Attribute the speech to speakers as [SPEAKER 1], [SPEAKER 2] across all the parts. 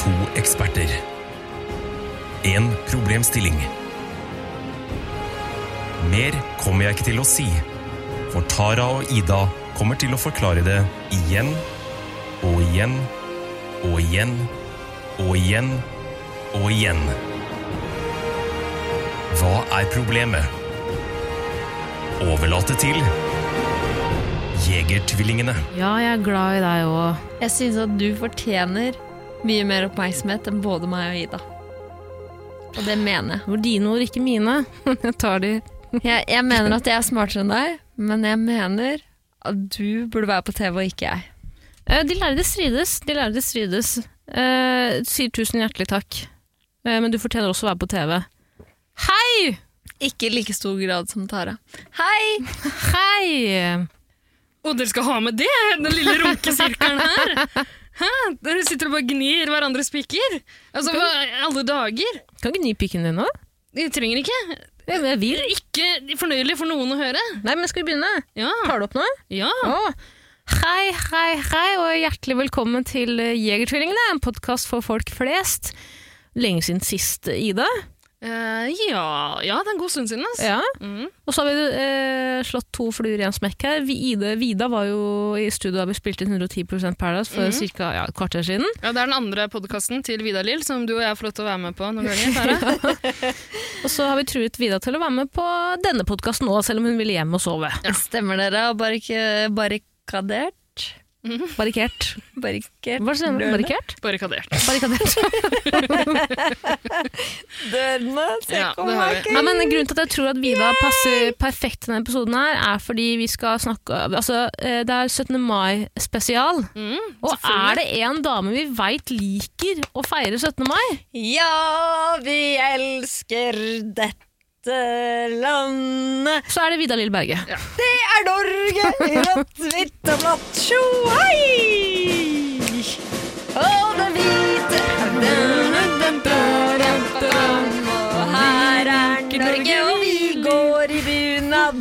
[SPEAKER 1] To eksperter. En problemstilling. Mer kommer jeg ikke til å si, for Tara og Ida kommer til å forklare det igjen og igjen og igjen og igjen og igjen. Hva er problemet? Overlate til Jegertvillingene.
[SPEAKER 2] Ja, jeg er glad i deg òg.
[SPEAKER 3] Jeg syns at du fortjener mye mer oppmerksomhet enn både meg og Ida. Og det mener jeg.
[SPEAKER 2] Det var dine ord, ikke mine. Jeg tar de
[SPEAKER 3] Jeg, jeg mener at jeg er smartere enn deg, men jeg mener at du burde være på TV og ikke jeg.
[SPEAKER 2] Eh, De lærde strides, de lærde strides. Eh, sier tusen hjertelig takk. Eh, men du fortjener også å være på TV. Hei!
[SPEAKER 3] Ikke i like stor grad som Tara. Hei!
[SPEAKER 2] Hei!
[SPEAKER 4] Og dere skal ha med det, den lille runkesirkelen her? Hæ? Dere sitter og bare gnir hverandres piker? Altså, hva, alle dager?
[SPEAKER 2] Kan ikke gni pikken din nå?
[SPEAKER 4] Jeg trenger ikke.
[SPEAKER 2] Jeg, jeg vil.
[SPEAKER 4] Ikke fornøyelig for noen å høre.
[SPEAKER 2] Nei, men skal vi begynne?
[SPEAKER 4] Ja,
[SPEAKER 2] Tar du opp nå?
[SPEAKER 4] ja.
[SPEAKER 2] Å. Hei, hei, hei, og hjertelig velkommen til eh, Jegertvillingene, en podkast for folk flest. Lenge siden sist, Ida.
[SPEAKER 4] Eh, ja, ja, det er en god stund siden, altså.
[SPEAKER 2] Ja.
[SPEAKER 4] Mm.
[SPEAKER 2] Og så har vi eh, slått to fluer i en smekk her. Vi, Ida, Vida var jo i studio da vi spilte inn 110 Paradise
[SPEAKER 4] Mm.
[SPEAKER 2] for ca. Ja, et kvarter siden.
[SPEAKER 4] ja, det er den andre podkasten til Vidar Lill som du og jeg får lov til å være med på noen ganger. Tara.
[SPEAKER 2] Og så har vi truet Vida til å være med på denne podkasten nå, selv om hun ville hjem og sove.
[SPEAKER 3] Stemmer dere? Og barrik- barrikadert?
[SPEAKER 4] Mhm.
[SPEAKER 2] Barrikert.
[SPEAKER 3] Barrikert
[SPEAKER 2] Hva sier man?
[SPEAKER 3] dørene?
[SPEAKER 2] Barrikert?
[SPEAKER 4] Barrikadert.
[SPEAKER 2] Barrikadert.
[SPEAKER 3] Dørene,
[SPEAKER 4] Ja, det har vi.
[SPEAKER 2] Nei, men grunnen til at jeg tror at Vida passer perfekt til denne episoden her, er fordi vi skal snakke Altså, eh, det er 17. mai spesial.
[SPEAKER 4] Mm,
[SPEAKER 2] Og er det en dame vi veit liker å feire 17. mai?
[SPEAKER 3] Ja, vi elsker dette landet.
[SPEAKER 2] Så er det Vida Lill Berge.
[SPEAKER 3] Det er Norge i rødt, hvitt og blått. Tjo hei! Og det hvite Og her er Norge, og vi går i bunad.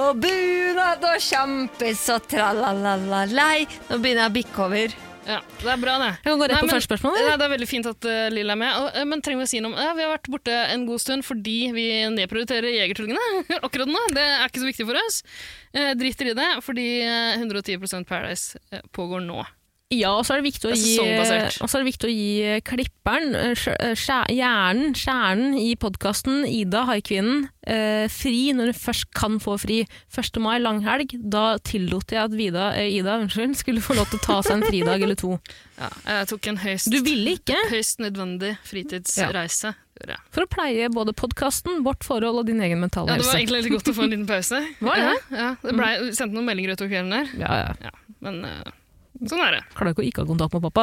[SPEAKER 3] Og bunad og sjampis og tralalalei. Nå begynner jeg å bikke over.
[SPEAKER 4] Ja, det er bra, det.
[SPEAKER 2] Jeg kan gå rett
[SPEAKER 4] Nei,
[SPEAKER 2] på
[SPEAKER 4] men-
[SPEAKER 2] første spørsmål.
[SPEAKER 4] Nei,
[SPEAKER 2] eller?
[SPEAKER 4] det er veldig fint at eh, Lill er med. Og, eh, men trenger vi å si noe om ja, Vi har vært borte en god stund fordi vi nedprioriterer Jegertvillingene akkurat nå. Det er ikke så viktig for oss. Eh, driter i det, fordi eh, 110 Paradise eh, pågår nå.
[SPEAKER 2] Ja, og så er det viktig å
[SPEAKER 4] Det er
[SPEAKER 2] gi,
[SPEAKER 4] sesongbasert.
[SPEAKER 2] og så er det viktig å gi eh, klipperen, eh, skjæ- eh, skjæ- hjernen, skjæren i podkasten, Ida, haikvinnen, eh, fri når hun først kan få fri. 1. mai, langhelg, da tillot jeg at Vida, eh, Ida unnskyld, skulle få lov til å ta seg en fridag eller to.
[SPEAKER 4] Ja, jeg tok en høyst,
[SPEAKER 2] Du ville ikke,
[SPEAKER 4] høyst nødvendig fritidsreise. gjorde jeg.
[SPEAKER 2] for å pleie både podkasten, vårt forhold og din egen mentale
[SPEAKER 4] Ja, det var
[SPEAKER 2] helse.
[SPEAKER 4] egentlig litt godt å få en liten pause.
[SPEAKER 2] Var det? Mm.
[SPEAKER 4] Ja, ja, det ble, vi sendte noen meldinger utover kvelden der,
[SPEAKER 2] Ja, ja.
[SPEAKER 4] men eh, sånn er det.
[SPEAKER 2] Klarer ikke å ikke ha kontakt med pappa.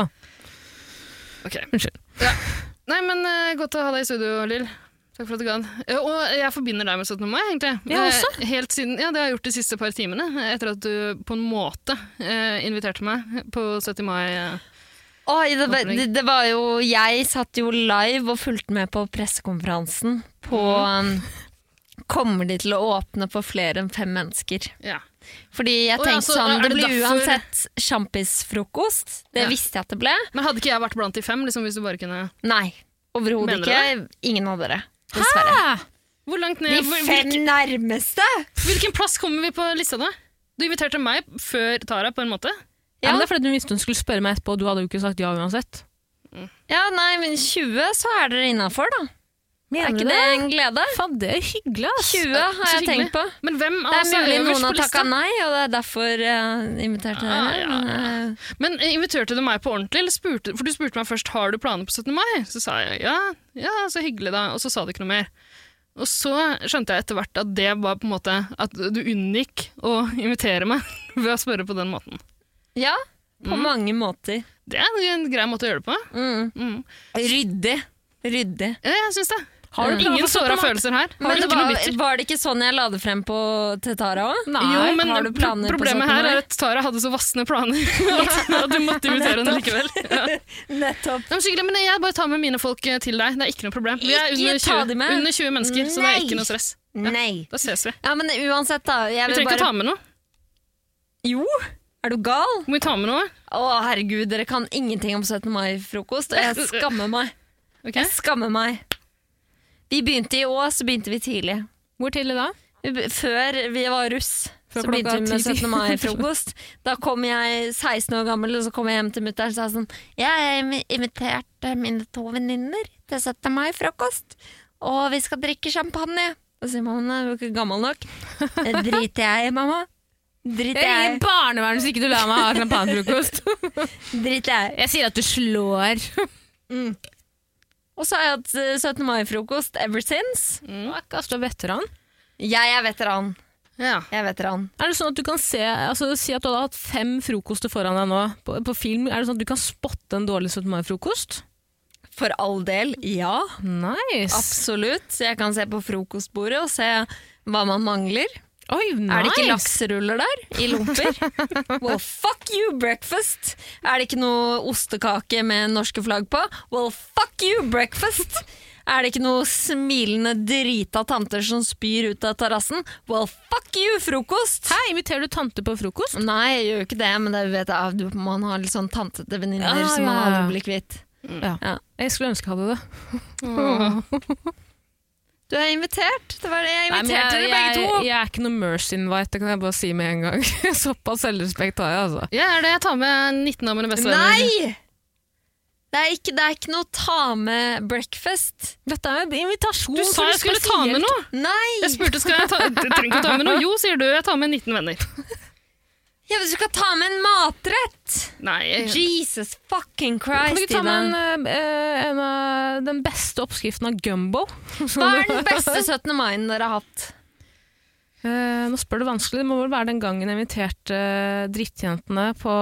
[SPEAKER 4] Ok.
[SPEAKER 2] Unnskyld.
[SPEAKER 4] Ja. Nei, men eh, godt å ha deg i studio, Lill. Takk for at du gadd. Eh, og jeg forbinder deg med 17. mai, egentlig.
[SPEAKER 2] Ja, også.
[SPEAKER 4] Eh, Helt siden, ja, det har jeg gjort de siste par timene, eh, etter at du på en måte eh, inviterte meg på 70. mai. eh.
[SPEAKER 3] Oi, det, var-
[SPEAKER 4] Opplegg.
[SPEAKER 3] det, det var jo Jeg satt jo live og fulgte med på pressekonferansen på um, Kommer de til å åpne for flere enn fem mennesker?
[SPEAKER 4] Ja.
[SPEAKER 3] Fordi jeg
[SPEAKER 4] Å ja,
[SPEAKER 3] tenkte
[SPEAKER 4] så
[SPEAKER 3] sånn,
[SPEAKER 4] er
[SPEAKER 3] det
[SPEAKER 4] det
[SPEAKER 3] blir
[SPEAKER 4] derfor-
[SPEAKER 3] uansett sjampisfrokost. Det
[SPEAKER 4] Ja.
[SPEAKER 3] visste jeg at det ble.
[SPEAKER 4] Men hadde ikke jeg vært blant de fem, liksom, hvis du bare kunne
[SPEAKER 3] Nei, overhodet
[SPEAKER 4] Mener du
[SPEAKER 3] ikke. Ingen av dere, dessverre.
[SPEAKER 4] Hvor langt
[SPEAKER 3] De
[SPEAKER 4] ned? hvor-
[SPEAKER 3] fem
[SPEAKER 4] Hvilken,
[SPEAKER 3] nærmeste!
[SPEAKER 4] hvilken plass kommer vi på lista, da? Du inviterte meg før Tara, på en måte.
[SPEAKER 2] Ja. men det er fordi hun visste hun skulle spørre meg etterpå, og du hadde jo ikke sagt ja uansett.
[SPEAKER 3] Ja, nei, men 20, så er dere innafor, da. Er
[SPEAKER 2] Mener
[SPEAKER 3] ikke
[SPEAKER 2] du
[SPEAKER 3] det
[SPEAKER 2] det?
[SPEAKER 3] en glede?
[SPEAKER 2] Faen, det er hyggelig, ass.
[SPEAKER 3] 20 har
[SPEAKER 4] Så
[SPEAKER 3] jeg tenkt
[SPEAKER 4] hyggelig.
[SPEAKER 3] på.
[SPEAKER 4] Men hvem av
[SPEAKER 3] Det
[SPEAKER 4] oss
[SPEAKER 3] er mulig
[SPEAKER 4] øverst
[SPEAKER 3] noen har
[SPEAKER 4] på lista?
[SPEAKER 3] takka nei, og det er derfor jeg inviterte dere.
[SPEAKER 4] Ah, ja,
[SPEAKER 3] men, eh,
[SPEAKER 4] Men eh, inviterte du meg på ordentlig? Eller spurte, for du spurte meg først har du planer på 17. mai. Så sa jeg ja, ja, så hyggelig da. Og så sa du ikke noe mer. Og så skjønte jeg etter hvert at det var på en måte at du unngikk å invitere meg ved å spørre på den måten.
[SPEAKER 3] Ja, på
[SPEAKER 4] Mm.
[SPEAKER 3] mange måter.
[SPEAKER 4] Det er en grei måte å gjøre det på. Mm.
[SPEAKER 3] Ryddig. Ryddig.
[SPEAKER 4] Ja, jeg syns det.
[SPEAKER 2] Har du planer
[SPEAKER 4] Ingen
[SPEAKER 2] for 17.
[SPEAKER 4] såra
[SPEAKER 2] mai?
[SPEAKER 4] følelser her.
[SPEAKER 3] Men
[SPEAKER 4] Men
[SPEAKER 3] det
[SPEAKER 4] ikke noe
[SPEAKER 3] var,
[SPEAKER 4] bitter.
[SPEAKER 3] var det ikke sånn jeg la det frem på, til Tara òg?
[SPEAKER 2] Nei,
[SPEAKER 4] Jo, men
[SPEAKER 3] har du
[SPEAKER 4] pro-
[SPEAKER 3] planer på
[SPEAKER 4] problemet
[SPEAKER 3] 17.
[SPEAKER 4] her
[SPEAKER 3] mai?
[SPEAKER 4] er at Tara hadde så vassende planer at, at du måtte invitere henne likevel. Ja.
[SPEAKER 3] Nettopp.
[SPEAKER 4] Nei, men så hyggelig, men jeg bare tar med mine folk eh, til deg. Det er ikke noe problem. Vi er
[SPEAKER 3] Ikke
[SPEAKER 4] under
[SPEAKER 3] ta de
[SPEAKER 4] 20,
[SPEAKER 3] med.
[SPEAKER 4] under 20 mennesker, så det er
[SPEAKER 3] Nei.
[SPEAKER 4] ikke noe stress.
[SPEAKER 3] Nei.
[SPEAKER 4] Da ses vi.
[SPEAKER 3] Ja, men uansett, da. Jeg vil
[SPEAKER 4] Vi trenger ikke å
[SPEAKER 3] bare
[SPEAKER 4] ta med noe.
[SPEAKER 3] Jo! Er du gal?
[SPEAKER 4] Må vi ta med noe?
[SPEAKER 3] Å, herregud, dere kan ingenting om 17. mai-frokost. og Jeg skammer meg.
[SPEAKER 4] Ok?
[SPEAKER 3] Jeg skammer meg. Vi begynte i år, så begynte vi tidlig.
[SPEAKER 2] Hvor tidlig da?
[SPEAKER 3] Vi be- Før vi var russ,
[SPEAKER 2] Før
[SPEAKER 3] så begynte
[SPEAKER 2] klokka
[SPEAKER 3] vi med
[SPEAKER 2] ti.
[SPEAKER 3] 17. mai-frokost. Da kom jeg 16 år gammel, og så kom jeg hjem til mutter'n og sa sånn Jeg har im- invitert eh, mine to venninner til 17. mai-frokost, og vi skal drikke champagne. Og så sier mamma hun er jo ikke gammel nok. Det driter jeg i, mamma. Driter
[SPEAKER 2] Jeg
[SPEAKER 3] jeg
[SPEAKER 2] ringer
[SPEAKER 3] i.
[SPEAKER 2] barnevernet hvis ikke du lar meg ha sånn champagnefrokost.
[SPEAKER 3] Driter jeg i.
[SPEAKER 2] Jeg sier at du slår.
[SPEAKER 3] Og så har jeg hatt eh, 17. mai-frokost ever since.
[SPEAKER 2] Kasper veteran.
[SPEAKER 3] Jeg er veteran.
[SPEAKER 4] Ja.
[SPEAKER 3] Jeg er veteran.
[SPEAKER 2] Er det sånn at du kan se, altså Si at du hadde hatt fem frokoster foran deg nå på, på film. Er det sånn at du kan spotte en dårlig 17. mai-frokost?
[SPEAKER 3] For all del, ja.
[SPEAKER 2] Nice.
[SPEAKER 3] Absolutt. Så jeg kan se på frokostbordet og se hva man mangler.
[SPEAKER 2] Oi, nice.
[SPEAKER 3] Er det ikke lakseruller der? I lomper? well, fuck you, breakfast! Er det ikke noe ostekake med norske flagg på? Well, fuck you, breakfast! Er det ikke noe smilende drita tanter som spyr ut av terrassen? Well, fuck you, frokost!
[SPEAKER 2] Hæ, inviterer du tante på frokost?
[SPEAKER 3] Nei, jeg gjør jo ikke det, men det vet jeg, du- man har litt sånn tantete venninner
[SPEAKER 2] Ja,
[SPEAKER 3] som man
[SPEAKER 2] ja, ja.
[SPEAKER 3] aldri blir kvitt.
[SPEAKER 2] Jeg skulle ønske jeg hadde det.
[SPEAKER 4] Åh.
[SPEAKER 3] Du er invitert! Det var det jeg
[SPEAKER 2] Nei, men
[SPEAKER 3] inviterte dere begge to!
[SPEAKER 2] jeg, jeg er ikke noe mercy invite, det kan jeg bare si med en gang. Såpass selvrespekt har jeg, altså.
[SPEAKER 4] Jeg er det. Jeg tar med 19 av mine beste venner.
[SPEAKER 3] Nei! Det er ikke, det er ikke noe ta med breakfast.
[SPEAKER 2] Dette er jo en invitasjon
[SPEAKER 4] Du sa jeg skulle ta med noe!
[SPEAKER 3] Nei!
[SPEAKER 4] Jeg spurte skal jeg ta, du trenger ikke å ta med noe. Jo, sier du. Jeg tar med 19 venner.
[SPEAKER 3] Ja, men du skal ta med en matrett!
[SPEAKER 4] Nei,
[SPEAKER 3] Eh,
[SPEAKER 4] jeg,
[SPEAKER 3] Jesus fucking
[SPEAKER 2] Kan du
[SPEAKER 3] Christ,
[SPEAKER 2] ikke ta
[SPEAKER 3] Ida.
[SPEAKER 2] med en, eh, en av den beste oppskriften av gumbo?
[SPEAKER 3] Hva er den beste 17. mai-en dere har hatt?
[SPEAKER 2] Eh, nå spør du vanskelig. Det må vel være den gangen jeg inviterte eh, drittjentene på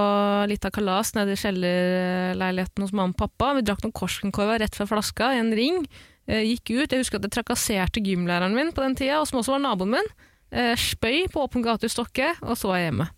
[SPEAKER 2] lita kalas nede i kjellerleiligheten hos mamma og pappa. Vi drakk noen Korsenkorva rett fra flaska i en ring. Eh, gikk ut. Jeg husker at jeg trakasserte gymlæreren min på den tida, og som også var naboen min. Eh, spøy på åpen gate i Stokke, og så var jeg hjemme.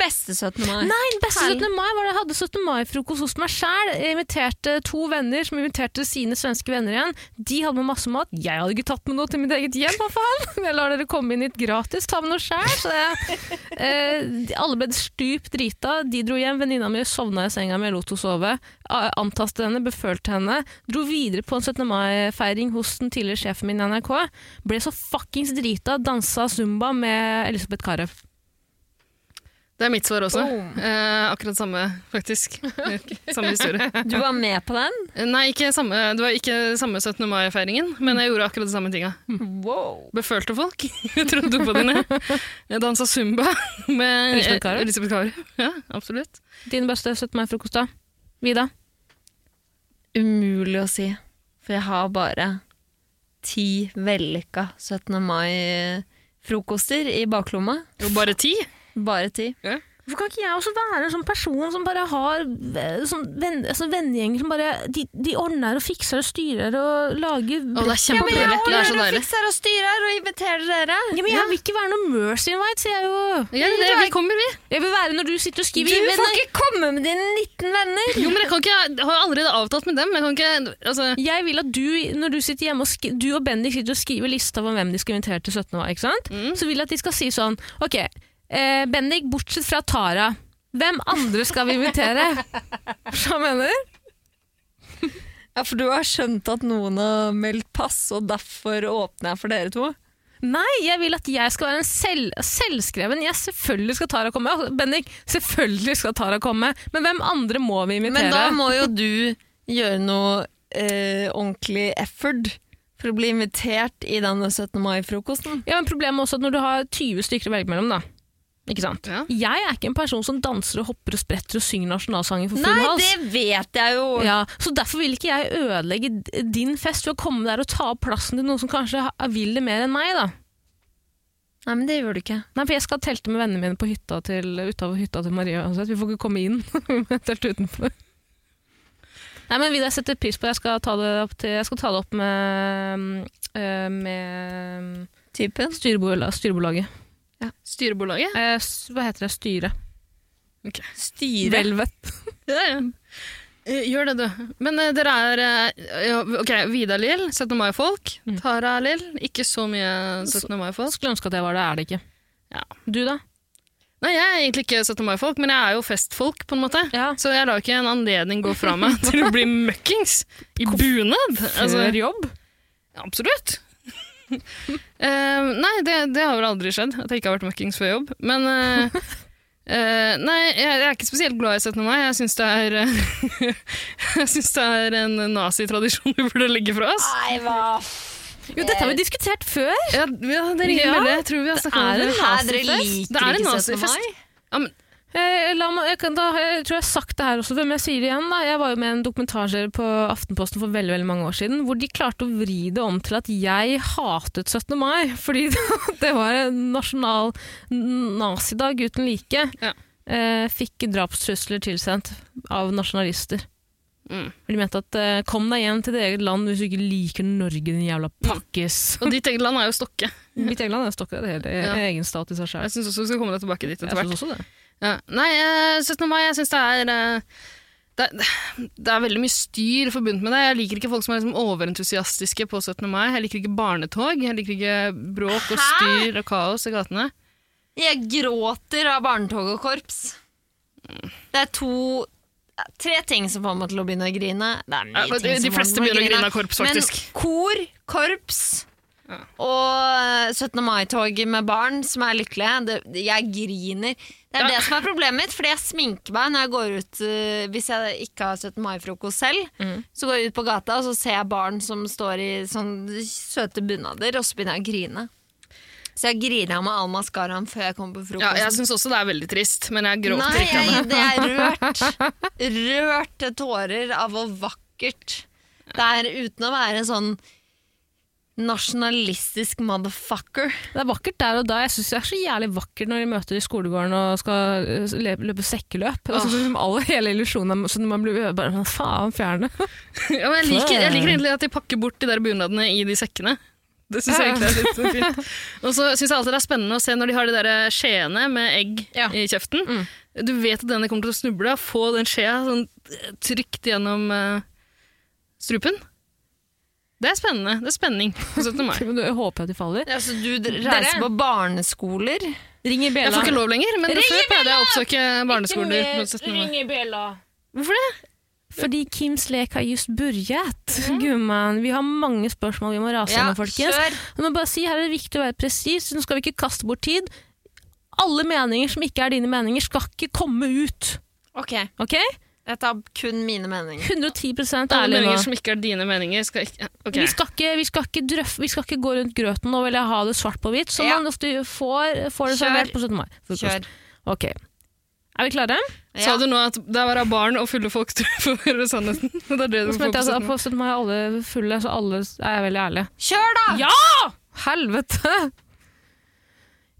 [SPEAKER 3] Beste 17. mai.
[SPEAKER 2] Nei, den beste
[SPEAKER 3] Herlig.
[SPEAKER 2] 17. mai var da jeg hadde 17. mai-frokost hos meg sjæl. Jeg inviterte to venner som inviterte sine svenske venner igjen. De hadde med masse mat. Jeg hadde ikke tatt med noe til mitt eget hjem, hva faen? Jeg lar dere komme inn hit gratis, ta med noe sjæl. Så jeg, eh, de- alle ble stup drita. De dro hjem. Venninna mi sovna i senga mi, jeg lot henne sove. A- Antastet henne, befølte henne. Dro videre på en 17. mai-feiring hos den tidligere sjefen min i NRK. Ble så fuckings drita, dansa zumba med Elisabeth Carew.
[SPEAKER 4] det er mitt svar også.
[SPEAKER 3] Boom.
[SPEAKER 4] Eh, akkurat samme, faktisk. Samme historie. Eh,
[SPEAKER 3] Du var med på den?
[SPEAKER 4] Nei, ikke samme, det var ikke samme 17. mai-feiringen, men jeg gjorde akkurat de samme tinga.
[SPEAKER 3] Wow.
[SPEAKER 4] Befølte folk. Jeg trodde på dine. Jeg dansa zumba med
[SPEAKER 2] Elisabeth Carew?
[SPEAKER 4] Elisabeth Carew. Ja, absolutt.
[SPEAKER 2] Din beste 17. mai-frokost, da? Vida?
[SPEAKER 3] Umulig å si. For jeg har bare ti vellykka 17. mai-frokoster i baklomma.
[SPEAKER 4] Det var bare ti.
[SPEAKER 3] Bare ti.
[SPEAKER 2] Hvorfor kan ikke jeg også være en sånn person som bare har eh, sånn venn, altså vennegjenger som bare de, de ordner og fikser og styrer og lager
[SPEAKER 4] Å, det er kjempedeilig.
[SPEAKER 3] jeg
[SPEAKER 4] det er så
[SPEAKER 3] ordner og
[SPEAKER 4] deilig.
[SPEAKER 3] fikser og styrer og inviterer dere.
[SPEAKER 2] Ja, men jeg vil ikke være noe mercy invite, sier jeg jo.
[SPEAKER 4] Ja, det, vi kommer, vi.
[SPEAKER 2] Jeg vil være når du sitter og
[SPEAKER 3] Du
[SPEAKER 2] skriver
[SPEAKER 3] får
[SPEAKER 2] innvendig.
[SPEAKER 3] ikke komme med dine 19 venner!
[SPEAKER 4] Jo, men jeg, kan ikke, jeg har allerede avtalt med dem. Jeg kan ikke, altså,
[SPEAKER 2] Jeg vil at du, når du sitter hjemme og sk du og Bendik sitter og skriver lista om hvem de skal invitere til 17. mai, ikke sant?
[SPEAKER 3] Mm.
[SPEAKER 2] så vil jeg at de skal si sånn Ok, eh, Bendik, bortsett fra Tara, hvem andre skal vi invitere? Hva mener du?
[SPEAKER 3] Ja, For du har skjønt at noen har meldt pass, og derfor åpner jeg for dere to?
[SPEAKER 2] Nei, jeg vil at jeg skal være en selv, selvskreven. Jeg selvfølgelig skal Tara komme. Altså, Bendik, selvfølgelig skal Tara komme. Men hvem andre må vi invitere?
[SPEAKER 3] Men da må jo du gjøre noe eh, ordentlig effort for å bli invitert i denne 17. mai-frokosten.
[SPEAKER 2] ja, men problemet er også at når du har 20 stykker å velge mellom, da. Ikke sant?
[SPEAKER 4] Ja.
[SPEAKER 2] Jeg er ikke en person som danser og hopper og spretter og synger nasjonalsangen for full
[SPEAKER 3] Nei,
[SPEAKER 2] hals.
[SPEAKER 3] det vet jeg jo!
[SPEAKER 2] Ja, så derfor vil ikke jeg ødelegge d- din fest ved å komme der og ta opp plassen til noen som kanskje ha- vil det mer enn meg, da.
[SPEAKER 3] Nei, men det gjør du ikke.
[SPEAKER 2] Nei, for jeg skal telte med vennene mine på hytta til, utover hytta til Maria uansett. Vi får ikke komme inn. Vi må telte utenfor. Nei, men Vidar, jeg setter pris på det. Jeg skal ta det opp, til, jeg skal ta det opp med, øh, med
[SPEAKER 3] Typen.
[SPEAKER 2] styrebola- styrebolaget.
[SPEAKER 4] Styrebolaget?
[SPEAKER 2] Eh, s- hva heter det? Styret.
[SPEAKER 3] Styre.
[SPEAKER 2] Velvet.
[SPEAKER 4] Ja, ja. Eh, Gjør det, du. Men eh, dere er eh, ja, Ok, Vida Lill, 17. mai-folk. Tara Lill, ikke så mye 17. mai-folk.
[SPEAKER 2] Skulle ønske at jeg var det, er det ikke.
[SPEAKER 4] Ja.
[SPEAKER 2] Du, da?
[SPEAKER 4] Nei, jeg er egentlig ikke 17. mai-folk, men jeg er jo festfolk, på en måte.
[SPEAKER 2] Ja.
[SPEAKER 4] Så jeg lar ikke en anledning gå fra meg til å bli møkkings i bunad. Altså,
[SPEAKER 2] Før jobb?
[SPEAKER 4] absolutt. Eh, nei, det, det har vel aldri skjedd, at jeg ikke har vært møkkings før jobb. Men eh, eh, nei, jeg, jeg er ikke spesielt glad i 17. mai. Jeg syns det er eh, Jeg syns det er en nazitradisjon vi burde legge fra oss.
[SPEAKER 3] Nei, hva
[SPEAKER 2] Jo, dette har vi diskutert før!
[SPEAKER 4] Ja, ja, det ringer
[SPEAKER 2] Ja,
[SPEAKER 4] veldig. Jeg tror vi har snakket om
[SPEAKER 2] er
[SPEAKER 4] det.
[SPEAKER 2] en
[SPEAKER 4] før.
[SPEAKER 3] Hæ, dere
[SPEAKER 2] nazifest?
[SPEAKER 4] Det er
[SPEAKER 3] liker
[SPEAKER 4] en
[SPEAKER 3] ikke 17.
[SPEAKER 4] nazifest.
[SPEAKER 3] mai?
[SPEAKER 4] Ja, men,
[SPEAKER 2] Eh, La meg, jeg, kan, da, har jeg tror jeg har sagt det her også, før, men jeg sier det igjen. Da. Jeg var jo med i en dokumentarserie på Aftenposten for veldig, veldig mange år siden, hvor de klarte å vri det om til at jeg hatet 17. mai, fordi det var en nasjonal nazidag uten like.
[SPEAKER 4] Ja.
[SPEAKER 2] Eh, fikk drapstrusler tilsendt av nasjonalister.
[SPEAKER 4] Mm.
[SPEAKER 2] For De mente at eh, kom deg hjem til ditt eget land hvis du ikke liker Norge, din jævla pakkis.
[SPEAKER 4] og ditt eget land er jo Stokke.
[SPEAKER 2] Mitt eget land er stokka, det hele
[SPEAKER 4] Mm. Ja.
[SPEAKER 2] egen stat i seg sjøl.
[SPEAKER 4] Jeg syns også vi skal komme deg tilbake dit etter hvert.
[SPEAKER 2] også det.
[SPEAKER 4] Ja. Nei, eh, 17. mai, jeg syns det er eh, det, er- det er veldig mye styr forbundet med det. Jeg liker ikke folk som er liksom overentusiastiske på 17. mai. Jeg liker ikke barnetog. Jeg liker ikke bråk og
[SPEAKER 3] Hæ?
[SPEAKER 4] styr og kaos i gatene.
[SPEAKER 3] Jeg gråter av barnetog og korps. Det er to Tre ting som får meg til å begynne å grine. Det er mye
[SPEAKER 4] Ja, og
[SPEAKER 3] ting
[SPEAKER 4] de- de
[SPEAKER 3] som får
[SPEAKER 4] fleste
[SPEAKER 3] meg til
[SPEAKER 4] begynner å grine av korps, faktisk.
[SPEAKER 3] Men kor, korps
[SPEAKER 4] Ja.
[SPEAKER 3] og 17. mai-tog med barn som er lykkelige det, det- Jeg griner. Det er
[SPEAKER 4] Ja.
[SPEAKER 3] det som er problemet mitt, fordi jeg sminker meg når jeg går ut eh, Hvis jeg ikke har 17. mai-frokost selv,
[SPEAKER 4] Mm.
[SPEAKER 3] så går jeg ut på gata og så ser jeg barn som står i sånn søte bunader, og så begynner jeg å grine. Så jeg griner av meg all maskaraen før jeg kommer på frokost.
[SPEAKER 4] Ja, jeg syns også det er veldig trist, men jeg gråter
[SPEAKER 3] Nei,
[SPEAKER 4] ikke av det.
[SPEAKER 3] jeg, det er rørt. Rørt til tårer av hvor vakkert det er uten å være sånn nasjonalistisk motherfucker.
[SPEAKER 2] Det er vakkert der og da. Jeg syns det er så jævlig vakkert når de møter i skolegården og skal eh, le- løpe sekkeløp. Altså, liksom alle, hele illusjonen er sånn at man blir bare sånn, faen fjerne.
[SPEAKER 4] Ja, men jeg, liker, jeg liker egentlig at de pakker bort de der bunadene i de sekkene. Det syns jeg
[SPEAKER 2] Ja.
[SPEAKER 4] egentlig er litt sånn fint. Og så syns jeg alltid det er spennende å se når de har de der skjeene med egg
[SPEAKER 2] Ja. Mm.
[SPEAKER 4] i kjeften. Du vet at denne kommer til å snuble. Få den skjea sånn eh, trygt gjennom eh, strupen. Det er spennende. Det er spenning på 17. mai.
[SPEAKER 2] Men du jeg håper at de faller.
[SPEAKER 3] Altså, du d- reiser på barneskoler.
[SPEAKER 2] Ringer
[SPEAKER 4] Jeg
[SPEAKER 2] bjella.
[SPEAKER 4] får ikke lov lenger, men
[SPEAKER 2] Ring i
[SPEAKER 4] før pleide jeg å oppsøke barneskoler. på 17. mai.
[SPEAKER 2] i bjella.
[SPEAKER 4] Hvorfor det?
[SPEAKER 2] Fordi Kims lek har just begynt. Gumman, vi har mange spørsmål vi må rase
[SPEAKER 3] Ja,
[SPEAKER 2] gjennom, folkens.
[SPEAKER 3] kjør.
[SPEAKER 2] Jeg må bare si, her er det viktig å være presis, nå skal vi ikke kaste bort tid. Alle meninger som ikke er dine meninger, skal ikke komme ut.
[SPEAKER 3] Ok,
[SPEAKER 2] Ok?
[SPEAKER 3] jeg tar kun mine meninger.
[SPEAKER 2] 110
[SPEAKER 4] Alle
[SPEAKER 2] ærlig nå.
[SPEAKER 4] meninger som ikke er dine meninger, skal ikke Ok.
[SPEAKER 2] Vi, skal ikke, vi, skal ikke drøff, vi skal ikke gå rundt grøten og ville ha det svart på hvitt. Så
[SPEAKER 3] Ja.
[SPEAKER 2] man du får, får det
[SPEAKER 3] Kjør.
[SPEAKER 2] servert på 17. mai. Frokost.
[SPEAKER 3] Kjør.
[SPEAKER 2] Ok. Er vi klare?
[SPEAKER 3] Ja.
[SPEAKER 4] Sa du nå at det er bare barn og fulle folk som får høre sannheten? Det er det du
[SPEAKER 2] Nå
[SPEAKER 4] får
[SPEAKER 2] smelte jeg
[SPEAKER 4] på
[SPEAKER 2] altså,
[SPEAKER 4] sannheten.
[SPEAKER 2] på 17. mai er alle fulle, så alle er veldig ærlige.
[SPEAKER 3] Kjør, da!
[SPEAKER 2] Ja! Helvete!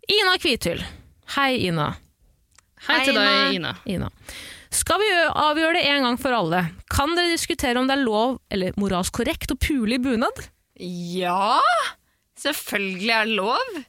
[SPEAKER 2] Ina Kvithyll. Hei, Ina.
[SPEAKER 4] Hei til
[SPEAKER 3] Hei,
[SPEAKER 4] deg, Ina.
[SPEAKER 2] Ina. Skal vi gjø- avgjøre det en gang for alle? Kan dere diskutere om det er lov, eller moralsk korrekt, å pule i bunad?
[SPEAKER 3] Ja! Selvfølgelig er det lov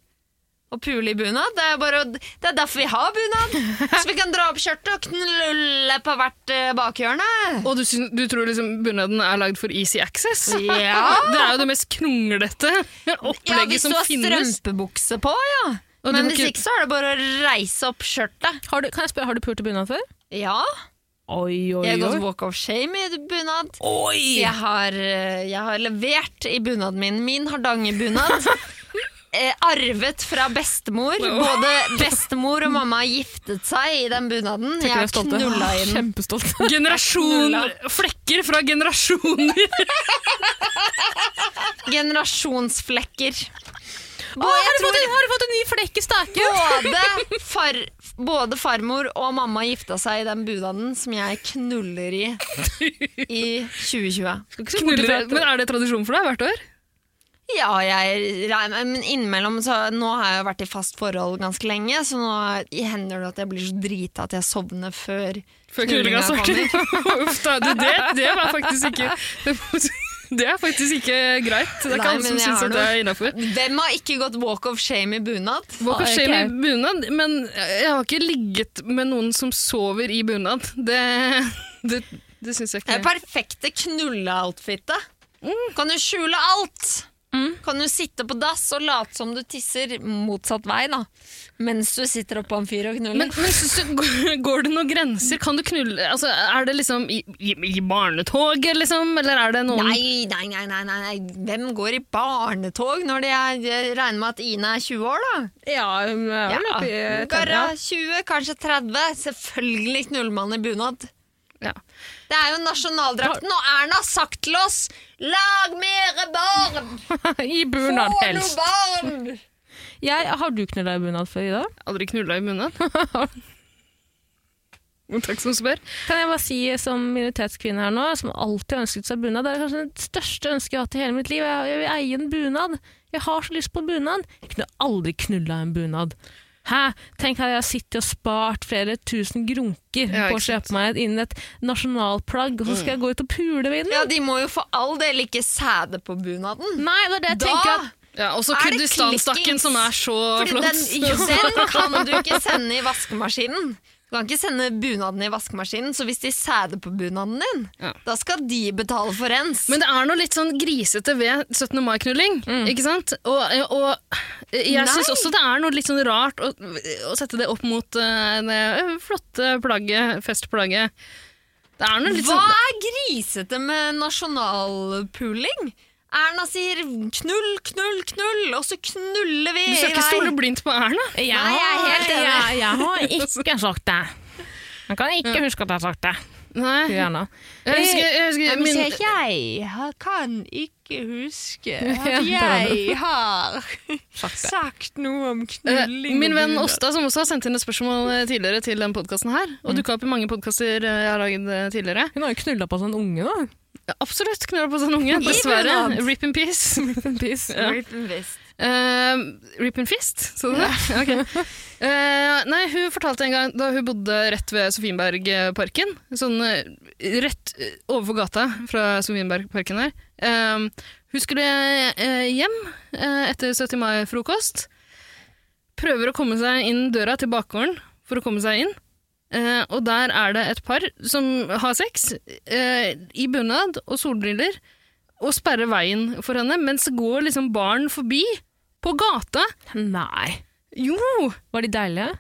[SPEAKER 3] å pule i bunad. Det er, bare, å- det er derfor vi har bunad. Så vi kan dra opp skjørtet og knulle på hvert eh, bakhjørne.
[SPEAKER 4] Og du, syn- du tror liksom bunaden er lagd for easy access?
[SPEAKER 3] Ja!
[SPEAKER 4] Det er jo det mest kronglete
[SPEAKER 3] Ja,
[SPEAKER 4] opplegget
[SPEAKER 3] hvis du
[SPEAKER 4] som
[SPEAKER 3] har
[SPEAKER 4] finnes.
[SPEAKER 3] strømpebukse på, ja.
[SPEAKER 4] Og du
[SPEAKER 3] Men
[SPEAKER 4] må
[SPEAKER 3] hvis
[SPEAKER 4] ikke-
[SPEAKER 3] ikke, så er det bare å reise opp skjørtet.
[SPEAKER 2] Har du, kan jeg spørre, har du pult i bunad før?
[SPEAKER 3] Ja.
[SPEAKER 2] Oi, oi,
[SPEAKER 3] Jeg har gått walk of shame i bunad.
[SPEAKER 2] Oi!
[SPEAKER 3] Jeg har, eh, jeg har levert i bunaden min. Min hardangerbunad. Eh, arvet fra bestemor. Både bestemor og mamma har giftet seg i den bunaden. Jeg
[SPEAKER 2] Tenker
[SPEAKER 3] har
[SPEAKER 2] jeg er stolt.
[SPEAKER 3] knulla i den.
[SPEAKER 2] Kjempestolt.
[SPEAKER 4] Generasjon
[SPEAKER 3] Knulla.
[SPEAKER 4] Flekker fra generasjoner!
[SPEAKER 3] Generasjonsflekker.
[SPEAKER 2] Å,
[SPEAKER 3] Og
[SPEAKER 2] har,
[SPEAKER 3] jeg
[SPEAKER 2] du fått
[SPEAKER 3] tror
[SPEAKER 2] en, har du fått en ny flekk i staken?
[SPEAKER 3] både, far, både farmor og mamma gifta seg i den bunaden som jeg knuller i i 2020.
[SPEAKER 4] Knuller, men Er det tradisjon for deg hvert år?
[SPEAKER 3] Ja, jeg regner Men innimellom så Nå har jeg jo vært i fast forhold ganske lenge, så nå hender det at jeg blir så drita at jeg sovner før,
[SPEAKER 4] Før knullinga starter? Uff da, du, det, det var faktisk ikke det, det er faktisk ikke greit. Det
[SPEAKER 3] Nei,
[SPEAKER 4] er ikke alle
[SPEAKER 3] men
[SPEAKER 4] som
[SPEAKER 3] jeg
[SPEAKER 4] syns
[SPEAKER 3] har
[SPEAKER 4] at det er innafor.
[SPEAKER 3] Hvem har ikke gått walk of shame i bunad?
[SPEAKER 4] Walk of
[SPEAKER 2] Ah,
[SPEAKER 4] shame
[SPEAKER 2] ok.
[SPEAKER 4] i bunad, men jeg har ikke ligget med noen som sover i bunad. Det, det, det syns jeg
[SPEAKER 3] Det
[SPEAKER 4] ikke.
[SPEAKER 3] perfekte knulleoutfitet. Kan du skjule alt? Kan du sitte på dass og late som du tisser motsatt vei, da. Mens du sitter oppå en fyr og knuller.
[SPEAKER 4] Men, men synes du, går- går det noen grenser? Kan du knulle altså, Er det liksom i, i, i barnetoget, liksom? Eller er det noen
[SPEAKER 3] Nei, nei, nei, nei, nei, nei. Hvem går i barnetog når de er, jeg regner med at Ine er 20 år, da?
[SPEAKER 2] Ja, hun er vel oppi
[SPEAKER 3] Ja. Garra 20, kanskje 30. Selvfølgelig knuller man i bunad.
[SPEAKER 4] Ja.
[SPEAKER 3] Det er jo nasjonaldrakten, og Erna har sagt til oss 'lag mere barn'!
[SPEAKER 2] I
[SPEAKER 3] Få
[SPEAKER 2] bunad,
[SPEAKER 3] noe
[SPEAKER 2] helst.
[SPEAKER 3] barn!
[SPEAKER 2] Jeg, har du knulla i bunad før, Ida?
[SPEAKER 4] Aldri knulla i munnen? Takk som spør.
[SPEAKER 2] Kan jeg bare si som minoritetskvinne her nå, som alltid har ønsket seg bunad, det er kanskje det største ønsket jeg har hatt i hele mitt liv. Jeg, jeg vil eie en bunad. Jeg har så lyst på bunad. Jeg kunne aldri knulla en bunad. Hæ? Tenk at jeg har sittet og spart flere tusen grunker
[SPEAKER 4] Ja,
[SPEAKER 2] på å
[SPEAKER 4] ikke sant.
[SPEAKER 2] kjøpe meg inn et nasjonalplagg, og så skal jeg gå ut og pule med den?
[SPEAKER 3] Ja, de må jo for all del ikke sæde på bunaden.
[SPEAKER 2] Nei, det er det jeg
[SPEAKER 3] Da
[SPEAKER 2] tenker at
[SPEAKER 4] Ja, og så
[SPEAKER 3] Er det
[SPEAKER 4] kurdistanstakken
[SPEAKER 3] klikkings?
[SPEAKER 4] som er så
[SPEAKER 3] Fordi
[SPEAKER 4] flott.
[SPEAKER 3] den, jo, den kan du ikke sende i vaskemaskinen. Du kan ikke sende bunaden i vaskemaskinen, så hvis de sæder på bunaden din,
[SPEAKER 4] Ja.
[SPEAKER 3] da skal de betale for rens.
[SPEAKER 4] Men det er noe litt sånn grisete ved 17. mai-knulling, ikke sant? Og, og jeg syns
[SPEAKER 3] Nei.
[SPEAKER 4] også det er noe litt sånn rart å, å sette det opp mot eh, det flotte plagget, festplagget. Det er noe litt
[SPEAKER 3] Hva
[SPEAKER 4] sånn
[SPEAKER 3] er grisete med nasjonalpuling? Erna sier 'knull, knull, knull', og så knuller vi
[SPEAKER 4] Du skal ikke stole blindt på Erna.
[SPEAKER 2] jeg,
[SPEAKER 3] Nei, jeg er helt enig.
[SPEAKER 2] har- jeg, jeg har ikke sagt det. Jeg kan ikke huske at jeg har sagt det. Du,
[SPEAKER 4] Nei.
[SPEAKER 2] Erna.
[SPEAKER 4] Jeg husker, jeg husker min,
[SPEAKER 3] Jeg kan ikke huske
[SPEAKER 2] at jeg
[SPEAKER 3] har
[SPEAKER 2] Sagt det.
[SPEAKER 3] sagt noe om
[SPEAKER 4] eh, min venn Åsta, som også har sendt inn et spørsmål eh, tidligere til den podkasten her, og dukka opp i mange podkaster jeg har lagd eh, tidligere.
[SPEAKER 2] Hun har jo knulla på seg en unge, da.
[SPEAKER 4] Ja, Absolutt knulla på seg en unge, dessverre.
[SPEAKER 3] bunad.
[SPEAKER 4] Rip in peace. Ja. Eh, rip in fist, sa du det? Ok. Eh, nei, hun fortalte en gang da hun bodde rett ved Sofienbergparken, sånn eh, rett eh, overfor gata fra Sofienbergparken her. Eh, hun skulle eh, hjem eh, etter 70 mai-frokost. Prøver å komme seg inn døra til bakgården for å komme seg inn. Eh, og der er det et par som har sex eh, i bunad og solbriller og sperrer veien for henne, mens det går liksom barn forbi på gata.
[SPEAKER 2] Nei.
[SPEAKER 4] Jo,
[SPEAKER 2] Var de deilige?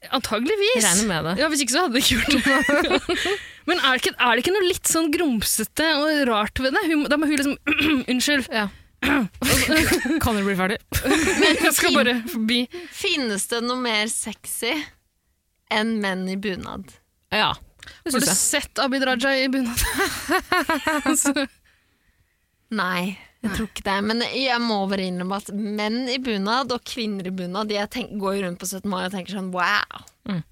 [SPEAKER 2] Jeg
[SPEAKER 4] antageligvis.
[SPEAKER 2] regner med det.
[SPEAKER 4] Ja, Hvis ikke så hadde jeg ikke gjort det. Men er det ikke, er det ikke noe litt sånn grumsete og rart ved det? Hun, da må hun liksom Unnskyld.
[SPEAKER 2] Ja. kan dere bli ferdig?
[SPEAKER 4] Jeg skal bare forbi.
[SPEAKER 3] Finnes det noe mer sexy enn menn i bunad?
[SPEAKER 2] Ja, det
[SPEAKER 4] Har
[SPEAKER 2] syns
[SPEAKER 4] du
[SPEAKER 2] jeg.
[SPEAKER 4] sett Abid Raja i bunad? Altså,
[SPEAKER 3] Nei, jeg tror ikke det. Men jeg må bare innrømme at menn i bunad og kvinner i bunad de jeg tenk- går jo rundt på 17. mai og tenker sånn wow.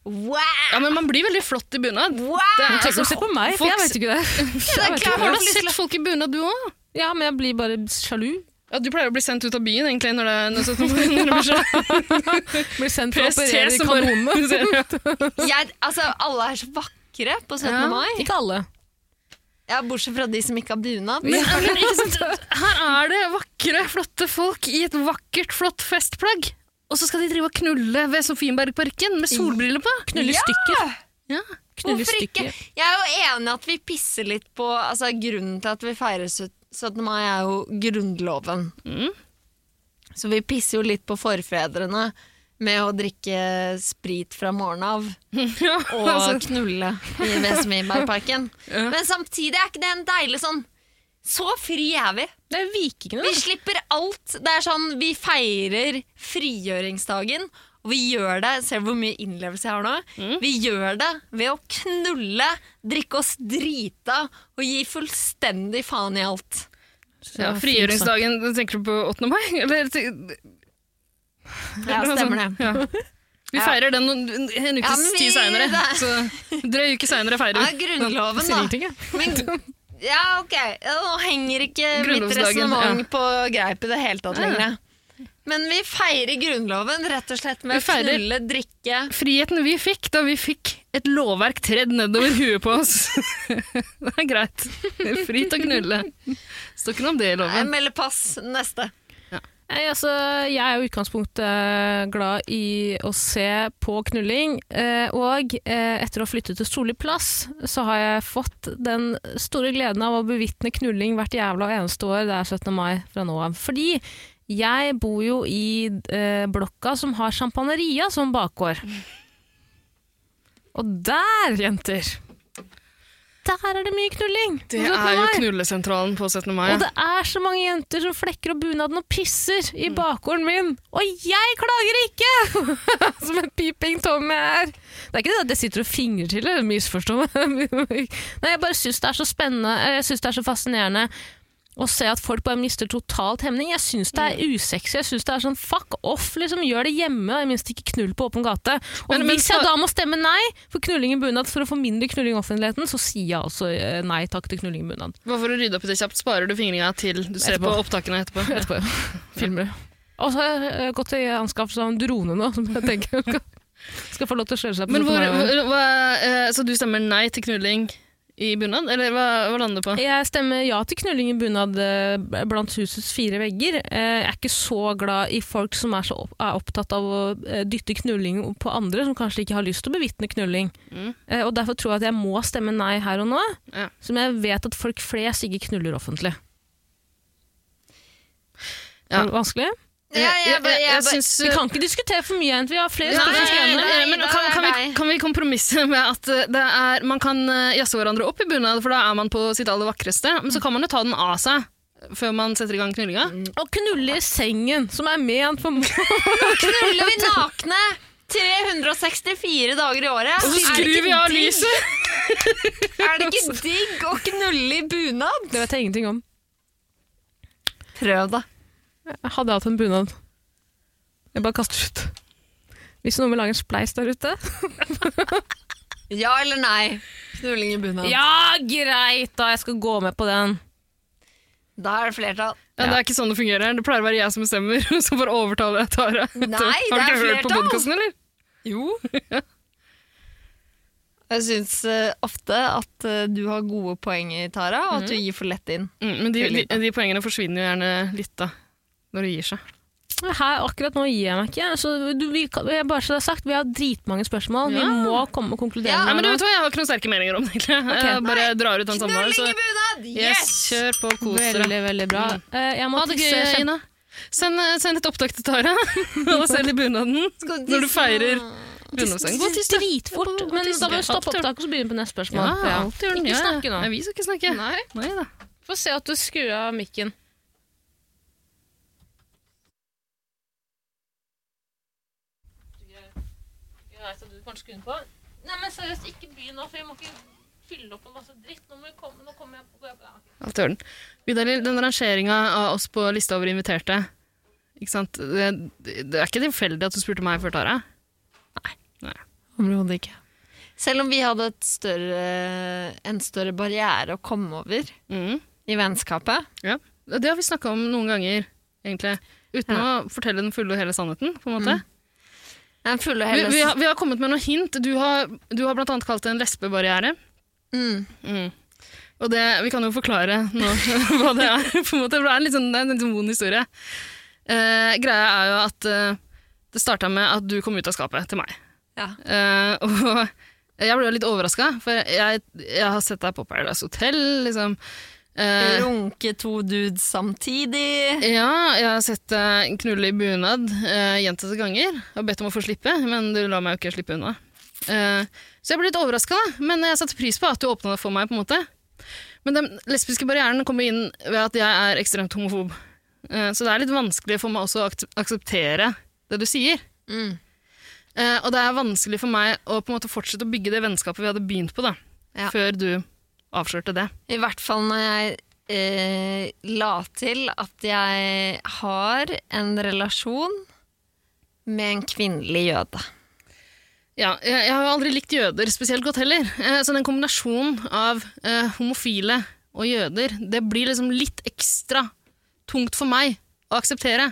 [SPEAKER 3] Wow!
[SPEAKER 4] ja, men man blir veldig flott i bunad.
[SPEAKER 3] Wow!
[SPEAKER 4] Det er-
[SPEAKER 2] Tenk å se på meg, for
[SPEAKER 4] folk-
[SPEAKER 2] jeg vet ikke det.
[SPEAKER 3] Det er klart,
[SPEAKER 4] Har
[SPEAKER 3] man
[SPEAKER 4] du
[SPEAKER 3] får lyst til
[SPEAKER 4] sett
[SPEAKER 3] å-
[SPEAKER 4] folk i bunad, du òg?
[SPEAKER 2] Ja, men jeg blir bare sjalu.
[SPEAKER 4] Ja, du pleier å bli sendt ut av byen egentlig når det er sånn- når 17. mai nærmer seg.
[SPEAKER 2] Blir sendt for å operere
[SPEAKER 4] PST
[SPEAKER 2] i
[SPEAKER 4] som bare
[SPEAKER 2] kanonene.
[SPEAKER 3] Jeg, altså, alle er så vakre på 17.
[SPEAKER 4] Ja.
[SPEAKER 3] mai.
[SPEAKER 2] Ikke alle.
[SPEAKER 3] Ja, bortsett fra de som ikke har bunad.
[SPEAKER 4] Men, men ikke sant? Her er det vakre, flotte folk i et vakkert, flott festplagg. Og så skal de drive og knulle ved Sofienbergparken med solbriller på.
[SPEAKER 2] Knulle i stykker.
[SPEAKER 4] Ja.
[SPEAKER 2] Knulle i
[SPEAKER 3] Hvorfor ikke?
[SPEAKER 2] stykker.
[SPEAKER 3] Jeg er jo enig at vi pisser litt på altså, Grunnen til at vi feirer sytt- 17. mai, er jo Grunnloven.
[SPEAKER 4] Mm.
[SPEAKER 3] Så vi pisser jo litt på forfedrene med å drikke sprit fra morgenen av
[SPEAKER 4] Ja,
[SPEAKER 3] og
[SPEAKER 4] altså.
[SPEAKER 3] knulle i Vesmidbergparken.
[SPEAKER 4] Ja.
[SPEAKER 3] Men samtidig er ikke det en deilig sånn Så fri er vi.
[SPEAKER 2] Det er vikingene.
[SPEAKER 3] Vi slipper alt. Det er sånn, Vi feirer frigjøringsdagen, og vi gjør det Ser du hvor mye innlevelse jeg har nå?
[SPEAKER 4] Mm.
[SPEAKER 3] Vi gjør det ved å knulle, drikke oss drita og gi fullstendig faen i alt.
[SPEAKER 4] ja, frigjøringsdagen, tenker du på 8. mai? Eller,
[SPEAKER 3] Ja, stemmer det.
[SPEAKER 4] altså, sånn- Ja. Vi feirer den en en
[SPEAKER 3] Ja,
[SPEAKER 4] ukes
[SPEAKER 3] men vi-
[SPEAKER 4] tid seinere.
[SPEAKER 3] det-
[SPEAKER 4] Drøy uke seinere
[SPEAKER 3] Ja,
[SPEAKER 4] feirer vi.
[SPEAKER 3] Grunnloven,
[SPEAKER 2] Sier
[SPEAKER 3] da.
[SPEAKER 2] ingenting, jeg.
[SPEAKER 3] Men, ja, ok. Ja, Nå henger ikke mitt
[SPEAKER 4] Grunnlovsdagen,
[SPEAKER 3] resonnement på greip i det hele tatt
[SPEAKER 4] Nei, nei.
[SPEAKER 3] lenger. Men vi feirer Grunnloven rett og slett med
[SPEAKER 4] Vi
[SPEAKER 3] å
[SPEAKER 4] feirer-
[SPEAKER 3] knulle, drikke
[SPEAKER 4] Friheten vi fikk da vi fikk et lovverk tredd nedover huet på oss. det er greit. Fri til å knulle. Står ikke noe om det i
[SPEAKER 3] Jeg
[SPEAKER 4] loven.
[SPEAKER 3] melder pass. eh, Neste.
[SPEAKER 2] Nei, altså, jeg er jo i utgangspunktet eh, glad i å se på knulling, eh, og eh, etter å ha flyttet til Solli plass, så har jeg fått den store gleden av å bevitne knulling hvert jævla eneste år det er 17. mai fra nå av. Fordi jeg bor jo i eh, blokka som har Champagneria som bakgård.
[SPEAKER 4] Mm.
[SPEAKER 2] Og der, jenter, der er det mye knulling!
[SPEAKER 4] Det
[SPEAKER 2] 17.
[SPEAKER 4] er jo
[SPEAKER 2] mai.
[SPEAKER 4] knullesentralen på 17. mai.
[SPEAKER 2] Og det er så mange jenter som flekker opp bunaden og pisser i
[SPEAKER 4] Mm.
[SPEAKER 2] bakgården min. Og jeg klager ikke! som en piping Tommy er. Det er ikke det at jeg sitter og fingrer til det, misforstå meg. Nei, jeg bare syns det er så spennende, eh, jeg syns det er så fascinerende. Å se at folk bare mister totalt hemning. Jeg syns det er
[SPEAKER 4] Mm.
[SPEAKER 2] usexy. Jeg syns det er sånn fuck off, liksom. Gjør det hjemme, og jeg minst ikke knull på åpen gate. Og
[SPEAKER 4] Men- men
[SPEAKER 2] hvis jeg
[SPEAKER 4] så-
[SPEAKER 2] da må stemme nei for knulling i bunad for å få mindre knulling i offentligheten, så sier jeg altså eh, nei takk til knulling i bunad.
[SPEAKER 4] Bare for å rydde opp i det kjapt, sparer du fingringa til du ser
[SPEAKER 2] Etterpå.
[SPEAKER 4] på opptakene etterpå.
[SPEAKER 2] etterpå. Filmer det. Og så har jeg eh, gått til anskaffelse av en drone nå, som jeg tenker skal, skal få lov til å skjøre seg på.
[SPEAKER 4] Men hvor,
[SPEAKER 2] 17. mai.
[SPEAKER 4] hvor, hva, eh, så du stemmer nei til knulling i bunad, eller hva, hva lander du på?
[SPEAKER 2] jeg stemmer ja til knulling i bunad eh, blant husets fire vegger. Eh, Jeg er ikke så glad i folk som er, så opp, er opptatt av å eh, dytte knulling på andre, som kanskje ikke har lyst til å bevitne knulling.
[SPEAKER 4] Mm.
[SPEAKER 2] Eh, Og derfor tror jeg at jeg må stemme nei her og nå,
[SPEAKER 4] Ja.
[SPEAKER 2] som jeg vet at folk flest ikke knuller offentlig.
[SPEAKER 4] Ja.
[SPEAKER 2] Er det Vanskelig?
[SPEAKER 4] jeg syns
[SPEAKER 2] Vi kan ikke diskutere for mye, jenter. Vi har flere
[SPEAKER 4] Nei,
[SPEAKER 2] spørsmål. som skal
[SPEAKER 4] jeg er
[SPEAKER 2] gjennom.
[SPEAKER 4] enig,
[SPEAKER 3] nei,
[SPEAKER 4] men
[SPEAKER 3] da
[SPEAKER 4] kan,
[SPEAKER 3] er
[SPEAKER 4] kan, vi,
[SPEAKER 3] deg.
[SPEAKER 4] kan vi kompromisse med at eh, det er, man kan eh, jazze hverandre opp i bunad, for da er man på sitt aller vakreste, men så kan man jo ta den av seg før man setter i gang knullinga.
[SPEAKER 2] Å knulle i sengen, som er ment for
[SPEAKER 3] Knuller vi nakne 364 dager i året?
[SPEAKER 4] Og så
[SPEAKER 3] Er det
[SPEAKER 4] skrur
[SPEAKER 3] ikke
[SPEAKER 4] vi av
[SPEAKER 3] digg-
[SPEAKER 4] lyset!
[SPEAKER 3] Er det ikke digg å knulle i bunad?
[SPEAKER 2] Det vet jeg ingenting om.
[SPEAKER 3] Prøv, da.
[SPEAKER 2] Jeg hadde hatt en bunad. Jeg bare kaster ut. Hvis noen vil lage en spleis der ute
[SPEAKER 3] Ja eller nei? Knulling i bunad.
[SPEAKER 2] Ja, greit, da! Jeg skal gå med på den.
[SPEAKER 3] Da er det flertall.
[SPEAKER 4] Ja, det er ikke sånn det fungerer. Det pleier å være jeg som bestemmer, og så bare overtaler jeg Tara.
[SPEAKER 3] Nei,
[SPEAKER 4] Har du
[SPEAKER 3] det
[SPEAKER 4] ikke
[SPEAKER 3] er
[SPEAKER 4] hørt på
[SPEAKER 3] flertall.
[SPEAKER 4] podkasten, eller?
[SPEAKER 3] Jo. Jeg syns ofte at eh, du har gode poenger, Tara, og at du gir for lett inn.
[SPEAKER 4] Mm, men de, de,
[SPEAKER 3] Veldig.
[SPEAKER 4] de poengene forsvinner jo gjerne litt da, når det gir seg.
[SPEAKER 2] Her, akkurat nå gir jeg meg ikke. Så du, vi, kan- jeg bare så det er sagt, vi har dritmange spørmål. Vi
[SPEAKER 4] Ja.
[SPEAKER 2] må komme og konkludere.
[SPEAKER 3] Ja,
[SPEAKER 4] Nei, men du
[SPEAKER 2] med
[SPEAKER 4] vet hva, Jeg har ikke noen sterke meninger om det. egentlig. Jeg bare drar ut den samtalen. Sånn Så
[SPEAKER 3] bunad!
[SPEAKER 4] yes, kjør på,
[SPEAKER 2] det.
[SPEAKER 4] kos dere.
[SPEAKER 2] Veldig, veldig bra. Eh, Jeg må
[SPEAKER 4] Mm. Ha det gøy,
[SPEAKER 2] tisse kjempe-
[SPEAKER 4] Ina. Send, eh, send et opptak til Tara og selv i bunaden
[SPEAKER 3] Skal
[SPEAKER 4] når du
[SPEAKER 3] tisse?
[SPEAKER 4] feirer grunnlovsdagen. Gå og tiss, da.
[SPEAKER 2] dritfort. Men da må vi stoppe opptaket og så begynne på neste
[SPEAKER 4] Ja,
[SPEAKER 2] spørsmål.
[SPEAKER 4] alltid gjør den
[SPEAKER 2] Ikke
[SPEAKER 4] det.
[SPEAKER 2] snakke nå.
[SPEAKER 4] Nei, vi skal ikke snakke. Nei. da.
[SPEAKER 2] Få se at du skrur av mikken. Nei, men seriøst, ikke begynn nå, for jeg må ikke fylle opp med masse dritt. Nå må vi komme, nå kommer jeg på
[SPEAKER 4] Alt i orden. Vidar-Lill, den rangeringa av oss på lista over inviterte ikke sant? Det, det er ikke tilfeldig at du spurte meg før Tara.
[SPEAKER 2] Området ikke.
[SPEAKER 3] Selv om vi hadde et større, en større barriere å komme over
[SPEAKER 4] Mm.
[SPEAKER 3] i vennskapet
[SPEAKER 4] Ja, det har vi snakka om noen ganger, egentlig. Uten å fortelle den fulle og hele sannheten, på en måte.
[SPEAKER 3] Den fulle og
[SPEAKER 4] Vi,
[SPEAKER 3] hele
[SPEAKER 4] vi, har, vi har kommet med noen hint. Du har, du har blant annet kalt det en lesbebarriere.
[SPEAKER 3] mm.
[SPEAKER 4] Og det, vi kan jo forklare nå hva det er, på en måte. For det er en litt sånn, det er en litt sånn vond historie. Eh, greia er jo at eh, det starta med at du kom ut av skapet til meg.
[SPEAKER 3] Ja.
[SPEAKER 4] Eh, og jeg ble jo litt overraska, for jeg, jeg har sett deg på Paradise Hotel, liksom. Eh,
[SPEAKER 3] Runke to dudes samtidig.
[SPEAKER 4] Ja, jeg har sett deg knulle i bunad uh, gjentatte ganger. Jeg har bedt om å få slippe, men du lar meg jo ikke slippe unna. Eh, så jeg ble litt overraska, men jeg satte pris på at du åpna det for meg. på en måte. Men den lesbiske barrieren kommer inn ved at jeg er ekstremt homofob. Eh, så det er litt vanskelig for meg også å ak akseptere det du sier.
[SPEAKER 3] Mm.
[SPEAKER 4] Eh, og det er vanskelig for meg å på en måte fortsette å bygge det vennskapet vi hadde begynt på, da,
[SPEAKER 3] Ja.
[SPEAKER 4] før du avslørte det.
[SPEAKER 3] I hvert fall når jeg eh, la til at jeg har en relasjon med en kvinnelig jøde.
[SPEAKER 4] Ja, jeg, jeg har jo aldri likt jøder spesielt godt heller. Eh, så den kombinasjonen av eh, homofile og jøder, det blir liksom litt ekstra tungt for meg å akseptere.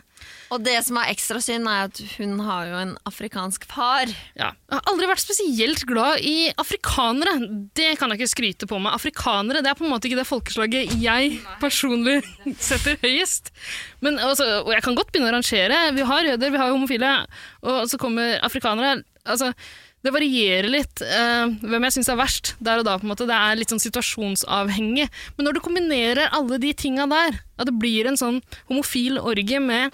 [SPEAKER 3] Og det som er ekstra synd, er at hun har jo en afrikansk far.
[SPEAKER 4] Ja. Jeg har aldri vært spesielt glad i afrikanere. Det kan jeg ikke skryte på meg. Afrikanere det er på en måte ikke det folkeslaget jeg personlig setter høyest. Men, altså, og jeg kan godt begynne å rangere. Vi har jøder, vi har homofile, og så kommer afrikanere. Altså, det varierer litt eh, hvem jeg syns er verst der og da. på en måte. Det er litt sånn situasjonsavhengig. Men når du kombinerer alle de tinga der, at det blir en sånn homofil orgie med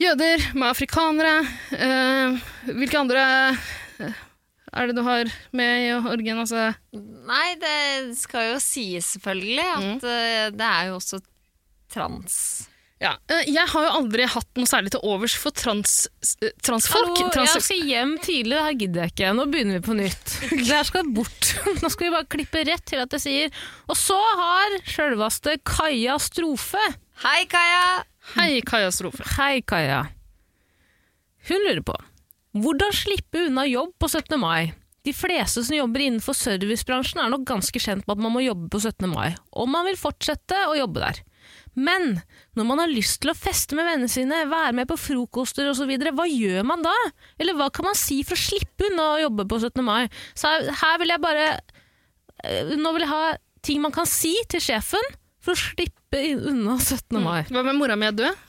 [SPEAKER 4] jøder, med afrikanere eh, Hvilke andre eh, er det du har med i orgien? Altså,
[SPEAKER 3] Nei, det skal jo sies selvfølgelig at eh, det er jo også trans.
[SPEAKER 4] ja. eh, jeg har jo aldri hatt noe særlig til overs for trans, eh, transfolk.
[SPEAKER 2] Hallo,
[SPEAKER 4] trans,
[SPEAKER 2] jeg skal hjem tidlig, det her gidder jeg ikke. Nå begynner vi på nytt. Det her skal bort. Nå skal vi bare klippe rett til at jeg sier Og så har sjølveste Kaja Strofe
[SPEAKER 3] Hei, Kaja!
[SPEAKER 4] Hei, Kaja Strofe.
[SPEAKER 2] Hei, Kaja. Hun lurer på hvordan slippe unna jobb på 17. mai. De fleste som jobber innenfor servicebransjen er nok ganske kjent med at man må jobbe på 17. mai, om man vil fortsette å jobbe der. Men når man har lyst til å feste med vennene sine, være med på frokoster osv., hva gjør man da? Eller hva kan man si for å slippe unna å jobbe på 17. mai? Så her- her vil jeg bare eh, Nå vil jeg ha ting man kan si til sjefen for å slippe unna
[SPEAKER 3] Mm.
[SPEAKER 2] 17. mai.
[SPEAKER 4] Hva med mora mi er død?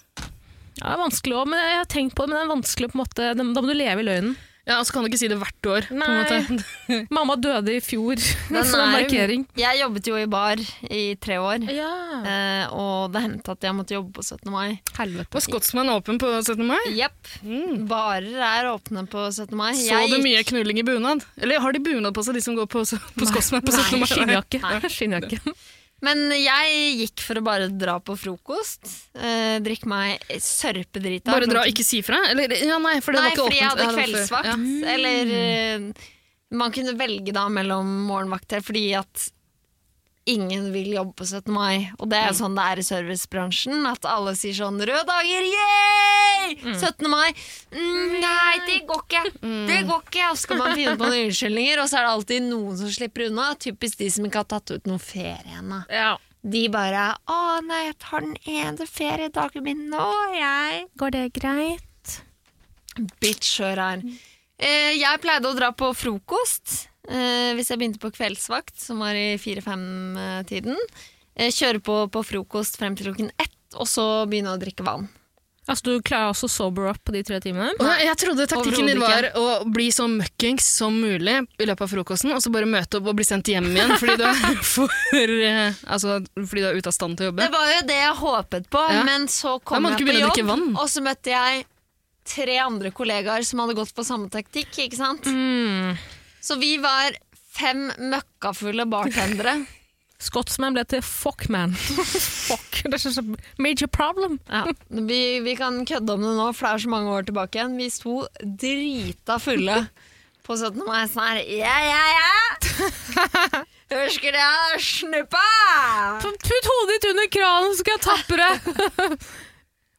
[SPEAKER 2] Ja, det er vanskelig også, men jeg har tenkt på det, men det er vanskelig på en måte. Da må du leve i løgnen.
[SPEAKER 4] Ja, og så kan du ikke si det hvert år. På en
[SPEAKER 2] Nei.
[SPEAKER 4] måte.
[SPEAKER 2] Mamma døde i fjor,
[SPEAKER 3] Den
[SPEAKER 2] som en
[SPEAKER 3] er jo-
[SPEAKER 2] markering.
[SPEAKER 3] Jeg jobbet jo i bar i tre år,
[SPEAKER 2] Ja,
[SPEAKER 3] eh, og det hendte at jeg måtte jobbe på 17. mai.
[SPEAKER 2] Eh, helvete.
[SPEAKER 4] Var Scotsman åpen på 17. mai?
[SPEAKER 3] Jepp. Barer er åpne på 17. mai.
[SPEAKER 4] Mm. Så
[SPEAKER 3] Jeg
[SPEAKER 4] du
[SPEAKER 3] gikk-
[SPEAKER 4] mye knulling i bunad? Eller har de bunad på seg, de som går på, på Scotsman på 17.
[SPEAKER 2] Nei,
[SPEAKER 4] mai?
[SPEAKER 2] skinnjakke. skinnjakke.
[SPEAKER 3] Men jeg gikk for å bare dra på frokost, eh, drikke meg sørpedrita.
[SPEAKER 4] Bare dra, ikke si fra? Eller, ja, nei, for det
[SPEAKER 3] Nei,
[SPEAKER 4] var ikke
[SPEAKER 3] fordi jeg hadde
[SPEAKER 4] åpent. Ja, det var før.
[SPEAKER 3] kveldsvakt.
[SPEAKER 4] Ja. Mm.
[SPEAKER 3] Eller eh, man kunne velge da mellom morgenvakter, fordi at ingen vil jobbe på 17. mai. Og det er
[SPEAKER 4] Mm.
[SPEAKER 3] jo sånn det er i servicebransjen, at alle sier sånn 'røde dager, yeah! 17. mai'. Mm, nei, det går ikke.
[SPEAKER 4] Mm.
[SPEAKER 3] Det går ikke. Og så skal man finne på noen unnskyldninger, og så er det alltid noen som slipper unna. Typisk de som ikke har tatt ut noen ferie ennå.
[SPEAKER 2] Ja.
[SPEAKER 3] De bare 'Å nei, jeg tar den ene feriedagen min nå, jeg'.
[SPEAKER 2] Går det greit?
[SPEAKER 3] Bitch, hør her. Eh, jeg pleide å dra på frokost eh, hvis jeg begynte på kveldsvakt, som var i 4-5-tiden. Eh, kjøre på på frokost frem til klokken ett, og så begynne å drikke vann.
[SPEAKER 2] Altså, du klarer også sober up på de tre timene?
[SPEAKER 4] Og jeg trodde taktikken din var
[SPEAKER 3] Overhodet
[SPEAKER 4] å bli så møkkings som mulig i løpet av frokosten, og så bare møte opp og bli sendt hjem igjen fordi du er, for, eh, altså, fordi du er ute av stand til å jobbe.
[SPEAKER 3] Det var jo det jeg håpet på,
[SPEAKER 4] Ja.
[SPEAKER 3] men så
[SPEAKER 4] Da
[SPEAKER 3] kom
[SPEAKER 4] må
[SPEAKER 3] jeg på
[SPEAKER 4] du ikke begynne å
[SPEAKER 3] jobb,
[SPEAKER 4] drikke vann.
[SPEAKER 3] og så møtte jeg tre andre kollegaer som hadde gått på samme taktikk, ikke sant?
[SPEAKER 2] Mm.
[SPEAKER 3] Så vi var fem møkkafulle bartendere.
[SPEAKER 2] Scotsman ble til fuckman. Fuck. Det er så major problem.
[SPEAKER 3] Ja, vi, vi kan kødde om det nå, for det er så mange år tilbake igjen. Vi sto drita fulle på 17. mai sånn her Ja, ja, ja! Husker dere snuppa?
[SPEAKER 2] Putt hodet ditt under kranen, så skal jeg tappe deg!
[SPEAKER 4] var,
[SPEAKER 2] En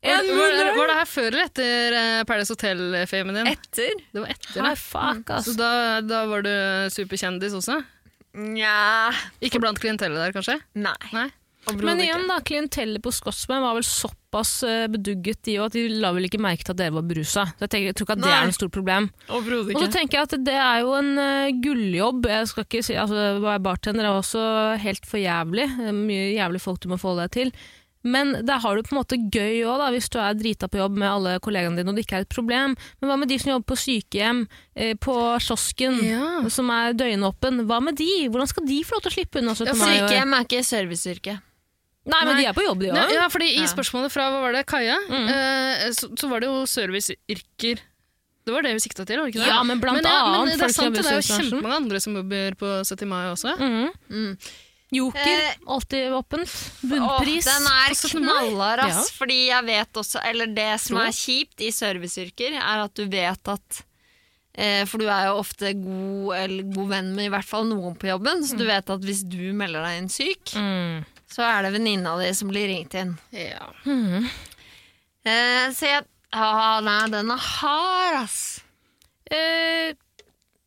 [SPEAKER 4] Eh, var,
[SPEAKER 2] munn
[SPEAKER 4] var det her før eller etter eh, Paradise Hotel-famen din?
[SPEAKER 3] Etter?
[SPEAKER 4] Det var etter.
[SPEAKER 2] Nei,
[SPEAKER 4] det.
[SPEAKER 2] fuck,
[SPEAKER 4] Så
[SPEAKER 2] ass.
[SPEAKER 4] da, da var du superkjendis også?
[SPEAKER 3] Nja
[SPEAKER 4] Ikke blant klientellet der, kanskje?
[SPEAKER 3] Nei.
[SPEAKER 4] Nei.
[SPEAKER 2] Men igjen da, klientellet på Scotsman var vel såpass eh, bedugget de òg, at de la vel ikke merke til at dere var berusa. Så jeg, tenker, jeg tror ikke at det
[SPEAKER 3] Nei.
[SPEAKER 2] er noe stort problem.
[SPEAKER 3] Overhodet
[SPEAKER 2] Og så tenker jeg at det er jo en eh, gulljobb. Jeg skal ikke si, altså, å være bartender er også helt for jævlig. Det er Mye jævlig folk du må forholde deg til. Men der har du på en måte gøy òg, hvis du er drita på jobb med alle kollegaene dine og det ikke er et problem. Men hva med de som jobber på sykehjem, eh, på kiosken,
[SPEAKER 4] Ja.
[SPEAKER 2] som er døgnåpen? Hva med de? Hvordan skal de få lov til å slippe unna 17.
[SPEAKER 4] altså-
[SPEAKER 3] Ja,
[SPEAKER 2] mai?
[SPEAKER 3] Sykehjem er ikke serviceyrke.
[SPEAKER 2] Nei, men
[SPEAKER 4] Nei.
[SPEAKER 2] de er på jobb, de
[SPEAKER 4] Nei,
[SPEAKER 2] òg.
[SPEAKER 4] ja, fordi I
[SPEAKER 3] Ja.
[SPEAKER 4] spørsmålet fra hva var det, Kaja,
[SPEAKER 2] Mm.
[SPEAKER 4] eh, så, så var det jo serviceyrker. Det var det vi sikta til? var det ikke det?
[SPEAKER 2] Ja, men blant
[SPEAKER 4] men, ja,
[SPEAKER 2] annet
[SPEAKER 4] men det
[SPEAKER 2] folk
[SPEAKER 4] er
[SPEAKER 2] som
[SPEAKER 4] sant, det
[SPEAKER 2] jobber i
[SPEAKER 4] er jo
[SPEAKER 2] servicebransjen.
[SPEAKER 4] kjempemange andre som jobber på 70 mai også.
[SPEAKER 2] Mhm.
[SPEAKER 3] Mm.
[SPEAKER 2] Joker,
[SPEAKER 3] Eh,
[SPEAKER 2] alltid åpent.
[SPEAKER 3] Åh,
[SPEAKER 2] Bunnpris.
[SPEAKER 3] den er
[SPEAKER 2] på 17. mai.
[SPEAKER 3] knallhard, ass.
[SPEAKER 2] Ja.
[SPEAKER 3] Fordi jeg vet også Eller det som
[SPEAKER 2] Tror.
[SPEAKER 3] er kjipt i serviceyrker, er at du vet at eh, For du er jo ofte god, eller god venn med i hvert fall noen på jobben, så du vet at hvis du melder deg inn syk,
[SPEAKER 2] Mm.
[SPEAKER 3] så er det venninna di som blir ringt inn.
[SPEAKER 4] Ja.
[SPEAKER 2] Mm.
[SPEAKER 3] Eh, så jeg ah, Nei, den er hard, ass.
[SPEAKER 2] Eh,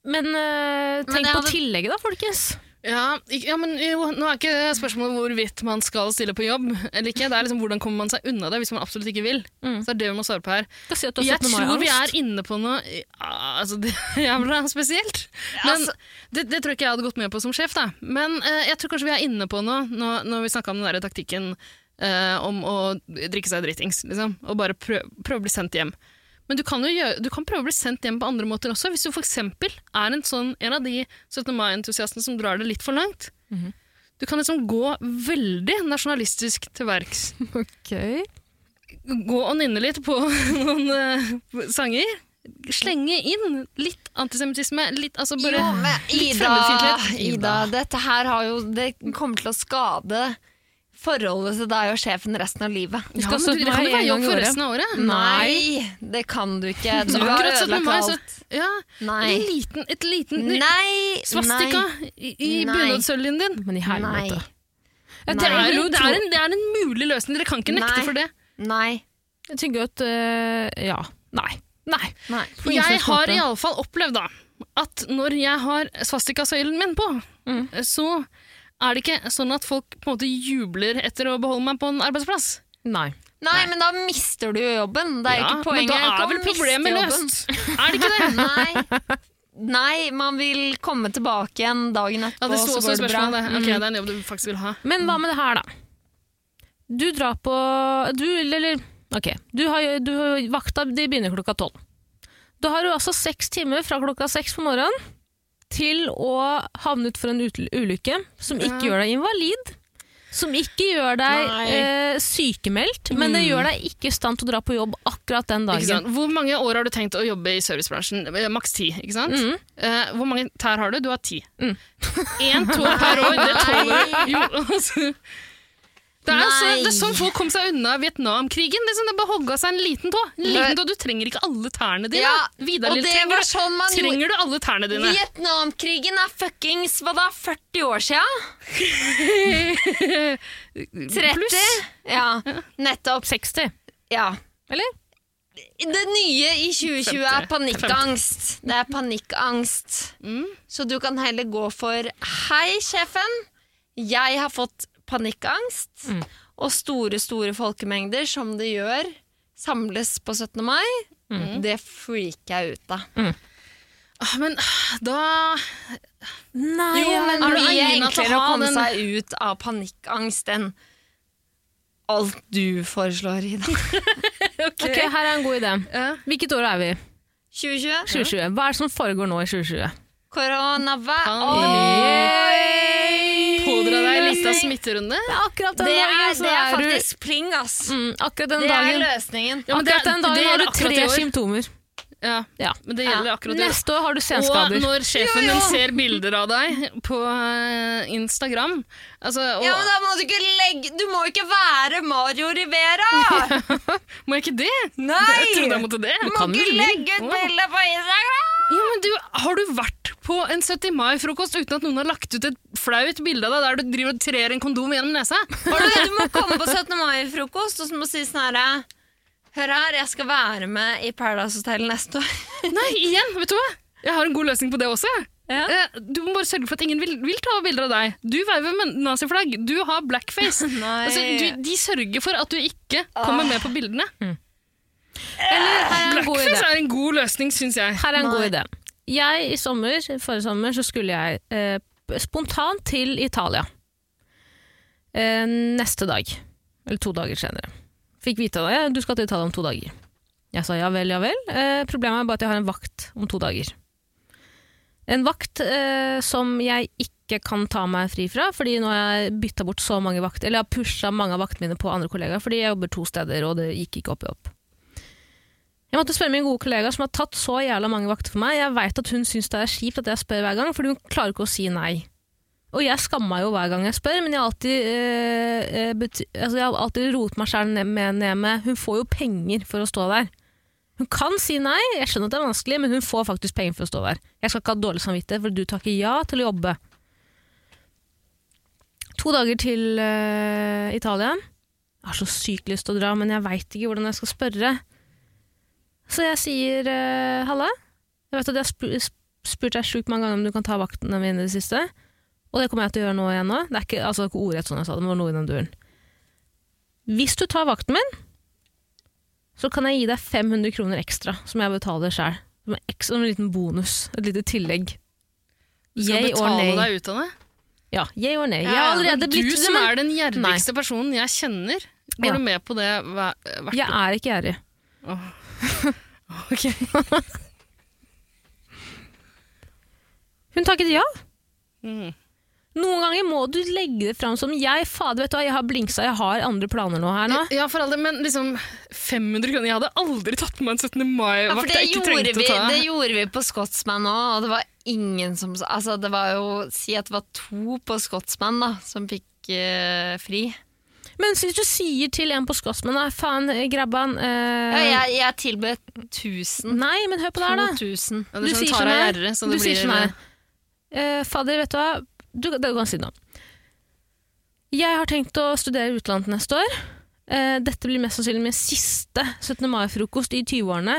[SPEAKER 2] men eh,
[SPEAKER 3] Men
[SPEAKER 2] tenk
[SPEAKER 3] jeg
[SPEAKER 2] på
[SPEAKER 3] hadde-
[SPEAKER 2] tillegget da, folkens.
[SPEAKER 4] Ja, ik- ja, men jo, nå er ikke spørsmålet hvorvidt man skal stille på jobb eller ikke. Det er liksom hvordan kommer man seg unna det hvis man absolutt ikke vil.
[SPEAKER 2] Mm.
[SPEAKER 4] Så det er det vi må svare på her.
[SPEAKER 2] Skal si at du har
[SPEAKER 4] Jeg
[SPEAKER 2] 17.
[SPEAKER 4] tror vi er
[SPEAKER 2] mai-angst.
[SPEAKER 4] inne på noe ja, altså, det er jævla spesielt. Men det, det tror jeg ikke jeg hadde gått med på som sjef, da. Men eh, jeg tror kanskje vi er inne på noe når, når vi snakka om den der taktikken eh, om å drikke seg dritings, liksom. Og bare prøve, prøve å bli sendt hjem. Men du kan jo gjøre, du kan prøve å bli sendt hjem på andre måter også. Hvis du f.eks. er en, sånn, en av de 17. mai-entusiastene som drar det litt for langt. Du kan liksom gå veldig nasjonalistisk til verks
[SPEAKER 2] Ok.
[SPEAKER 4] gå og nynne litt på noen eh, sanger. Slenge inn litt antisemittisme. Litt, altså bare,
[SPEAKER 3] jo, men
[SPEAKER 4] litt
[SPEAKER 3] Ida,
[SPEAKER 4] fremmedfiendtlighet.
[SPEAKER 3] Ida, dette her har jo Det kommer til å skade forholdet til deg og sjefen resten av livet.
[SPEAKER 2] Vi
[SPEAKER 4] ja,
[SPEAKER 2] skal
[SPEAKER 4] men du,
[SPEAKER 2] 17.
[SPEAKER 4] det
[SPEAKER 2] mai
[SPEAKER 4] kan jo være
[SPEAKER 2] en gang
[SPEAKER 4] jobb
[SPEAKER 2] i
[SPEAKER 4] for
[SPEAKER 2] året.
[SPEAKER 4] resten av året.
[SPEAKER 3] Nei, det kan du ikke. Du
[SPEAKER 4] Så
[SPEAKER 3] har
[SPEAKER 4] akkurat 17.
[SPEAKER 3] ødelagt
[SPEAKER 4] mai, så,
[SPEAKER 3] alt.
[SPEAKER 4] ja,
[SPEAKER 3] Nei.
[SPEAKER 4] en liten, et liten
[SPEAKER 3] Nei!
[SPEAKER 4] svastika
[SPEAKER 3] Nei.
[SPEAKER 4] i, i
[SPEAKER 3] Nei.
[SPEAKER 4] bunadssøljen din.
[SPEAKER 2] Men i
[SPEAKER 3] Nei.
[SPEAKER 2] helvete. Jeg,
[SPEAKER 4] Det
[SPEAKER 3] Nei.
[SPEAKER 4] er,
[SPEAKER 2] tenker,
[SPEAKER 4] jo, det, er en, det er en mulig løsning. Dere kan ikke nekte
[SPEAKER 3] Nei.
[SPEAKER 4] for det.
[SPEAKER 3] Nei.
[SPEAKER 2] jeg tenker jo at øh, Ja. Nei. Nei.
[SPEAKER 3] Nei.
[SPEAKER 2] På ingen
[SPEAKER 4] Jeg
[SPEAKER 2] slags
[SPEAKER 4] har
[SPEAKER 2] måte.
[SPEAKER 4] iallfall opplevd da, at når jeg har svastikasøylen min på,
[SPEAKER 3] Mm.
[SPEAKER 4] så er det ikke sånn at folk på en måte jubler etter å beholde meg på en arbeidsplass.
[SPEAKER 2] Nei.
[SPEAKER 3] Nei, men da mister du jo jobben. Det er jo
[SPEAKER 4] Ja,
[SPEAKER 3] ikke poenget.
[SPEAKER 4] Men
[SPEAKER 3] Du
[SPEAKER 4] da er
[SPEAKER 3] kan
[SPEAKER 4] vel
[SPEAKER 3] miste
[SPEAKER 4] problemet
[SPEAKER 3] jobben.
[SPEAKER 4] løst? Er det ikke det?
[SPEAKER 3] Nei. Nei, man vil komme tilbake igjen dagen
[SPEAKER 4] Ja,
[SPEAKER 3] etterpå,
[SPEAKER 4] det sto
[SPEAKER 3] så går
[SPEAKER 4] også
[SPEAKER 3] det bra. Mm.
[SPEAKER 4] spørsmålet. Ok, det er en jobb du faktisk vil ha.
[SPEAKER 2] Men hva med det her, da? Du drar på Du, eller Ok, du har, du har vakta de begynner klokka tolv. Da har du altså seks timer fra klokka seks på morgenen til å havne utfor en ut- ulykke som ikke
[SPEAKER 4] Ja.
[SPEAKER 2] gjør deg invalid. Som ikke gjør
[SPEAKER 4] Nei. Mm.
[SPEAKER 2] deg eh, sykemeldt, men det gjør deg ikke i stand til å dra på jobb akkurat den
[SPEAKER 4] Ikke
[SPEAKER 2] dagen.
[SPEAKER 4] sant? Hvor mange år har du tenkt å jobbe i servicebransjen? Eh, Maks ti, ikke sant?
[SPEAKER 3] Mm.
[SPEAKER 4] Eh, hvor mange tær har du? Du har ti.
[SPEAKER 2] Mm.
[SPEAKER 4] Én tå per år, det tåler du. Jo, altså. Det er, så,
[SPEAKER 3] Nei.
[SPEAKER 4] det er sånn folk kom seg unna Vietnamkrigen. Liksom, det bare hogga seg en liten tå. En liten tå. Du trenger ikke alle tærne dine.
[SPEAKER 3] Ja,
[SPEAKER 4] Vidar
[SPEAKER 3] og
[SPEAKER 4] Lill,
[SPEAKER 3] det
[SPEAKER 4] trenger,
[SPEAKER 3] var sånn man
[SPEAKER 4] du-
[SPEAKER 3] gjorde-
[SPEAKER 4] trenger du alle tærne dine?
[SPEAKER 3] Vietnamkrigen er fuckings hva da, 40 år sia? 30?
[SPEAKER 4] Pluss.
[SPEAKER 3] Ja, nettopp.
[SPEAKER 2] 60,
[SPEAKER 3] Ja.
[SPEAKER 2] eller?
[SPEAKER 3] Det nye i 2020 er
[SPEAKER 4] 50.
[SPEAKER 3] panikkangst. Det er panikkangst.
[SPEAKER 4] Mm.
[SPEAKER 3] Så du kan heller gå for Hei, sjefen. Jeg har fått panikkangst.
[SPEAKER 2] Mm.
[SPEAKER 3] Og store, store folkemengder, som det gjør, samles på 17. mai. Det freaker jeg ut av.
[SPEAKER 4] Ah, Men ah, da
[SPEAKER 2] Nei,
[SPEAKER 3] Jo, men
[SPEAKER 4] er
[SPEAKER 3] det er
[SPEAKER 4] du
[SPEAKER 3] mye
[SPEAKER 4] egnet til å
[SPEAKER 3] enklere å
[SPEAKER 4] ha
[SPEAKER 3] komme
[SPEAKER 4] den-
[SPEAKER 3] seg ut av panikkangst enn alt du foreslår, Ida.
[SPEAKER 2] Ok, her er en god idé.
[SPEAKER 4] Ja.
[SPEAKER 2] Hvilket år er vi?
[SPEAKER 3] 2020.
[SPEAKER 2] 2020. Hva er det som foregår nå i 2020?
[SPEAKER 3] Koronavær.
[SPEAKER 4] Pådra deg en liten smitterunde.
[SPEAKER 2] Det er akkurat den
[SPEAKER 3] Det
[SPEAKER 2] dagen,
[SPEAKER 3] er,
[SPEAKER 2] så
[SPEAKER 3] det er
[SPEAKER 2] du-
[SPEAKER 3] faktisk pling, ass.
[SPEAKER 2] mm, Akkurat den
[SPEAKER 3] Det er
[SPEAKER 2] dagen,
[SPEAKER 3] løsningen.
[SPEAKER 4] Ja, men det-
[SPEAKER 2] akkurat den dagen
[SPEAKER 4] det
[SPEAKER 2] har du
[SPEAKER 4] gjelder akkurat i
[SPEAKER 2] tre
[SPEAKER 4] år.
[SPEAKER 2] symptomer.
[SPEAKER 4] Ja,
[SPEAKER 2] Ja.
[SPEAKER 4] men det gjelder akkurat det.
[SPEAKER 2] Neste år har du
[SPEAKER 4] Og
[SPEAKER 2] senskader.
[SPEAKER 4] når
[SPEAKER 3] Jo, jo.
[SPEAKER 4] sjefen din ser bilder av deg på eh, Instagram altså, og,
[SPEAKER 3] Ja, men da må du ikke legge Du må ikke være Mario Rivera!
[SPEAKER 4] Må jeg ikke det?
[SPEAKER 3] Nei!
[SPEAKER 4] Jeg trodde jeg måtte det.
[SPEAKER 3] Du må
[SPEAKER 2] kan
[SPEAKER 3] ikke
[SPEAKER 2] vel
[SPEAKER 3] legge ut
[SPEAKER 4] Wow.
[SPEAKER 3] bilder på Instagram!
[SPEAKER 4] Ja, men du, har du vært på en 70 mai-frokost uten at noen har lagt ut et flaut bilde av deg der du driver og trer en kondom gjennom nesa?
[SPEAKER 3] Har du, du må komme på 17. mai-frokost og så må du si sånn herre Hør her, jeg skal være med i Paradise Hotel neste år.
[SPEAKER 4] Nei, igjen, vet du hva? Jeg har en god løsning på det også. jeg.
[SPEAKER 3] Ja.
[SPEAKER 4] Eh, Du må bare sørge for at ingen vil, vil ta bilder av deg. Du veiver med naziflagg, du har blackface.
[SPEAKER 3] Nei. Ah.
[SPEAKER 4] altså, du, de sørger for at du ikke kommer med på bildene.
[SPEAKER 2] Her er en god idé.
[SPEAKER 4] Blackface er en god løsning, syns jeg.
[SPEAKER 2] Her er en
[SPEAKER 3] Nei.
[SPEAKER 2] god idé. Jeg i sommer, forrige sommer, så skulle jeg eh, spontant til Italia. Eh, neste dag. Eller to dager senere. Fikk vite det. Du skal til Italia om to dager. Jeg sa ja vel, ja vel. Eh, problemet er bare at jeg har en vakt om to dager. En vakt eh, som jeg ikke kan ta meg fri fra, fordi nå har jeg bytta bort så mange vakter, eller jeg har pusha mange av vaktene mine på andre kollegaer, fordi jeg jobber to steder, og det gikk ikke opp i opp. Jeg måtte spørre min gode kollega som har tatt så jævla mange vakter for meg. Jeg veit at hun syns det er kjipt at jeg spør hver gang, fordi hun klarer ikke å si nei. Og jeg skammer meg jo hver gang jeg spør, men jeg har alltid, eh, eh, bety altså, jeg har alltid roet meg sjæl ned, med- ned med Hun får jo penger for å stå der. Hun kan si nei, jeg skjønner at det er vanskelig, men hun får faktisk penger for å stå der. Jeg skal ikke ha dårlig samvittighet, for du tar ikke ja til å jobbe. To dager til eh, Italia. Jeg har så sykt lyst til å dra, men jeg veit ikke hvordan jeg skal spørre. Så jeg sier eh, Halla, jeg vet at jeg har sp sp spurt deg sjukt mange ganger om du kan ta vaktene mine i det siste. og det kommer jeg til å gjøre nå igjen nå. Det er ikke, altså, det er ikke ordrett sånn jeg sa det, men det var noe i den duren. Hvis du tar vakten min, så kan jeg gi deg 500 kroner ekstra, som jeg betaler sjøl. Som, en ekstra- som en liten bonus, et lite tillegg.
[SPEAKER 4] Du skal
[SPEAKER 2] Yay or
[SPEAKER 4] betale
[SPEAKER 2] nay?
[SPEAKER 4] deg ut av det.
[SPEAKER 2] Ja, yay or nay. Jeg
[SPEAKER 4] Ja,
[SPEAKER 2] har
[SPEAKER 4] men
[SPEAKER 2] allerede blitt
[SPEAKER 4] Du som er den gjerrigste personen jeg kjenner. Går
[SPEAKER 2] Ja.
[SPEAKER 4] du med på det hver, hvert
[SPEAKER 2] Jeg er ikke gjerrig.
[SPEAKER 4] Åh. Ok.
[SPEAKER 2] Hun takket ja.
[SPEAKER 4] Mm.
[SPEAKER 2] Noen ganger må du legge det fram som jeg, fader, vet du hva, jeg har blinksa, jeg har andre planer nå her nå.
[SPEAKER 4] Ja, for all del, men liksom 500 kroner Jeg hadde aldri tatt med en
[SPEAKER 3] Ja,
[SPEAKER 4] 17.
[SPEAKER 3] for
[SPEAKER 4] mai-vakt
[SPEAKER 3] det
[SPEAKER 4] jeg ikke
[SPEAKER 3] gjorde,
[SPEAKER 4] trengte
[SPEAKER 3] vi,
[SPEAKER 4] å ta.
[SPEAKER 3] det gjorde vi på Scotsman òg, og det var ingen som sa Altså, det var jo Si at det var to på Scotsman da, som fikk eh, fri.
[SPEAKER 2] Men hvis du sier til en på Skotsman, nei, faen, grabban eh,
[SPEAKER 3] Ja, jeg, jeg tilbød 1000.
[SPEAKER 2] Nei, men hør på det her, da.
[SPEAKER 3] 2000.
[SPEAKER 4] Ja, det er
[SPEAKER 2] Du
[SPEAKER 4] sånn
[SPEAKER 2] sier
[SPEAKER 4] Tara
[SPEAKER 2] sånn her.
[SPEAKER 4] Gjerre, så
[SPEAKER 2] Du
[SPEAKER 4] det
[SPEAKER 2] sier
[SPEAKER 4] blir-
[SPEAKER 2] sånn her eh, Fader, vet du hva, du, det kan jeg si nå. Jeg har tenkt å studere i utlandet neste år. Eh, dette blir mest sannsynlig min siste 17. mai-frokost i 20-årene.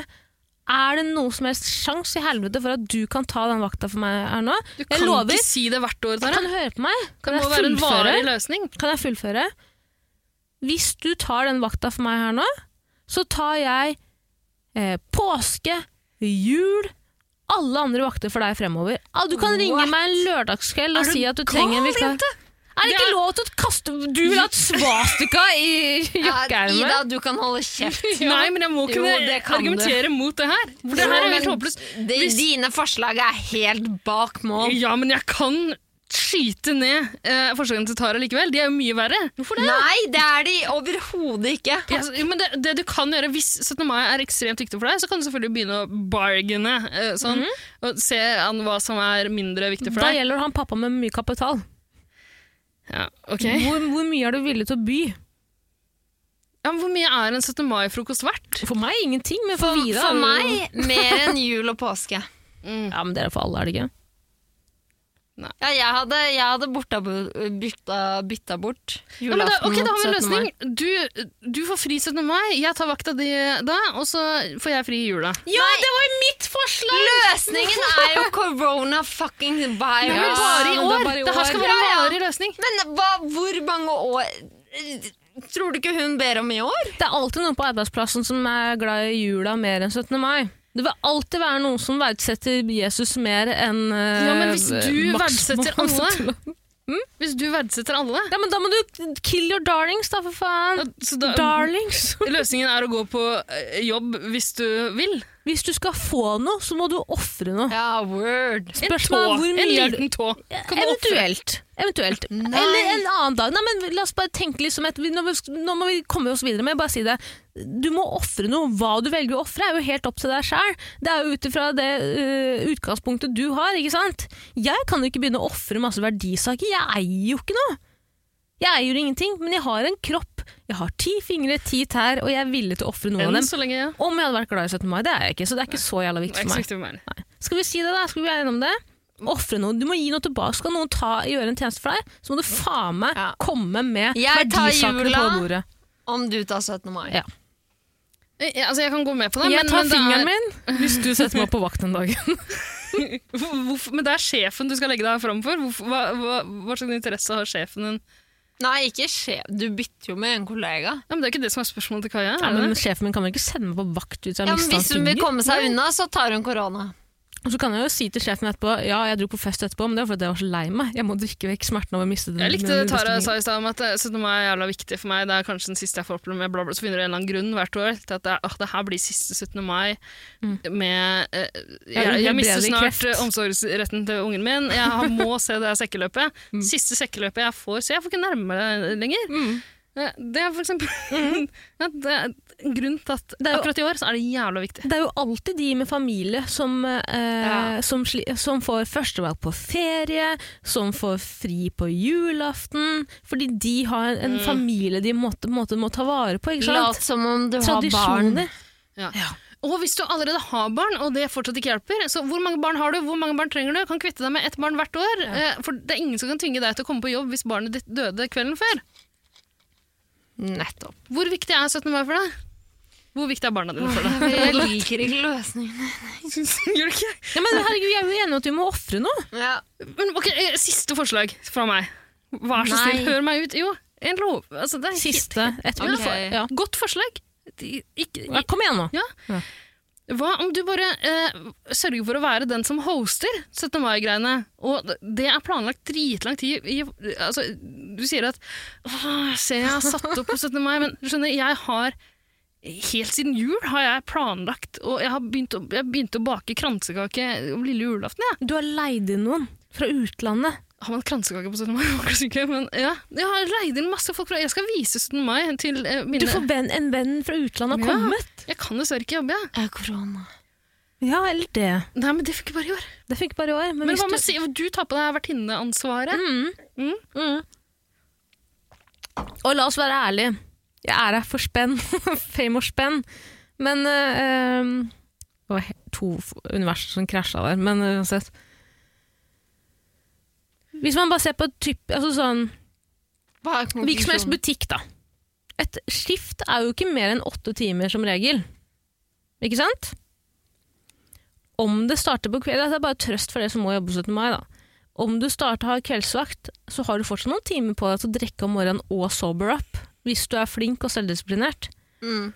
[SPEAKER 2] Er det noe som helst sjans i helvete for at du kan ta den vakta for meg her nå?
[SPEAKER 4] Du
[SPEAKER 2] jeg
[SPEAKER 4] kan
[SPEAKER 2] lover.
[SPEAKER 4] ikke si det hvert år, Tara.
[SPEAKER 2] Kan du høre på meg? Kan
[SPEAKER 4] Det må
[SPEAKER 2] jeg
[SPEAKER 4] være en
[SPEAKER 2] fullføre?
[SPEAKER 4] varig løsning.
[SPEAKER 2] Kan jeg fullføre? Hvis du tar den vakta for meg her nå, så tar jeg eh, påske, jul, alle andre vakter for deg fremover. Ah, du kan ringe
[SPEAKER 3] What?
[SPEAKER 2] meg en lørdagskveld og
[SPEAKER 3] Er du
[SPEAKER 2] si at du
[SPEAKER 3] gal,
[SPEAKER 2] trenger en vikar. Er det
[SPEAKER 4] Det
[SPEAKER 2] ikke
[SPEAKER 4] er-
[SPEAKER 2] lov til å kaste Du vil ha et svastika i jakkeermet?
[SPEAKER 3] Ida, du kan holde kjeft.
[SPEAKER 4] Nei, men jeg må
[SPEAKER 3] Jo,
[SPEAKER 4] kunne
[SPEAKER 3] det kan du.
[SPEAKER 4] argumentere mot det her. For det her er helt
[SPEAKER 3] Men
[SPEAKER 4] håpløst.
[SPEAKER 3] de-
[SPEAKER 4] Hvis-
[SPEAKER 3] Dine forslag er helt bak mål.
[SPEAKER 4] Ja, men jeg kan skyte ned eh, forslagene til Tara likevel. De er jo mye verre. Hvorfor
[SPEAKER 3] Nei, det er de overhodet ikke.
[SPEAKER 4] Ja, altså, men det, det du kan gjøre Hvis 17. mai er ekstremt viktig for deg, så kan du selvfølgelig begynne å bargaine. eh, Sånn, Og se an hva som er mindre viktig for
[SPEAKER 2] Mhm. Da
[SPEAKER 4] deg.
[SPEAKER 2] gjelder det han pappa med mye kapital.
[SPEAKER 4] Ja, ok.
[SPEAKER 2] Hvor, hvor mye er du villig til å by?
[SPEAKER 4] Ja, men hvor mye er en 17. mai-frokost verdt?
[SPEAKER 2] For meg ingenting, men for,
[SPEAKER 3] For,
[SPEAKER 2] Vida
[SPEAKER 3] for meg mer enn jul og påske.
[SPEAKER 2] Ja, men dere er for alle, er det ikke?
[SPEAKER 3] Ja, jeg hadde, jeg hadde borta, bytta, bytta bort
[SPEAKER 4] Ja, men da,
[SPEAKER 3] julaften
[SPEAKER 4] ok, da har vi en
[SPEAKER 3] mot 17. mai.
[SPEAKER 4] løsning. Du, du får fri 17. mai, jeg tar vakta di da, og så får jeg fri i jula.
[SPEAKER 2] Ja, det var jo mitt forslag!
[SPEAKER 3] Løsningen er jo corona fucking virus.
[SPEAKER 4] Men bare i
[SPEAKER 2] men det er
[SPEAKER 4] år!
[SPEAKER 2] bare i
[SPEAKER 4] Det her skal
[SPEAKER 2] år.
[SPEAKER 4] være en
[SPEAKER 3] Ja, ja.
[SPEAKER 4] varig løsning.
[SPEAKER 3] Men hva, hvor mange år Tror du ikke hun ber om i år?
[SPEAKER 2] Det er alltid noen på arbeidsplassen som er glad i jula mer enn 17. mai. Det vil alltid være noen som verdsetter Jesus mer enn eh,
[SPEAKER 4] Ja, men hvis du
[SPEAKER 2] Max
[SPEAKER 4] verdsetter
[SPEAKER 2] Mann.
[SPEAKER 4] alle- Hvis du verdsetter alle
[SPEAKER 2] Ja, men da må du kill your darlings, da, for faen.
[SPEAKER 4] så da,
[SPEAKER 2] Darlings.
[SPEAKER 4] Løsningen er å gå på eh, jobb hvis du vil.
[SPEAKER 2] Hvis du skal få noe, så må du ofre noe.
[SPEAKER 3] Ja, word.
[SPEAKER 2] Spørsmålet er hvor
[SPEAKER 4] en
[SPEAKER 2] mye
[SPEAKER 4] liten tå. Kan du ofre?
[SPEAKER 2] Eventuelt. Eventuelt.
[SPEAKER 3] Nei.
[SPEAKER 2] Eller en annen dag. Nei, men la oss bare tenke litt som et vi- nå, må- nå må vi komme oss videre med bare si det. Du må ofre noe. Hva du velger å ofre, er jo helt opp til deg sjæl. Det er jo ut ifra det øh, utgangspunktet du har, ikke sant? Jeg kan jo ikke begynne å ofre masse verdisaker. Jeg eier jo ikke noe. Jeg eier jo ingenting, men jeg har en kropp. Jeg har ti fingre, ti tær, og jeg er villig til å ofre noen av
[SPEAKER 4] Enn
[SPEAKER 2] dem.
[SPEAKER 4] så lenge, ja.
[SPEAKER 2] Om jeg hadde vært glad i 17. mai, det er jeg ikke, så det er ikke så jævla
[SPEAKER 4] Det er
[SPEAKER 2] viktig for
[SPEAKER 4] ikke
[SPEAKER 2] meg.
[SPEAKER 4] så viktig for meg.
[SPEAKER 2] Skal vi si det, da? Skal vi være enige om det? Offre noe. Du må gi noe tilbake. Skal noen ta, gjøre en tjeneste for deg, så må du faen meg
[SPEAKER 3] Ja.
[SPEAKER 2] komme med
[SPEAKER 3] Jeg tar
[SPEAKER 2] verdisakene på
[SPEAKER 3] jula.
[SPEAKER 2] bordet.
[SPEAKER 3] Om du tar 17. mai.
[SPEAKER 2] Ja.
[SPEAKER 4] Eh, ja, Altså, jeg kan gå med på det,
[SPEAKER 2] jeg
[SPEAKER 4] men,
[SPEAKER 2] tar
[SPEAKER 4] men, det
[SPEAKER 2] fingeren
[SPEAKER 4] er,
[SPEAKER 2] min hvis du setter meg på vakt en dag.
[SPEAKER 4] Hvor- hvorfor- men det er sjefen du skal legge deg fram for. Hvorfor- Hva, hva, hva slags interesse har sjefen din?
[SPEAKER 3] Nei, ikke skje. Du bytter jo med en kollega.
[SPEAKER 4] Ja, men det er ikke det som er spørsmålet til Kaja.
[SPEAKER 2] Ja,
[SPEAKER 4] er det
[SPEAKER 2] men
[SPEAKER 4] det?
[SPEAKER 2] Sjefen min kan vel ikke sende meg på vakt ut av
[SPEAKER 3] Ja,
[SPEAKER 2] ja,
[SPEAKER 3] men hvis
[SPEAKER 2] mistanke?
[SPEAKER 3] hun vil komme seg
[SPEAKER 2] Nei.
[SPEAKER 3] unna, så tar hun korona.
[SPEAKER 2] Og så kan jeg jo si til sjefen etterpå ja, jeg dro på fest etterpå, men det var fordi jeg var så lei meg. Jeg må drikke vekk smerten av å miste den.
[SPEAKER 4] Jeg likte
[SPEAKER 2] den
[SPEAKER 4] det Tara
[SPEAKER 2] bestillingen.
[SPEAKER 4] sa i stad, om at eh, 17. mai er jævla viktig for meg. Det er kanskje den siste jeg får oppleve med bla, bla. Så finner du en eller annen grunn hvert år til at det, er, «Åh, det her blir siste 17. mai med eh, Jeg, jeg mister
[SPEAKER 2] uhelbredelig Mm.
[SPEAKER 4] snart
[SPEAKER 2] kreft.
[SPEAKER 4] eh, omsorgsretten til ungen min. Jeg har- må se det her sekkeløpet.
[SPEAKER 2] Mm.
[SPEAKER 4] Siste sekkeløpet jeg får se. Jeg får ikke nærme det lenger. Eh, Det er for eksempel ja, det er en grunn til at
[SPEAKER 2] Mm. er jo-
[SPEAKER 4] akkurat i år så er det jævla viktig.
[SPEAKER 2] Det er jo alltid de med familie som, eh,
[SPEAKER 3] Ja.
[SPEAKER 2] som, sli, som får førstevalg på ferie, som får fri på julaften, fordi de har en familie de må, må, må ta vare på, ikke
[SPEAKER 3] Lat
[SPEAKER 2] sant?
[SPEAKER 3] som om du har barn.
[SPEAKER 2] Tradisjoner.
[SPEAKER 4] Ja.
[SPEAKER 2] Ja.
[SPEAKER 4] Og hvis du allerede har barn, og det fortsatt ikke hjelper, så hvor mange barn har du, hvor mange barn trenger du? Kan kvitte deg med ett barn hvert år. Eh, For det er ingen som kan tvinge deg til å komme på jobb hvis barnet ditt døde kvelden før.
[SPEAKER 3] Nettopp.
[SPEAKER 4] Hvor viktig er 17. mai for deg? Hvor viktig er barna dine for deg?
[SPEAKER 3] Jeg liker ikke løsningene.
[SPEAKER 4] Gjør det ikke?
[SPEAKER 2] Ja, men herregud, Jeg er jo enig i at vi må ofre noe.
[SPEAKER 3] Ja.
[SPEAKER 4] Men ok, eh, Siste forslag fra meg. Vær så snill,
[SPEAKER 3] Nei.
[SPEAKER 4] hør meg ut. Jo, en lov... Altså, det er
[SPEAKER 2] Siste. Et,
[SPEAKER 4] Ja,
[SPEAKER 3] Ok.
[SPEAKER 4] for, ja. Godt forslag. De- Ikke,
[SPEAKER 2] ja. Kom igjen nå.
[SPEAKER 4] Hva om du bare eh, sørger for å være den som hoster 17. mai-greiene? Og det er planlagt dritlang tid i, altså, Du sier at «Åh, Se, jeg har satt opp på 17. mai, men du skjønner, jeg har Helt siden jul har jeg planlagt, og jeg har begynt å, jeg begynte å bake kransekake om lille julaften. Ja.
[SPEAKER 2] Du har leid inn noen fra utlandet.
[SPEAKER 4] Har man kransekake på 17. mai? Det var kanskje ikke, Men ja, jeg har leid inn masse folk fra Jeg skal vise 17. mai til eh, mine
[SPEAKER 2] Du får venn, en venn fra utlandet har
[SPEAKER 4] Ja.
[SPEAKER 2] kommet.
[SPEAKER 4] Jeg kan dessverre ikke jobbe, jeg.
[SPEAKER 3] Jeg har korona.
[SPEAKER 2] Ja, eller det.
[SPEAKER 4] Nei, men det fikk jeg bare i år.
[SPEAKER 2] Det fikk bare i år. Men,
[SPEAKER 4] Men
[SPEAKER 2] hvis
[SPEAKER 4] hva
[SPEAKER 2] du...
[SPEAKER 4] med si, du tar på deg vertinneansvaret? Mm.
[SPEAKER 2] Og la oss være ærlige. Jeg er her for spenn. Fame og spenn. Men eh, eh, Det var he- to f- univers som krasja der, men eh, uansett. Hvis man bare ser på typ, altså sånn,
[SPEAKER 3] Hva er
[SPEAKER 2] hvilken som helst butikk, da. Et skift er jo ikke mer enn åtte timer som regel. Ikke sant? Om det starter på kveld, Det er bare trøst for det som må jobbe 17. mai, da. Om du starter å ha kveldsvakt, så har du fortsatt noen timer på deg til å drikke om morgenen og sober up, hvis du er flink og selvdisiplinert.
[SPEAKER 3] Mm.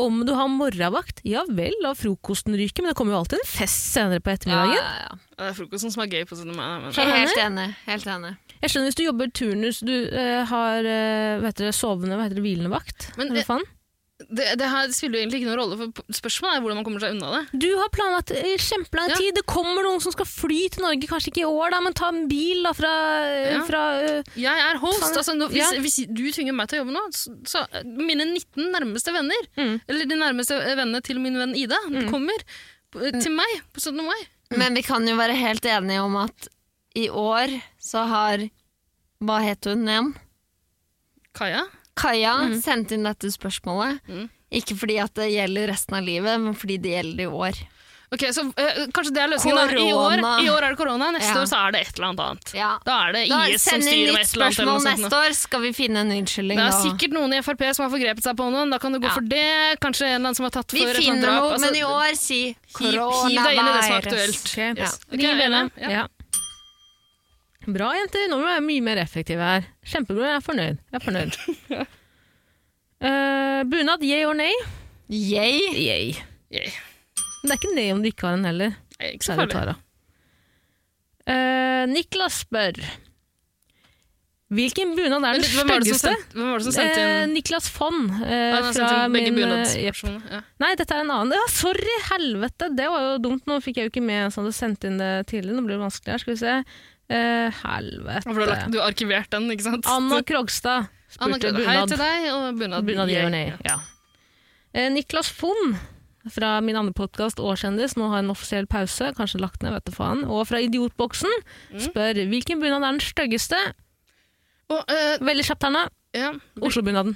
[SPEAKER 2] Om du har morgenvakt, ja vel, la frokosten ryke, men det kommer jo alltid en fest senere på
[SPEAKER 3] Ja,
[SPEAKER 2] ettermiddagen.
[SPEAKER 3] ja, ja.
[SPEAKER 4] Det er frokosten som er gøy på 17. mai. Men,
[SPEAKER 3] Jeg er Helt enig. Helt enig.
[SPEAKER 2] Jeg skjønner hvis du jobber turnus, du eh, har eh, hva heter det, sovende, hva heter det, hvilende vakt.
[SPEAKER 4] Men,
[SPEAKER 2] eller
[SPEAKER 4] eh,
[SPEAKER 2] hva faen?
[SPEAKER 4] det, det her spiller jo egentlig ikke noen rolle, for spørsmålet er hvordan man kommer seg unna det.
[SPEAKER 2] Du har planlagt eh, kjempelang
[SPEAKER 4] Ja.
[SPEAKER 2] tid. Det kommer noen som skal fly til Norge, kanskje ikke i år, da, men ta en bil da, fra, eh,
[SPEAKER 4] Ja.
[SPEAKER 2] fra eh,
[SPEAKER 4] Jeg er host.
[SPEAKER 2] Faen,
[SPEAKER 4] Altså, nå, hvis,
[SPEAKER 2] ja.
[SPEAKER 4] hvis du tvinger meg til å jobbe nå, så, så eh, mine 19 nærmeste venner,
[SPEAKER 2] Mm.
[SPEAKER 4] eller de nærmeste eh, vennene til min venn Ida, kommer eh, til meg på 17. mai.
[SPEAKER 2] Mm.
[SPEAKER 3] Men vi kan jo være helt enige om at i år så har Hva het hun igjen?
[SPEAKER 4] Kaja?
[SPEAKER 3] Kaja
[SPEAKER 2] Mm.
[SPEAKER 3] sendte inn dette spørsmålet.
[SPEAKER 4] Mm.
[SPEAKER 3] Ikke fordi at det gjelder resten av livet, men fordi det gjelder i år.
[SPEAKER 4] Ok, så eh, Kanskje det er løsningen. da. I år,
[SPEAKER 3] Korona.
[SPEAKER 4] I år er det korona, neste
[SPEAKER 3] Ja.
[SPEAKER 4] år så er det et eller annet annet.
[SPEAKER 3] Ja.
[SPEAKER 4] Da er det
[SPEAKER 3] Da
[SPEAKER 4] IS som
[SPEAKER 3] send inn
[SPEAKER 4] styrer
[SPEAKER 3] nytt
[SPEAKER 4] med et eller annet. eller
[SPEAKER 3] spørsmål
[SPEAKER 4] noe sånt nå.
[SPEAKER 3] neste år, skal vi finne en unnskyldning da.
[SPEAKER 4] Det er sikkert noen i Frp som har forgrepet seg på noen. Da kan du gå
[SPEAKER 3] Ja.
[SPEAKER 4] for det. Kanskje en eller annen som har tatt
[SPEAKER 3] Vi
[SPEAKER 4] for et eller annet
[SPEAKER 3] finner
[SPEAKER 4] drap.
[SPEAKER 3] noe, men
[SPEAKER 4] Altså,
[SPEAKER 3] i år si
[SPEAKER 4] hiv, hiv deg inn i det som er
[SPEAKER 3] koronavirus.
[SPEAKER 4] aktuelt.
[SPEAKER 2] Ok.
[SPEAKER 4] Yes. Ok,
[SPEAKER 2] Liv
[SPEAKER 4] jeg er
[SPEAKER 2] Ellen.
[SPEAKER 4] enig. Ja.
[SPEAKER 2] Ja. Bra, jenter. Nå må vi være mye mer effektive her. Kjempebra. Jeg er fornøyd. Jeg er fornøyd. Eh, bunad, yay or nay?
[SPEAKER 3] Yay!
[SPEAKER 2] Yay.
[SPEAKER 4] Yay.
[SPEAKER 2] Men det er ikke nay om du ikke har en heller.
[SPEAKER 4] Nei, ikke så
[SPEAKER 2] Kjære
[SPEAKER 4] farlig.
[SPEAKER 2] Tara. Eh, Niklas spør Hvilken bunad er
[SPEAKER 4] Men
[SPEAKER 2] den
[SPEAKER 4] Hvem var det som
[SPEAKER 2] styggeste?
[SPEAKER 4] sendte- hvem var det som sendte
[SPEAKER 2] Eh,
[SPEAKER 4] inn
[SPEAKER 2] Niklas Fonn. eh,
[SPEAKER 4] Han har sendt
[SPEAKER 2] fra
[SPEAKER 4] inn begge
[SPEAKER 2] min, eh, jep.
[SPEAKER 4] bunadsversjonene. Ja.
[SPEAKER 2] Nei, dette er en annen. Ja, sorry, helvete! Det var jo dumt. Nå fikk jeg jo ikke med en som hadde sendt inn det tidligere. Nå blir det vanskelig her. Skal vi se. Eh,
[SPEAKER 4] For Du har lagt-
[SPEAKER 2] helvete.
[SPEAKER 4] du har arkivert den, ikke sant?
[SPEAKER 2] Anna Krogstad
[SPEAKER 4] Anna
[SPEAKER 2] spurte
[SPEAKER 4] Hei
[SPEAKER 2] bunad.
[SPEAKER 4] til deg, og bunad.
[SPEAKER 2] Bunad
[SPEAKER 4] Yay.
[SPEAKER 2] gjør nei. Ja. Eh, Niklas Fonn fra min andre podkast Årskjendis, nå har jeg en offisiell pause, kanskje lagt ned, vet du faen. Og fra Idiotboksen
[SPEAKER 4] Mm.
[SPEAKER 2] spør hvilken bunad er den styggeste?
[SPEAKER 4] Og, eh,
[SPEAKER 2] Veldig kjapt her nå.
[SPEAKER 4] ja,
[SPEAKER 2] Oslo-bunaden.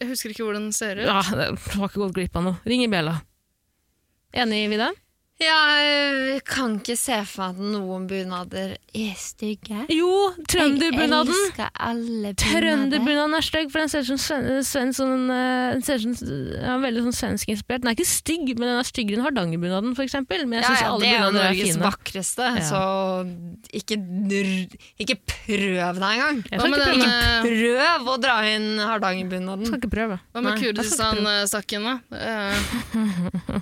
[SPEAKER 4] jeg husker ikke hvordan den ser ut.
[SPEAKER 2] Ja, det har ikke gått glipp av noe. Ring i bjella. Enig, Vida?
[SPEAKER 3] Jeg øh, kan ikke se for meg at noen bunader er stygge.
[SPEAKER 2] Jo,
[SPEAKER 3] Jeg
[SPEAKER 2] trønderbunaden.
[SPEAKER 3] elsker alle bunader.
[SPEAKER 2] Trønderbunaden er stygg, for den ser ut som sven- svensk sånn, eh, den ser ut som, ja, veldig sånn svenskinspirert. Den er ikke stygg, men den er styggere enn hardangerbunaden, for eksempel. Men jeg
[SPEAKER 3] Ja,
[SPEAKER 2] syns
[SPEAKER 3] ja,
[SPEAKER 2] alle
[SPEAKER 3] det er jo
[SPEAKER 2] bunader er
[SPEAKER 3] Norges
[SPEAKER 2] fine.
[SPEAKER 3] vakreste, så ikke, nr- ikke prøv deg engang.
[SPEAKER 2] Jeg
[SPEAKER 4] Hva
[SPEAKER 2] skal
[SPEAKER 4] med
[SPEAKER 2] ikke
[SPEAKER 4] den,
[SPEAKER 2] prøve.
[SPEAKER 4] eh,
[SPEAKER 3] Prøv å dra inn
[SPEAKER 2] Jeg
[SPEAKER 3] Hardangerbunaden.
[SPEAKER 2] skal ikke prøve.
[SPEAKER 4] hva med
[SPEAKER 3] Nei,
[SPEAKER 2] jeg skal ikke
[SPEAKER 4] Kurdistan-saken, da? Eh,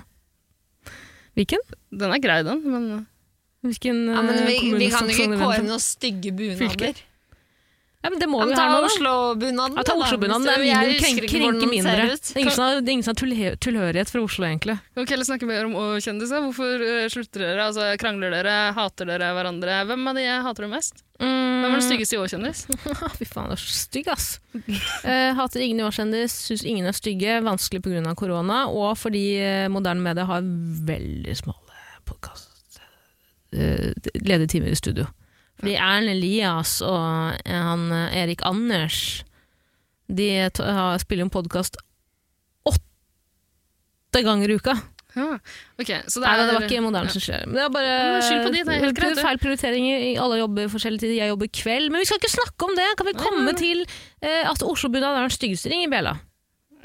[SPEAKER 2] Hvilken?
[SPEAKER 4] Den er grei, den, men
[SPEAKER 2] Hvilken
[SPEAKER 3] Ja, men
[SPEAKER 4] øh,
[SPEAKER 2] eh,
[SPEAKER 3] vi,
[SPEAKER 2] kommune
[SPEAKER 3] vi kan
[SPEAKER 2] som-
[SPEAKER 3] jo
[SPEAKER 2] som
[SPEAKER 3] ikke
[SPEAKER 2] vi
[SPEAKER 3] kåre
[SPEAKER 2] venter?
[SPEAKER 3] noen stygge
[SPEAKER 2] Fylke.
[SPEAKER 3] bunader.
[SPEAKER 2] Ja, men det må
[SPEAKER 3] Ja,
[SPEAKER 2] vi
[SPEAKER 3] men
[SPEAKER 2] her
[SPEAKER 3] ta
[SPEAKER 2] nå. da.
[SPEAKER 3] Oslo-bunaden.
[SPEAKER 2] Ja, ta
[SPEAKER 3] da,
[SPEAKER 2] Oslo-bunaden. Det er
[SPEAKER 3] hvis du-
[SPEAKER 2] mindre,
[SPEAKER 3] jeg
[SPEAKER 2] krenker,
[SPEAKER 3] husker ikke
[SPEAKER 2] krenker
[SPEAKER 3] hvordan den
[SPEAKER 2] mindre.
[SPEAKER 3] ser ut.
[SPEAKER 2] Det er ingen som har, det er ingen som har tulhe- tilhørighet for Oslo, egentlig.
[SPEAKER 4] Kan vi ikke heller snakke mer om å, kjendiser? Hvorfor eh, slutter dere? Altså, krangler dere? Hater dere hverandre? Hvem av de hater du mest?
[SPEAKER 3] Mm.
[SPEAKER 4] Hvem er den
[SPEAKER 2] Mm.
[SPEAKER 4] styggeste i år, kjendis?
[SPEAKER 2] Ah, Fy faen, du er så stygg, ass. Eh, hater ingen i årskjendis, syns ingen er stygge, vanskelig pga. korona, og fordi eh, moderne medier har veldig smale podkast eh, ledige timer i studio. Fordi Erlend Elias og eh, han eh, Erik Anders de t har, spiller en podkast åtte ganger i uka.
[SPEAKER 4] Ja. Ok, så det
[SPEAKER 2] Nei,
[SPEAKER 4] er,
[SPEAKER 2] nei, det var ikke moderne som skjer. Men det er bare
[SPEAKER 4] Ja, skyld på de, det er helt greit, det.
[SPEAKER 2] feil prioriteringer. Alle jobber forskjellig tid. Jeg jobber kveld. Men vi skal ikke snakke om det! Kan vi komme til eh, at Oslo-bunaden er den styggeste? Ring i bjella.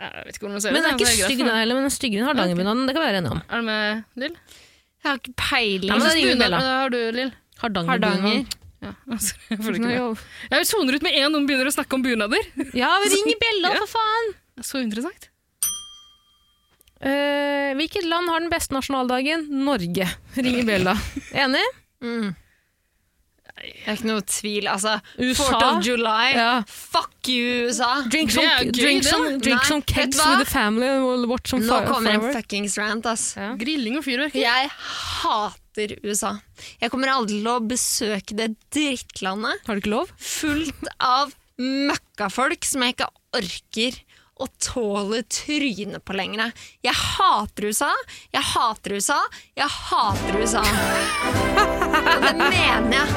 [SPEAKER 4] Jeg vet ikke hvordan du ser
[SPEAKER 2] Men
[SPEAKER 4] ut.
[SPEAKER 2] det er
[SPEAKER 4] ja,
[SPEAKER 2] ikke
[SPEAKER 4] greit
[SPEAKER 2] stygg
[SPEAKER 4] for meg.
[SPEAKER 2] den heller, men den stygge den har hardangerbunaden. Det kan vi være enige om.
[SPEAKER 4] Er du med, Lill?
[SPEAKER 3] Jeg har ikke
[SPEAKER 2] Ja,
[SPEAKER 3] peiling.
[SPEAKER 2] men da
[SPEAKER 4] Jeg synes
[SPEAKER 2] ringer
[SPEAKER 4] bunad-
[SPEAKER 2] Bella.
[SPEAKER 4] Da har du, Lill.
[SPEAKER 2] Hardangerbunaden.
[SPEAKER 3] Hardanger.
[SPEAKER 4] Ja, altså, jeg, følger ikke med. jeg soner ut med en noen begynner å snakke om bunader.
[SPEAKER 2] Ja, vi ringer bjella, for faen!
[SPEAKER 4] Så interessant.
[SPEAKER 2] Eh, hvilket land har den beste nasjonaldagen? Norge. Ringer bjella. Enig?
[SPEAKER 3] Mm. Det er ikke noe tvil. Altså,
[SPEAKER 2] USA?
[SPEAKER 3] 4th of July.
[SPEAKER 2] Ja.
[SPEAKER 3] Fuck you, USA!
[SPEAKER 2] Drink
[SPEAKER 4] Det
[SPEAKER 2] some,
[SPEAKER 4] er gøy,
[SPEAKER 2] drink
[SPEAKER 4] det.
[SPEAKER 2] some, drink
[SPEAKER 3] Nei,
[SPEAKER 2] some
[SPEAKER 3] vet
[SPEAKER 2] kegs
[SPEAKER 3] du hva?
[SPEAKER 2] with the family and we'll watch some
[SPEAKER 3] Nå
[SPEAKER 2] fire-
[SPEAKER 3] kommer en
[SPEAKER 2] fireworks.
[SPEAKER 3] fuckings rant, ass.
[SPEAKER 2] Ja.
[SPEAKER 4] Grilling og fyrverkeri.
[SPEAKER 3] Jeg hater USA. Jeg kommer aldri til å besøke det drittlandet
[SPEAKER 2] Har du ikke lov?
[SPEAKER 3] fullt av møkkafolk som jeg ikke orker å tåle trynet på lenger. Jeg hater USA, jeg hater USA, jeg hater USA. Og det mener jeg.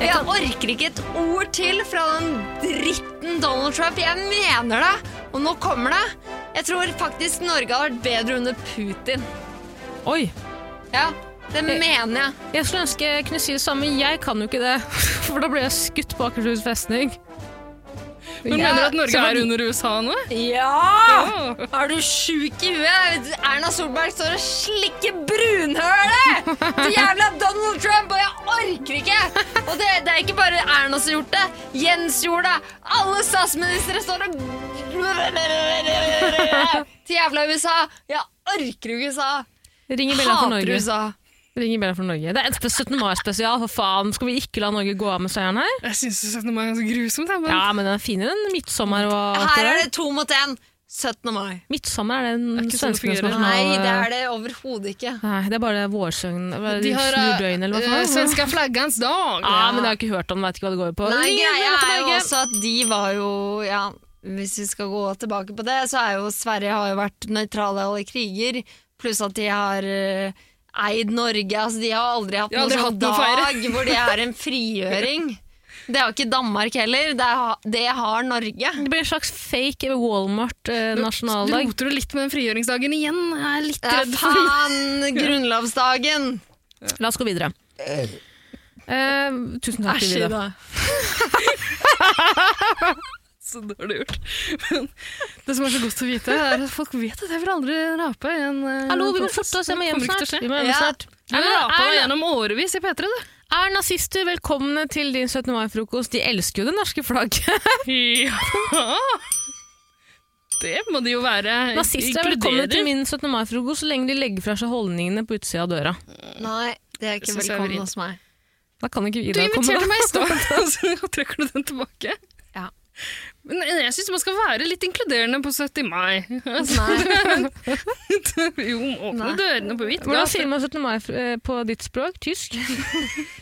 [SPEAKER 3] Jeg orker ikke et ord til fra den dritten Donald Trump. Jeg mener det! Og nå kommer det. Jeg tror faktisk Norge har vært bedre under Putin.
[SPEAKER 2] Oi!
[SPEAKER 3] Ja, det mener jeg.
[SPEAKER 2] Jeg skulle ønske jeg kunne si det samme, jeg kan jo ikke det. For da ble jeg skutt på Akershus festning.
[SPEAKER 4] Men
[SPEAKER 3] Ja,
[SPEAKER 4] mener du at
[SPEAKER 2] så
[SPEAKER 4] Norge
[SPEAKER 2] var
[SPEAKER 4] er
[SPEAKER 2] de-
[SPEAKER 4] under USA nå?
[SPEAKER 3] Ja!
[SPEAKER 4] Åh.
[SPEAKER 3] Er du sjuk i huet? Erna Solberg står og slikker brunhølet til jævla Donald Trump, og jeg orker ikke! Og det, det er ikke bare Erna som har gjort det. Jens gjorde det. Alle statsministre står og til jævla USA. Jeg orker jo ikke USA.
[SPEAKER 2] Ringer Bella for
[SPEAKER 3] Hater
[SPEAKER 2] Norge.
[SPEAKER 3] USA.
[SPEAKER 2] Ringer Bella for Norge. Det er et 17. mai-spesial, for faen. Skal vi ikke la Norge gå av med seieren her?
[SPEAKER 4] Jeg syns 17. mai er så grusomt. Jeg, men
[SPEAKER 2] Ja, men den er finere enn midtsommer og alt
[SPEAKER 3] Her
[SPEAKER 2] det
[SPEAKER 3] er
[SPEAKER 2] der.
[SPEAKER 3] det to mot én. 17. mai.
[SPEAKER 2] Midtsommer er
[SPEAKER 4] Det er
[SPEAKER 2] den
[SPEAKER 4] ikke sånn det
[SPEAKER 2] svenskenes
[SPEAKER 4] fungerer.
[SPEAKER 2] nasjonal...
[SPEAKER 3] Nei, det er det overhodet ikke.
[SPEAKER 2] Nei, det er bare vårsøgn.
[SPEAKER 4] De har eh,
[SPEAKER 2] Snudøgn, eller hva
[SPEAKER 4] eh,
[SPEAKER 2] faen.
[SPEAKER 4] svenska flaggans dag.
[SPEAKER 2] Ja, men jeg har ikke hørt om, vet ikke hva det går på.
[SPEAKER 3] Nei,
[SPEAKER 2] Ringer
[SPEAKER 3] greia
[SPEAKER 2] Bella for
[SPEAKER 3] er jo
[SPEAKER 2] Norge.
[SPEAKER 3] også at de var jo ja, Hvis vi skal gå tilbake på det, så er jo Sverige har jo vært nøytrale i alle kriger, pluss at de har eh, eid Norge. Altså, de har aldri hatt
[SPEAKER 4] De har aldri
[SPEAKER 3] noen
[SPEAKER 4] hatt
[SPEAKER 3] sånn
[SPEAKER 4] noe å feire.
[SPEAKER 3] dag hvor de er en frigjøring. Det har ikke Danmark heller. Det, har- det har Norge.
[SPEAKER 2] Det blir en slags fake eh,
[SPEAKER 4] Du
[SPEAKER 2] Walmart-nasjonaldag.
[SPEAKER 4] roter det litt med den frigjøringsdagen igjen. Jeg er litt
[SPEAKER 3] Ja,
[SPEAKER 4] redd for
[SPEAKER 3] faen! Grunnlovsdagen!
[SPEAKER 2] La oss gå videre. Eh, tusen takk til
[SPEAKER 3] Æsj,
[SPEAKER 2] Vida.
[SPEAKER 3] Ida.
[SPEAKER 4] Så det har du gjort. Men det som er så godt å vite, er at folk vet at jeg vil aldri rape i en eh,
[SPEAKER 2] Hallo, vi må
[SPEAKER 4] podcast.
[SPEAKER 2] forte oss, jeg må hjem
[SPEAKER 4] Det kommer ikke
[SPEAKER 2] snart.
[SPEAKER 4] til å
[SPEAKER 2] Vi må
[SPEAKER 4] skje.
[SPEAKER 2] hjem
[SPEAKER 3] Ja.
[SPEAKER 2] snart.
[SPEAKER 4] Du
[SPEAKER 2] Er,
[SPEAKER 4] rapet meg
[SPEAKER 2] er,
[SPEAKER 4] gjennom årevis i P3, du.
[SPEAKER 2] er nazister velkomne til din 17. mai-frokost? De elsker jo det norske flagget.
[SPEAKER 4] Ja! Det må de jo være.
[SPEAKER 2] Nazister er velkomne til min 17. mai-frokost så lenge de legger fra seg holdningene på utsida av døra.
[SPEAKER 3] Nei, det er ikke
[SPEAKER 4] Synes jeg er
[SPEAKER 3] velkommen
[SPEAKER 4] vrient.
[SPEAKER 3] hos meg.
[SPEAKER 2] Da kan ikke
[SPEAKER 4] Du
[SPEAKER 2] Ida komme.
[SPEAKER 4] inviterte
[SPEAKER 2] da.
[SPEAKER 4] meg i stad, og så trekker du den tilbake.
[SPEAKER 3] Ja.
[SPEAKER 4] Men jeg syns man skal være litt inkluderende på 70. mai.
[SPEAKER 3] Nei.
[SPEAKER 4] jo, må åpne
[SPEAKER 3] Nei.
[SPEAKER 4] dørene på vidt
[SPEAKER 2] Hvordan
[SPEAKER 4] gap.
[SPEAKER 2] sier man 17. mai eh, på ditt språk? Tysk?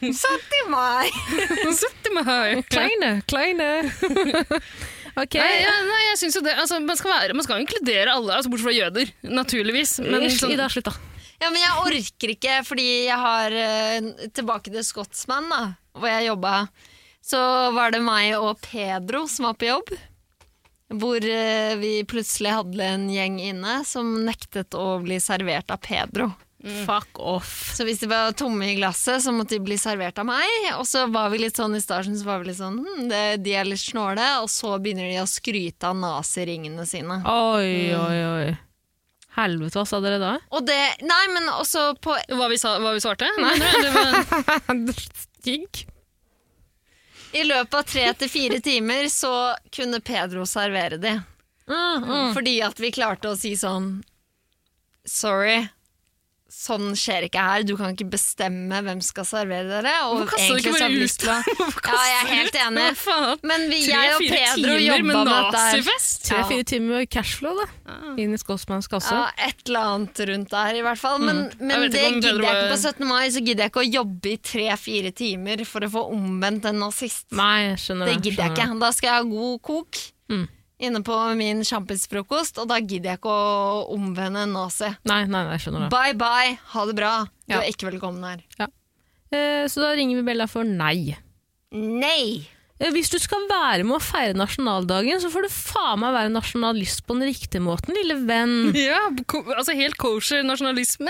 [SPEAKER 3] 70. mai!
[SPEAKER 4] 70. mai.
[SPEAKER 2] Kleine, kleine. ok.
[SPEAKER 4] Nei, ja, nei, jeg synes jo det. Altså, man, skal være, man skal jo inkludere alle, altså, bortsett fra jøder, naturligvis. Men sånn,
[SPEAKER 2] Ida, slutt da.
[SPEAKER 3] Ja, men jeg orker ikke, fordi jeg har eh, Tilbake til Scotsman, da, hvor jeg jobba. Så var det meg og Pedro som var på jobb. Hvor eh, vi plutselig hadde en gjeng inne som nektet å bli servert av Pedro.
[SPEAKER 4] Mm.
[SPEAKER 2] Fuck off.
[SPEAKER 3] Så hvis de var tomme i glasset, så måtte de bli servert av meg. Og så var vi litt sånn i starten, så var vi litt sånn hm, det, De er litt snåle. Og så begynner de å skryte av naziringene sine.
[SPEAKER 2] Oi,
[SPEAKER 4] Mm.
[SPEAKER 2] oi, oi. Helvete, hva sa dere da?
[SPEAKER 3] Og det Nei, men også på
[SPEAKER 4] hva, vi sa, hva vi svarte? Nei, det var,
[SPEAKER 2] Stigg.
[SPEAKER 3] I løpet av tre til fire timer så kunne Pedro servere de.
[SPEAKER 2] Mm,
[SPEAKER 4] Mm.
[SPEAKER 3] Fordi at vi klarte å si sånn Sorry, sånn skjer ikke her. Du kan ikke bestemme hvem skal servere dere. Og
[SPEAKER 4] Hvorfor kaster du
[SPEAKER 3] egentlig
[SPEAKER 4] ikke
[SPEAKER 3] så
[SPEAKER 4] bare
[SPEAKER 3] har vi
[SPEAKER 4] ut?
[SPEAKER 3] lyst til å-
[SPEAKER 4] Hvorfor
[SPEAKER 3] Ja, jeg er
[SPEAKER 4] kaster
[SPEAKER 3] helt
[SPEAKER 4] du ut?
[SPEAKER 3] enig.
[SPEAKER 4] Hva faen?
[SPEAKER 3] Men vi, jeg og
[SPEAKER 4] Tre-fire
[SPEAKER 3] Pedro
[SPEAKER 4] timer
[SPEAKER 3] jobba
[SPEAKER 4] med
[SPEAKER 3] med dette. her.
[SPEAKER 4] nazifest?
[SPEAKER 3] Ja.
[SPEAKER 2] Tre-fire timer med cashflow, da. Inn i Scotsmans kasse.
[SPEAKER 3] Ja, et eller annet rundt der, i hvert fall. Men,
[SPEAKER 4] Mm. Jeg
[SPEAKER 3] men
[SPEAKER 4] vet
[SPEAKER 3] det
[SPEAKER 4] ikke om
[SPEAKER 3] gidder
[SPEAKER 4] Pedro
[SPEAKER 3] jeg ikke
[SPEAKER 4] var-
[SPEAKER 3] på 17. mai. Så gidder jeg ikke å jobbe i tre-fire timer for å få omvendt en nazist.
[SPEAKER 2] Nei, jeg skjønner
[SPEAKER 3] Det gidder jeg ikke.
[SPEAKER 2] skjønner
[SPEAKER 3] Da skal jeg ha god kok
[SPEAKER 2] Mm.
[SPEAKER 3] inne på min sjampisfrokost, og da gidder jeg ikke å omvende en nazi.
[SPEAKER 2] det. Nei, nei, nei, jeg skjønner det.
[SPEAKER 3] Bye bye, ha det bra. Du
[SPEAKER 2] Ja.
[SPEAKER 3] er ikke velkommen her.
[SPEAKER 2] Eh, så da ringer vi Bella for nei.
[SPEAKER 3] Nei!
[SPEAKER 2] Eh, Hvis du skal være med å feire nasjonaldagen, så får du faen meg være nasjonalist på den riktige måten, lille venn.
[SPEAKER 4] Ja, ko- altså helt kosher nasjonalisme.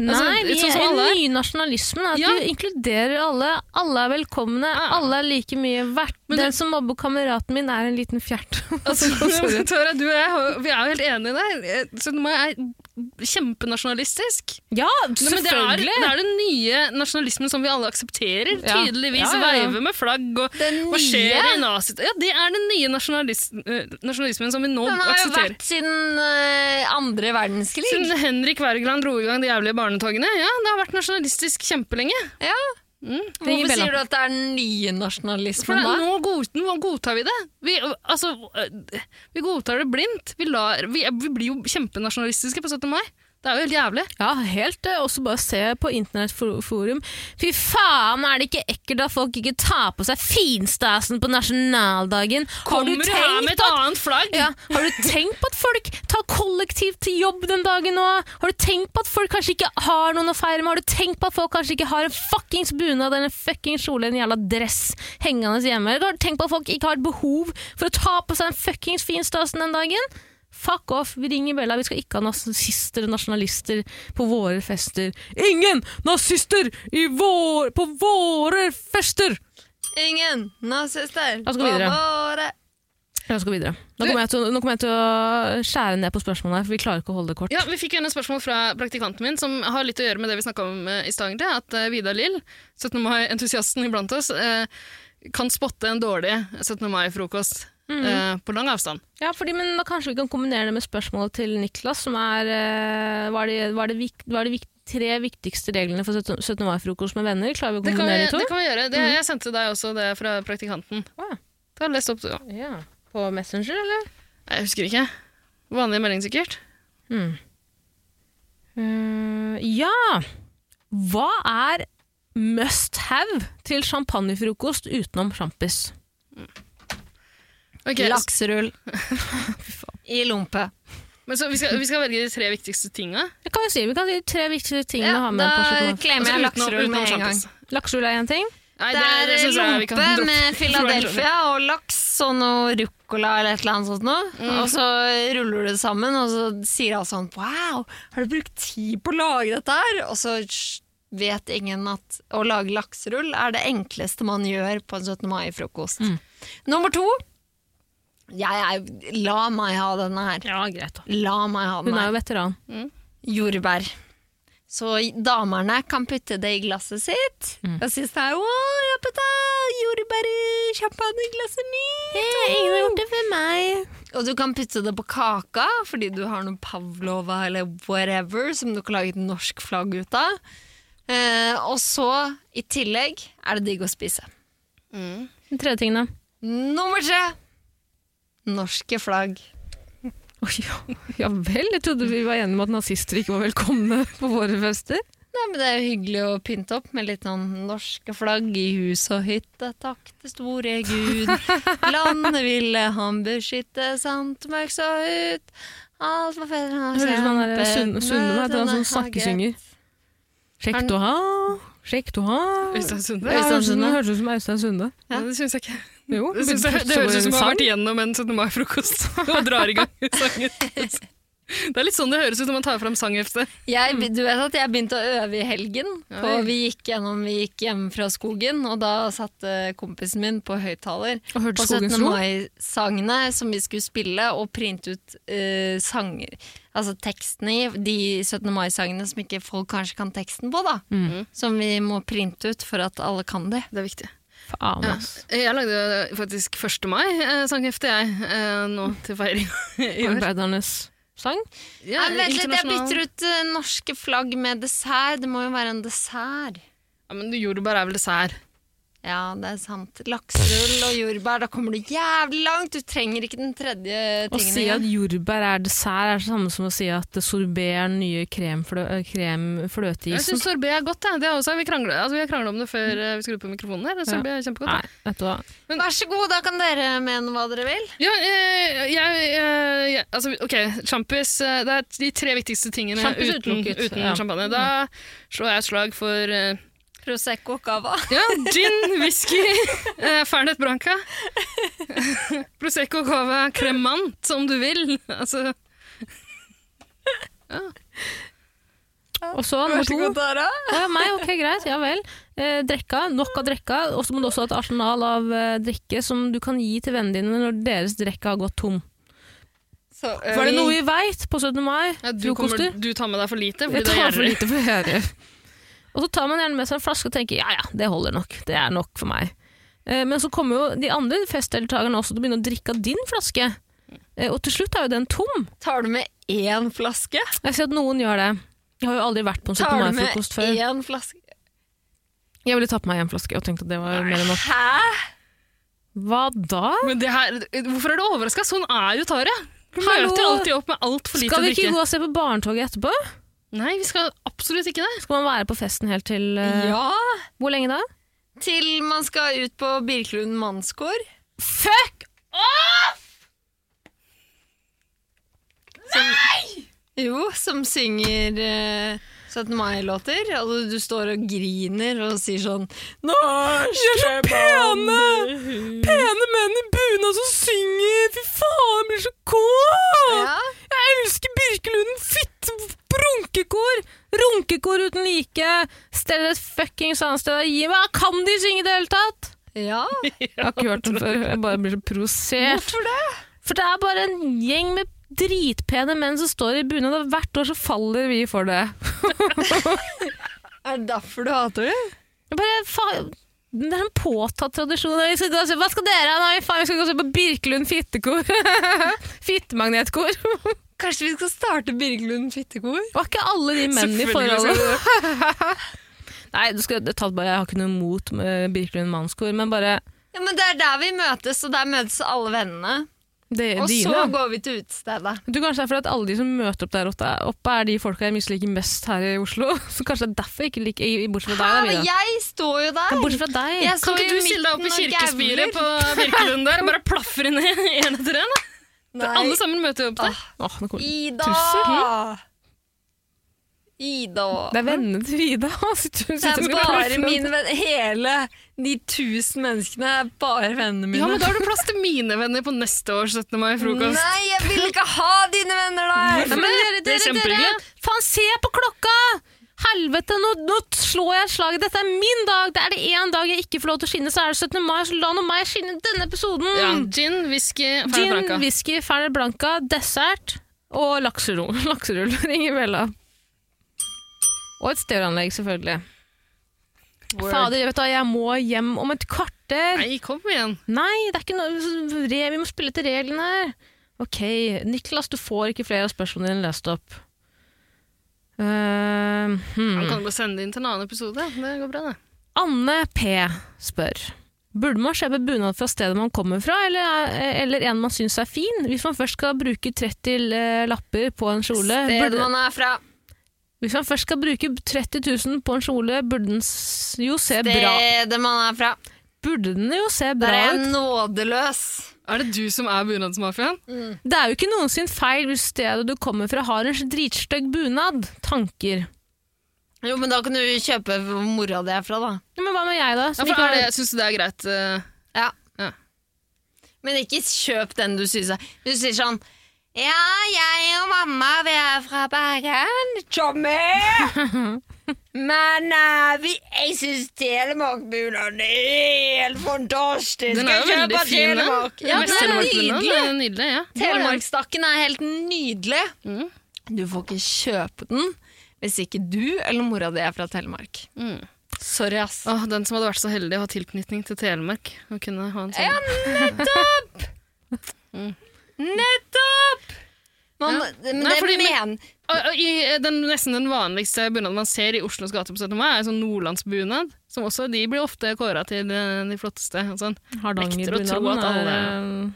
[SPEAKER 2] Nei,
[SPEAKER 4] Altså,
[SPEAKER 2] vi
[SPEAKER 4] sånn
[SPEAKER 2] er
[SPEAKER 4] som alle er.
[SPEAKER 2] i nynasjonalismen. At
[SPEAKER 4] Ja.
[SPEAKER 2] vi inkluderer alle. Alle er velkomne.
[SPEAKER 4] Ja.
[SPEAKER 2] Alle er like mye verdt.
[SPEAKER 4] Men
[SPEAKER 2] Den som mobber kameraten min, er en liten fjert.
[SPEAKER 4] Altså, Tara, du og jeg har- vi er jo helt enige der. Sønnemai er kjempenasjonalistisk.
[SPEAKER 2] ja,
[SPEAKER 4] Nei, men det er, det er den nye nasjonalismen som vi alle aksepterer.
[SPEAKER 2] Ja.
[SPEAKER 4] Tydeligvis
[SPEAKER 2] Ja, ja, ja.
[SPEAKER 4] veiver med flagg og
[SPEAKER 3] Den
[SPEAKER 4] hva skjer
[SPEAKER 3] nye?
[SPEAKER 4] i nazi... Ja, det er den nye nasjonalis eh, nasjonalismen som vi nå
[SPEAKER 3] Den har jo
[SPEAKER 4] aksepterer.
[SPEAKER 3] vært siden eh, andre verdenskrig.
[SPEAKER 4] Siden Henrik Wergeland dro i gang de jævlige barnetogene. Ja, det har vært nasjonalistisk kjempelenge.
[SPEAKER 3] Ja.
[SPEAKER 4] Mm.
[SPEAKER 2] Ring
[SPEAKER 3] Hvorfor
[SPEAKER 2] Bella.
[SPEAKER 3] sier du at det er den nye
[SPEAKER 4] For
[SPEAKER 3] nasjonalismen
[SPEAKER 4] det,
[SPEAKER 3] da?
[SPEAKER 4] nå, god, nå godtar vi det. Vi, altså, øh, vi godtar det blindt. Vi, lar, vi, vi blir jo kjempenasjonalistiske på 17. mai. Det er jo helt jævlig.
[SPEAKER 2] Ja, helt. eh, Også bare se på internettforum. Fy faen, er det ikke ekkelt at folk ikke tar på seg finstasen på nasjonaldagen? Har du
[SPEAKER 4] Kommer du her med
[SPEAKER 2] tenkt
[SPEAKER 4] et
[SPEAKER 2] at
[SPEAKER 4] annet flagg?
[SPEAKER 2] ja, har du tenkt på at folk tar kollektivt til jobb den dagen nå? Har du tenkt på at folk kanskje ikke har noen å feire med? Har du tenkt på at folk kanskje ikke har en fuckings bunad eller en fuckings kjole eller en jævla dress hengende hjemme? Eller har du tenkt på at folk ikke har et behov for å ta på seg den fuckings finstasen den dagen? Fuck off, vi ringer Bella. Vi skal ikke ha nazister og nasjonalister på våre fester. Ingen nazister i vår, på våre fester!
[SPEAKER 3] Ingen nazister
[SPEAKER 2] La oss gå videre.
[SPEAKER 3] våre.
[SPEAKER 2] La oss gå videre. Nå kommer jeg til, å- nå kommer jeg til å skjære ned på spørsmålene, her, for vi klarer ikke å holde det kort.
[SPEAKER 4] Ja, Vi fikk igjen et spørsmål fra praktikanten min som har litt å gjøre med det vi snakka om eh, i stad. egentlig, At eh, Vidar Lill, 17. mai-entusiasten iblant oss, eh, kan spotte en dårlig 17. mai-frokost
[SPEAKER 3] Mm.
[SPEAKER 4] eh, på lang avstand.
[SPEAKER 2] Ja, fordi, men da kanskje vi kan kombinere det med spørsmålet til Niklas, som er eh, hva er de, hva er de, vik, hva er de vik, tre viktigste reglene for 17. 17. mai-frokost med venner? Klarer vi å
[SPEAKER 4] Det kan
[SPEAKER 2] kombinere
[SPEAKER 4] vi,
[SPEAKER 2] de to?
[SPEAKER 4] det kan vi gjøre. Det,
[SPEAKER 3] Mm.
[SPEAKER 4] Jeg sendte deg også det fra praktikanten.
[SPEAKER 2] Ah.
[SPEAKER 4] Du har lest opp, du òg.
[SPEAKER 2] Ja. På Messenger, eller?
[SPEAKER 4] Jeg husker ikke. Vanlig melding, sikkert.
[SPEAKER 2] Eh, ja! Hva er must have til champagnefrokost utenom sjampis?
[SPEAKER 4] Ok, så-
[SPEAKER 3] Lakserull. I lompe.
[SPEAKER 4] Men så vi skal, vi skal velge de tre viktigste tinga?
[SPEAKER 2] Det kan vi si. Vi kan si de tre viktigste tingene å
[SPEAKER 3] Ja,
[SPEAKER 2] ha med.
[SPEAKER 3] da
[SPEAKER 2] på
[SPEAKER 3] klemmer jeg
[SPEAKER 4] Altså, utenom-
[SPEAKER 3] lakserull
[SPEAKER 4] utenom
[SPEAKER 3] med en gang.
[SPEAKER 4] sjampis.
[SPEAKER 2] champagne. Lakserull er én ting.
[SPEAKER 4] Nei,
[SPEAKER 3] Det er
[SPEAKER 4] det synes jeg vi kan
[SPEAKER 3] lompe
[SPEAKER 4] droppe.
[SPEAKER 3] eh, med Philadelphia og laks og noe ruccola eller et eller annet sånt noe. Og så ruller du det sammen, og så sier alle sånn Wow, har du brukt tid på å lage dette her? Og så sj, vet ingen at å lage lakserull er det enkleste man gjør på en 17. mai-frokost.
[SPEAKER 4] Mm.
[SPEAKER 3] Nummer to jeg er, La meg ha denne her.
[SPEAKER 2] Ja, greit da.
[SPEAKER 3] La meg ha den
[SPEAKER 2] Hun er
[SPEAKER 3] her.
[SPEAKER 2] jo veteran.
[SPEAKER 3] Jordbær. Så damerne kan putte det i glasset sitt. Og synes det er Åh, jeg putta jordbær i champagneglasset mitt!
[SPEAKER 2] Ingen har gjort det for meg.
[SPEAKER 3] Og du kan putte det på kaka, fordi du har noe pavlova eller whatever som du kan lage et norsk flagg ut av. Eh, og så, i tillegg, er det digg å spise.
[SPEAKER 2] Den tredje tingen, da?
[SPEAKER 3] Nummer tre! Norske flagg.
[SPEAKER 2] Oi, ja. ja vel, jeg trodde vi var enige om at nazister ikke var velkomne på våre fester.
[SPEAKER 3] Nei, men Det er jo hyggelig å pynte opp med litt sånn norske flagg i hus og hytte. Takk til store Gud. Landet ville han beskytte, sant mørk så ut. Alt var fedre og
[SPEAKER 2] Høres ut som han der Sunn-
[SPEAKER 4] eh,
[SPEAKER 2] Sunne meg til han som snakkesynger. Sjekk
[SPEAKER 3] Han-
[SPEAKER 2] du ha, sjekk du ha.
[SPEAKER 4] Øystein Sunde?
[SPEAKER 3] Ja. Øystein Sunde.
[SPEAKER 2] Høres ut som Øystein Sunde.
[SPEAKER 4] Ja, det syns jeg ikke.
[SPEAKER 2] Jo,
[SPEAKER 4] Det, synes jeg, det høres ut som jeg har vært igjennom en 17. mai-frokost og drar i gang sangen. Det er litt sånn det høres ut når man tar fram sangheftet.
[SPEAKER 2] Mm.
[SPEAKER 3] Jeg, du vet at jeg begynte å øve i helgen. På,
[SPEAKER 4] Oi.
[SPEAKER 3] vi gikk gjennom, vi gikk hjem fra skogen, og da satte kompisen min på høyttaler
[SPEAKER 2] Og hørte
[SPEAKER 3] på
[SPEAKER 2] skogens
[SPEAKER 3] 17.
[SPEAKER 2] ro?
[SPEAKER 3] mai-sangene som vi skulle spille, og printe ut eh, sanger, altså tekstene i de 17. mai-sangene som ikke folk kanskje kan teksten på, da.
[SPEAKER 2] Mm.
[SPEAKER 4] Mm.
[SPEAKER 3] Som vi må printe ut for at alle kan det.
[SPEAKER 4] Det er viktig.
[SPEAKER 2] Faen, ass.
[SPEAKER 4] Jeg lagde faktisk 1. mai-sanghefte, jeg, eh, nå til feiring i år.
[SPEAKER 2] Arbeidernes sang.
[SPEAKER 4] Ja,
[SPEAKER 3] Nei, vent litt, jeg
[SPEAKER 4] internasjonal-
[SPEAKER 3] bytter ut eh, norske flagg med dessert. Det må jo være en dessert.
[SPEAKER 4] Ja, men Jordbær er vel dessert.
[SPEAKER 3] Ja, det er sant. Lakserull og jordbær, da kommer du jævlig langt! Du trenger ikke den tredje
[SPEAKER 2] Å
[SPEAKER 3] tingen.
[SPEAKER 2] si
[SPEAKER 3] engang.
[SPEAKER 2] at jordbær er dessert, er det samme som å si at sorbet er den nye kremflø
[SPEAKER 4] Jeg
[SPEAKER 2] kremfløteisen.
[SPEAKER 4] syns sorbet er godt. Jeg. Det er også, vi krangla altså, vi kranglet om det før eh, vi skrudde på mikrofonen. her. Sorbet er kjempegodt.
[SPEAKER 2] Nei, vet du hva.
[SPEAKER 3] Vær så god, da kan dere mene hva dere vil.
[SPEAKER 4] Ja, eh, jeg, eh, jeg Altså, OK, sjampis. eh, Det er de tre viktigste tingene
[SPEAKER 2] Sjampis
[SPEAKER 4] uten,
[SPEAKER 2] utelukket,
[SPEAKER 4] uten
[SPEAKER 2] ja.
[SPEAKER 4] champagne. Da slår jeg et slag for eh,
[SPEAKER 3] Prosecco Cava.
[SPEAKER 4] Ja, gin, whisky, eh, Fernet Branca. Prosecco Cava Cremant, om du vil. Altså,
[SPEAKER 2] Og så nummer to. Å ja, meg? Ok, greit. Ja vel. Eh, drekka. Nok av drekka. Og så må du også ha et arsenal av eh, drikke som du kan gi til vennene dine når deres drikke har gått tom.
[SPEAKER 3] Så
[SPEAKER 2] Var det
[SPEAKER 3] øl.
[SPEAKER 2] noe vi veit på 17. mai?
[SPEAKER 4] ja, du, kommer,
[SPEAKER 2] Frokoster?
[SPEAKER 4] du tar med deg for lite, fordi
[SPEAKER 2] Jeg
[SPEAKER 4] det er
[SPEAKER 2] tar for
[SPEAKER 4] gjerrig.
[SPEAKER 2] lite for gjerrig. Og så tar man gjerne med seg en flaske og tenker ja ja, det holder nok. Det er nok for meg. Eh, Men så kommer jo de andre festdeltakerne også til å begynne å drikke av din flaske. Eh, Og til slutt er jo den tom.
[SPEAKER 3] Tar du med én flaske?
[SPEAKER 2] Jeg ser at noen gjør det. Jeg har jo aldri vært på en 17.
[SPEAKER 3] Tar du med
[SPEAKER 2] mai-frokost før.
[SPEAKER 3] én flaske?
[SPEAKER 2] Jeg ville tatt på meg en flaske og tenkte at det var mer enn nok.
[SPEAKER 3] Hæ?
[SPEAKER 2] Hva da?
[SPEAKER 4] Men det her, hvorfor er du overraska? Sånn er jo Tare. Du
[SPEAKER 2] Hallo?
[SPEAKER 4] møter alltid opp med altfor lite
[SPEAKER 2] Skal vi ikke
[SPEAKER 4] drikke.
[SPEAKER 2] gå og se på barnetoget etterpå?
[SPEAKER 4] Nei, vi skal absolutt ikke det.
[SPEAKER 2] Skal man være på festen helt til eh,
[SPEAKER 3] Ja!
[SPEAKER 2] Hvor lenge da?
[SPEAKER 3] Til man skal ut på Birkelund mannskår.
[SPEAKER 2] Fuck!
[SPEAKER 3] Jo, som synger eh, 17. mai-låter. Altså, du står og griner og sier sånn Norske så
[SPEAKER 2] Pene menn i bunad som synger! Fy faen, jeg blir så kåt!
[SPEAKER 3] Ja.
[SPEAKER 2] Jeg elsker Birkelunden! Fitt runkekor! Runkekor uten like! Stell et fuckings annet sted og gi meg! Kan de synge i det hele tatt?
[SPEAKER 3] ja.
[SPEAKER 2] Jeg har ikke hørt dem før. Jeg bare blir så provosert.
[SPEAKER 3] Hvorfor det?
[SPEAKER 2] For det er bare en gjeng med dritpene menn som står i bunad, og hvert år så faller vi for det.
[SPEAKER 3] Er det derfor du hater det?
[SPEAKER 2] Jeg bare, faen, det er en påtatt tradisjon. Vi skal gå og se, hva skal dere ha? Nei, faen, vi skal gå og se på Birkelund fittekor. Fittemagnetkor.
[SPEAKER 3] Kanskje vi skal starte Birkelund fittekor?
[SPEAKER 2] Var ikke alle de menn i
[SPEAKER 4] Selvfølgelig skal
[SPEAKER 2] forholdet?
[SPEAKER 4] vi det.
[SPEAKER 2] Nei, du skal, det er tatt bare, jeg har ikke noe imot med Birkelund mannskor, men bare
[SPEAKER 3] Ja, men Det er der vi møtes, og der møtes alle vennene.
[SPEAKER 2] det er
[SPEAKER 3] Og
[SPEAKER 2] dine.
[SPEAKER 3] så
[SPEAKER 2] da.
[SPEAKER 3] går vi til utestedet.
[SPEAKER 2] Du, kanskje det er fordi at alle de som møter opp der oppe, oppe er de folka jeg misliker mest her i Oslo. Så kanskje det er derfor jeg ikke liker i- Bortsett fra
[SPEAKER 3] Ja,
[SPEAKER 2] deg. da, Vida.
[SPEAKER 3] jeg står jo
[SPEAKER 2] Ja,
[SPEAKER 3] der!
[SPEAKER 2] Bortsett fra deg.
[SPEAKER 3] Jeg
[SPEAKER 4] Kan
[SPEAKER 3] står
[SPEAKER 4] ikke
[SPEAKER 3] i
[SPEAKER 4] du stille deg opp i
[SPEAKER 3] midten og
[SPEAKER 4] kirkespiret
[SPEAKER 3] gauler.
[SPEAKER 4] på Birkelund der og bare plafre ned en etter en? da? Alle sammen møter jo opp der.
[SPEAKER 2] Åh, nå kommer-
[SPEAKER 3] Ida!
[SPEAKER 2] Tusen.
[SPEAKER 3] Ida.
[SPEAKER 2] det er vennene til Vida. Sitter hun-
[SPEAKER 3] Det
[SPEAKER 2] sitter
[SPEAKER 3] er
[SPEAKER 2] og
[SPEAKER 3] bare
[SPEAKER 2] klaffer.
[SPEAKER 3] mine venner. Hele de tusen menneskene er bare vennene mine.
[SPEAKER 4] Ja, men Da har du plass til mine venner på neste års 17. mai-frokost.
[SPEAKER 3] Nei, jeg vil ikke ha dine venner der!
[SPEAKER 2] Ja, men dere,
[SPEAKER 4] Det er
[SPEAKER 2] dere, dere,
[SPEAKER 4] kjempehyggelig.
[SPEAKER 2] faen, se på klokka! Helvete, nå, nå slår jeg et slag. Dette er min dag. Det er det én dag jeg ikke får lov til å skinne, så er det 17. mai. Så la nå meg skinne denne episoden.
[SPEAKER 4] Ja, gin, whisky, Fernet
[SPEAKER 2] Mm. Gin,
[SPEAKER 4] Branca.
[SPEAKER 2] whisky, fernet blanca, dessert og lakserull. Lakseruller imellom. Og et stereoanlegg, selvfølgelig. Fader, vet du, hva, jeg må hjem om et kvarter. Nei,
[SPEAKER 4] Nei, kom igjen.
[SPEAKER 2] det er ikke noe re, Vi må spille etter reglene her. Ok, Niklas, du får ikke flere av spørsmålene dine lest opp. Eh, hmm.
[SPEAKER 4] Han kan bare sende det inn til en annen episode. Det går bra, det.
[SPEAKER 2] Anne P. spør Burde man kjøpe bunad fra stedet man kommer fra, eller, eh, eller en man syns er fin? Hvis man først skal bruke 30 l- lapper på en kjole
[SPEAKER 3] Stedet
[SPEAKER 2] burde,
[SPEAKER 3] man er fra.
[SPEAKER 2] Hvis man først skal bruke 30 000 på en kjole, burde den s- jo se bra
[SPEAKER 3] Stedet man er fra.
[SPEAKER 2] Burde den jo se
[SPEAKER 3] Der
[SPEAKER 2] bra
[SPEAKER 3] er jeg
[SPEAKER 2] ut?
[SPEAKER 3] nådeløs.
[SPEAKER 4] Er det du som er bunadsmafiaen?
[SPEAKER 2] Det er jo ikke noen sin feil hvis stedet du kommer fra har en dritstygg bunad. Tanker.
[SPEAKER 3] Jo, men da kan du kjøpe hvor mora di er fra, da.
[SPEAKER 2] Ja, men hva med jeg, da?
[SPEAKER 4] Ja,
[SPEAKER 2] Som
[SPEAKER 4] for
[SPEAKER 2] ikke
[SPEAKER 4] er det,
[SPEAKER 2] har...
[SPEAKER 4] jeg syns det er greit. eh,
[SPEAKER 3] Ja.
[SPEAKER 4] Ja.
[SPEAKER 3] Men ikke kjøp den du syns er Du sier sånn Ja, jeg og mamma, vi er fra Bergen. Tommy! Men eh, vi, jeg syns Telemark-bunaden er helt fantastisk.
[SPEAKER 4] Den er jo
[SPEAKER 3] Jeg
[SPEAKER 4] veldig
[SPEAKER 3] kjøper
[SPEAKER 4] fin, den.
[SPEAKER 3] Telemark. Ja,
[SPEAKER 4] Mest
[SPEAKER 3] den er
[SPEAKER 4] Telemark-bunaden,
[SPEAKER 3] nydelig.
[SPEAKER 4] den er nydelig ja.
[SPEAKER 3] Telemarkstakken er helt nydelig.
[SPEAKER 4] Mm.
[SPEAKER 3] Du får ikke kjøpe den hvis ikke du eller mora di er fra Telemark.
[SPEAKER 4] Mm.
[SPEAKER 3] Sorry, ass.
[SPEAKER 4] Åh, den som hadde vært så heldig å ha tilknytning til Telemark. Og kunne ha en sånn.
[SPEAKER 3] Nettopp! Man,
[SPEAKER 4] Ja.
[SPEAKER 3] Men
[SPEAKER 4] Nei,
[SPEAKER 3] det
[SPEAKER 4] fordi-
[SPEAKER 3] men,
[SPEAKER 4] Og- og i, eh, den, nesten den vanligste bunaden man ser i Oslos gater på 17. mai, er sånn nordlandsbunad. Som også, de blir ofte kåra til eh, de flotteste. og Sånn. nekter å tro
[SPEAKER 2] Hardangerbunaden
[SPEAKER 4] at alle-
[SPEAKER 2] er, eh,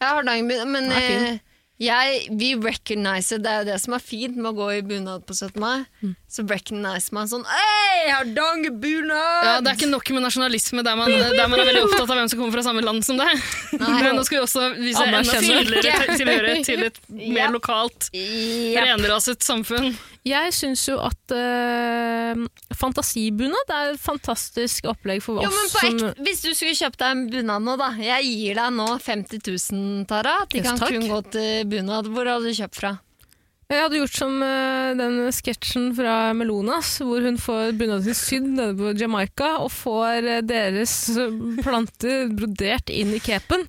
[SPEAKER 3] Ja, Hardangerbunad, men
[SPEAKER 2] Den er fin.
[SPEAKER 3] eh, jeg, vi recognizer, det er jo det som er fint med å gå i bunad på 17. mai. Så recognizer man sånn Hei, Hardangerbunad!
[SPEAKER 4] Ja, det er ikke nok med nasjonalisme der man, der man er veldig opptatt av hvem som kommer fra samme land som deg. Men nå skal vi også vise enda
[SPEAKER 2] Anerkjenne.
[SPEAKER 4] tydeligere tilhørighet til et
[SPEAKER 3] Ja.
[SPEAKER 4] mer lokalt,
[SPEAKER 3] Ja.
[SPEAKER 4] renraset samfunn.
[SPEAKER 2] Jeg syns jo at uh, Fantasibunad er et fantastisk opplegg for oss
[SPEAKER 3] Jo, men på
[SPEAKER 2] som
[SPEAKER 3] ekte, Hvis du skulle kjøpt deg en bunad nå, da. Jeg gir deg nå 50 000, Tara. De
[SPEAKER 2] Tusen
[SPEAKER 3] kan
[SPEAKER 2] takk.
[SPEAKER 3] kun gå til bunad. Hvor hadde du kjøpt fra?
[SPEAKER 2] Jeg hadde gjort som eh, den sketsjen fra Melonas, hvor hun får bunaden sin sydd nede på Jamaica, og får eh, deres eh, planter brodert inn i capen.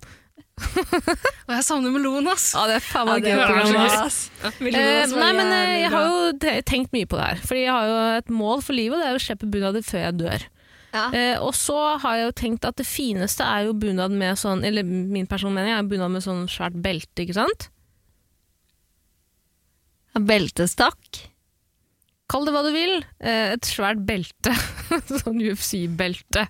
[SPEAKER 4] Og jeg savner melon, ass.
[SPEAKER 2] Ja, det er faen meg
[SPEAKER 4] det
[SPEAKER 2] gøy
[SPEAKER 4] var
[SPEAKER 2] program.
[SPEAKER 4] så
[SPEAKER 2] ass.
[SPEAKER 4] gøy.
[SPEAKER 2] Eh, nei, men eh, jeg har jo te- tenkt mye på det her. Fordi jeg har jo et mål for livet, og det er å slippe bunader før jeg dør.
[SPEAKER 3] Ja.
[SPEAKER 2] Eh, og så har jeg jo tenkt at det fineste er jo bunad med sånn Eller min person mener jeg er bunad med sånn svært belte, ikke sant?
[SPEAKER 3] Beltestakk.
[SPEAKER 2] Kall det hva du vil. Eh, et svært belte. sånn UFC-belte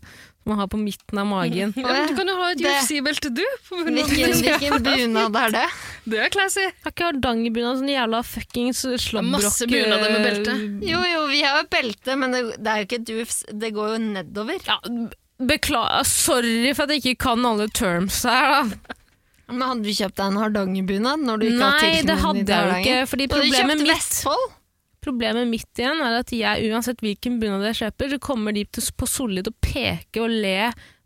[SPEAKER 2] som man har på midten av magen.
[SPEAKER 4] Ja, men du kan jo ha et
[SPEAKER 3] Eh, Det-
[SPEAKER 4] UFC-belte, du. på grunn av-
[SPEAKER 3] Hvilken, hvilken bunad er det?
[SPEAKER 4] Det er classy.
[SPEAKER 2] Har ikke hardangerbunad sånn jævla fuckings eh, slåbrok
[SPEAKER 4] Masse bunader
[SPEAKER 3] eh,
[SPEAKER 4] med belte.
[SPEAKER 3] Jo, jo, vi har jo et belte, men det, det er jo ikke et dufs. Det går jo nedover.
[SPEAKER 2] Ja, beklager Sorry for at jeg ikke kan alle terms her, da.
[SPEAKER 3] Men hadde du kjøpt deg en hardangerbunad når du ikke hadde
[SPEAKER 2] Nei, det
[SPEAKER 3] tilknytning
[SPEAKER 2] hadde
[SPEAKER 3] til
[SPEAKER 2] jeg jo
[SPEAKER 3] Hardanger?
[SPEAKER 2] ikke. Fordi
[SPEAKER 3] Og du
[SPEAKER 2] problemet
[SPEAKER 3] kjøpte
[SPEAKER 2] mitt,
[SPEAKER 3] Vestfold?
[SPEAKER 2] problemet mitt igjen er at jeg, uansett hvilken bunad jeg kjøper, så kommer de til, på Solli til å peke og le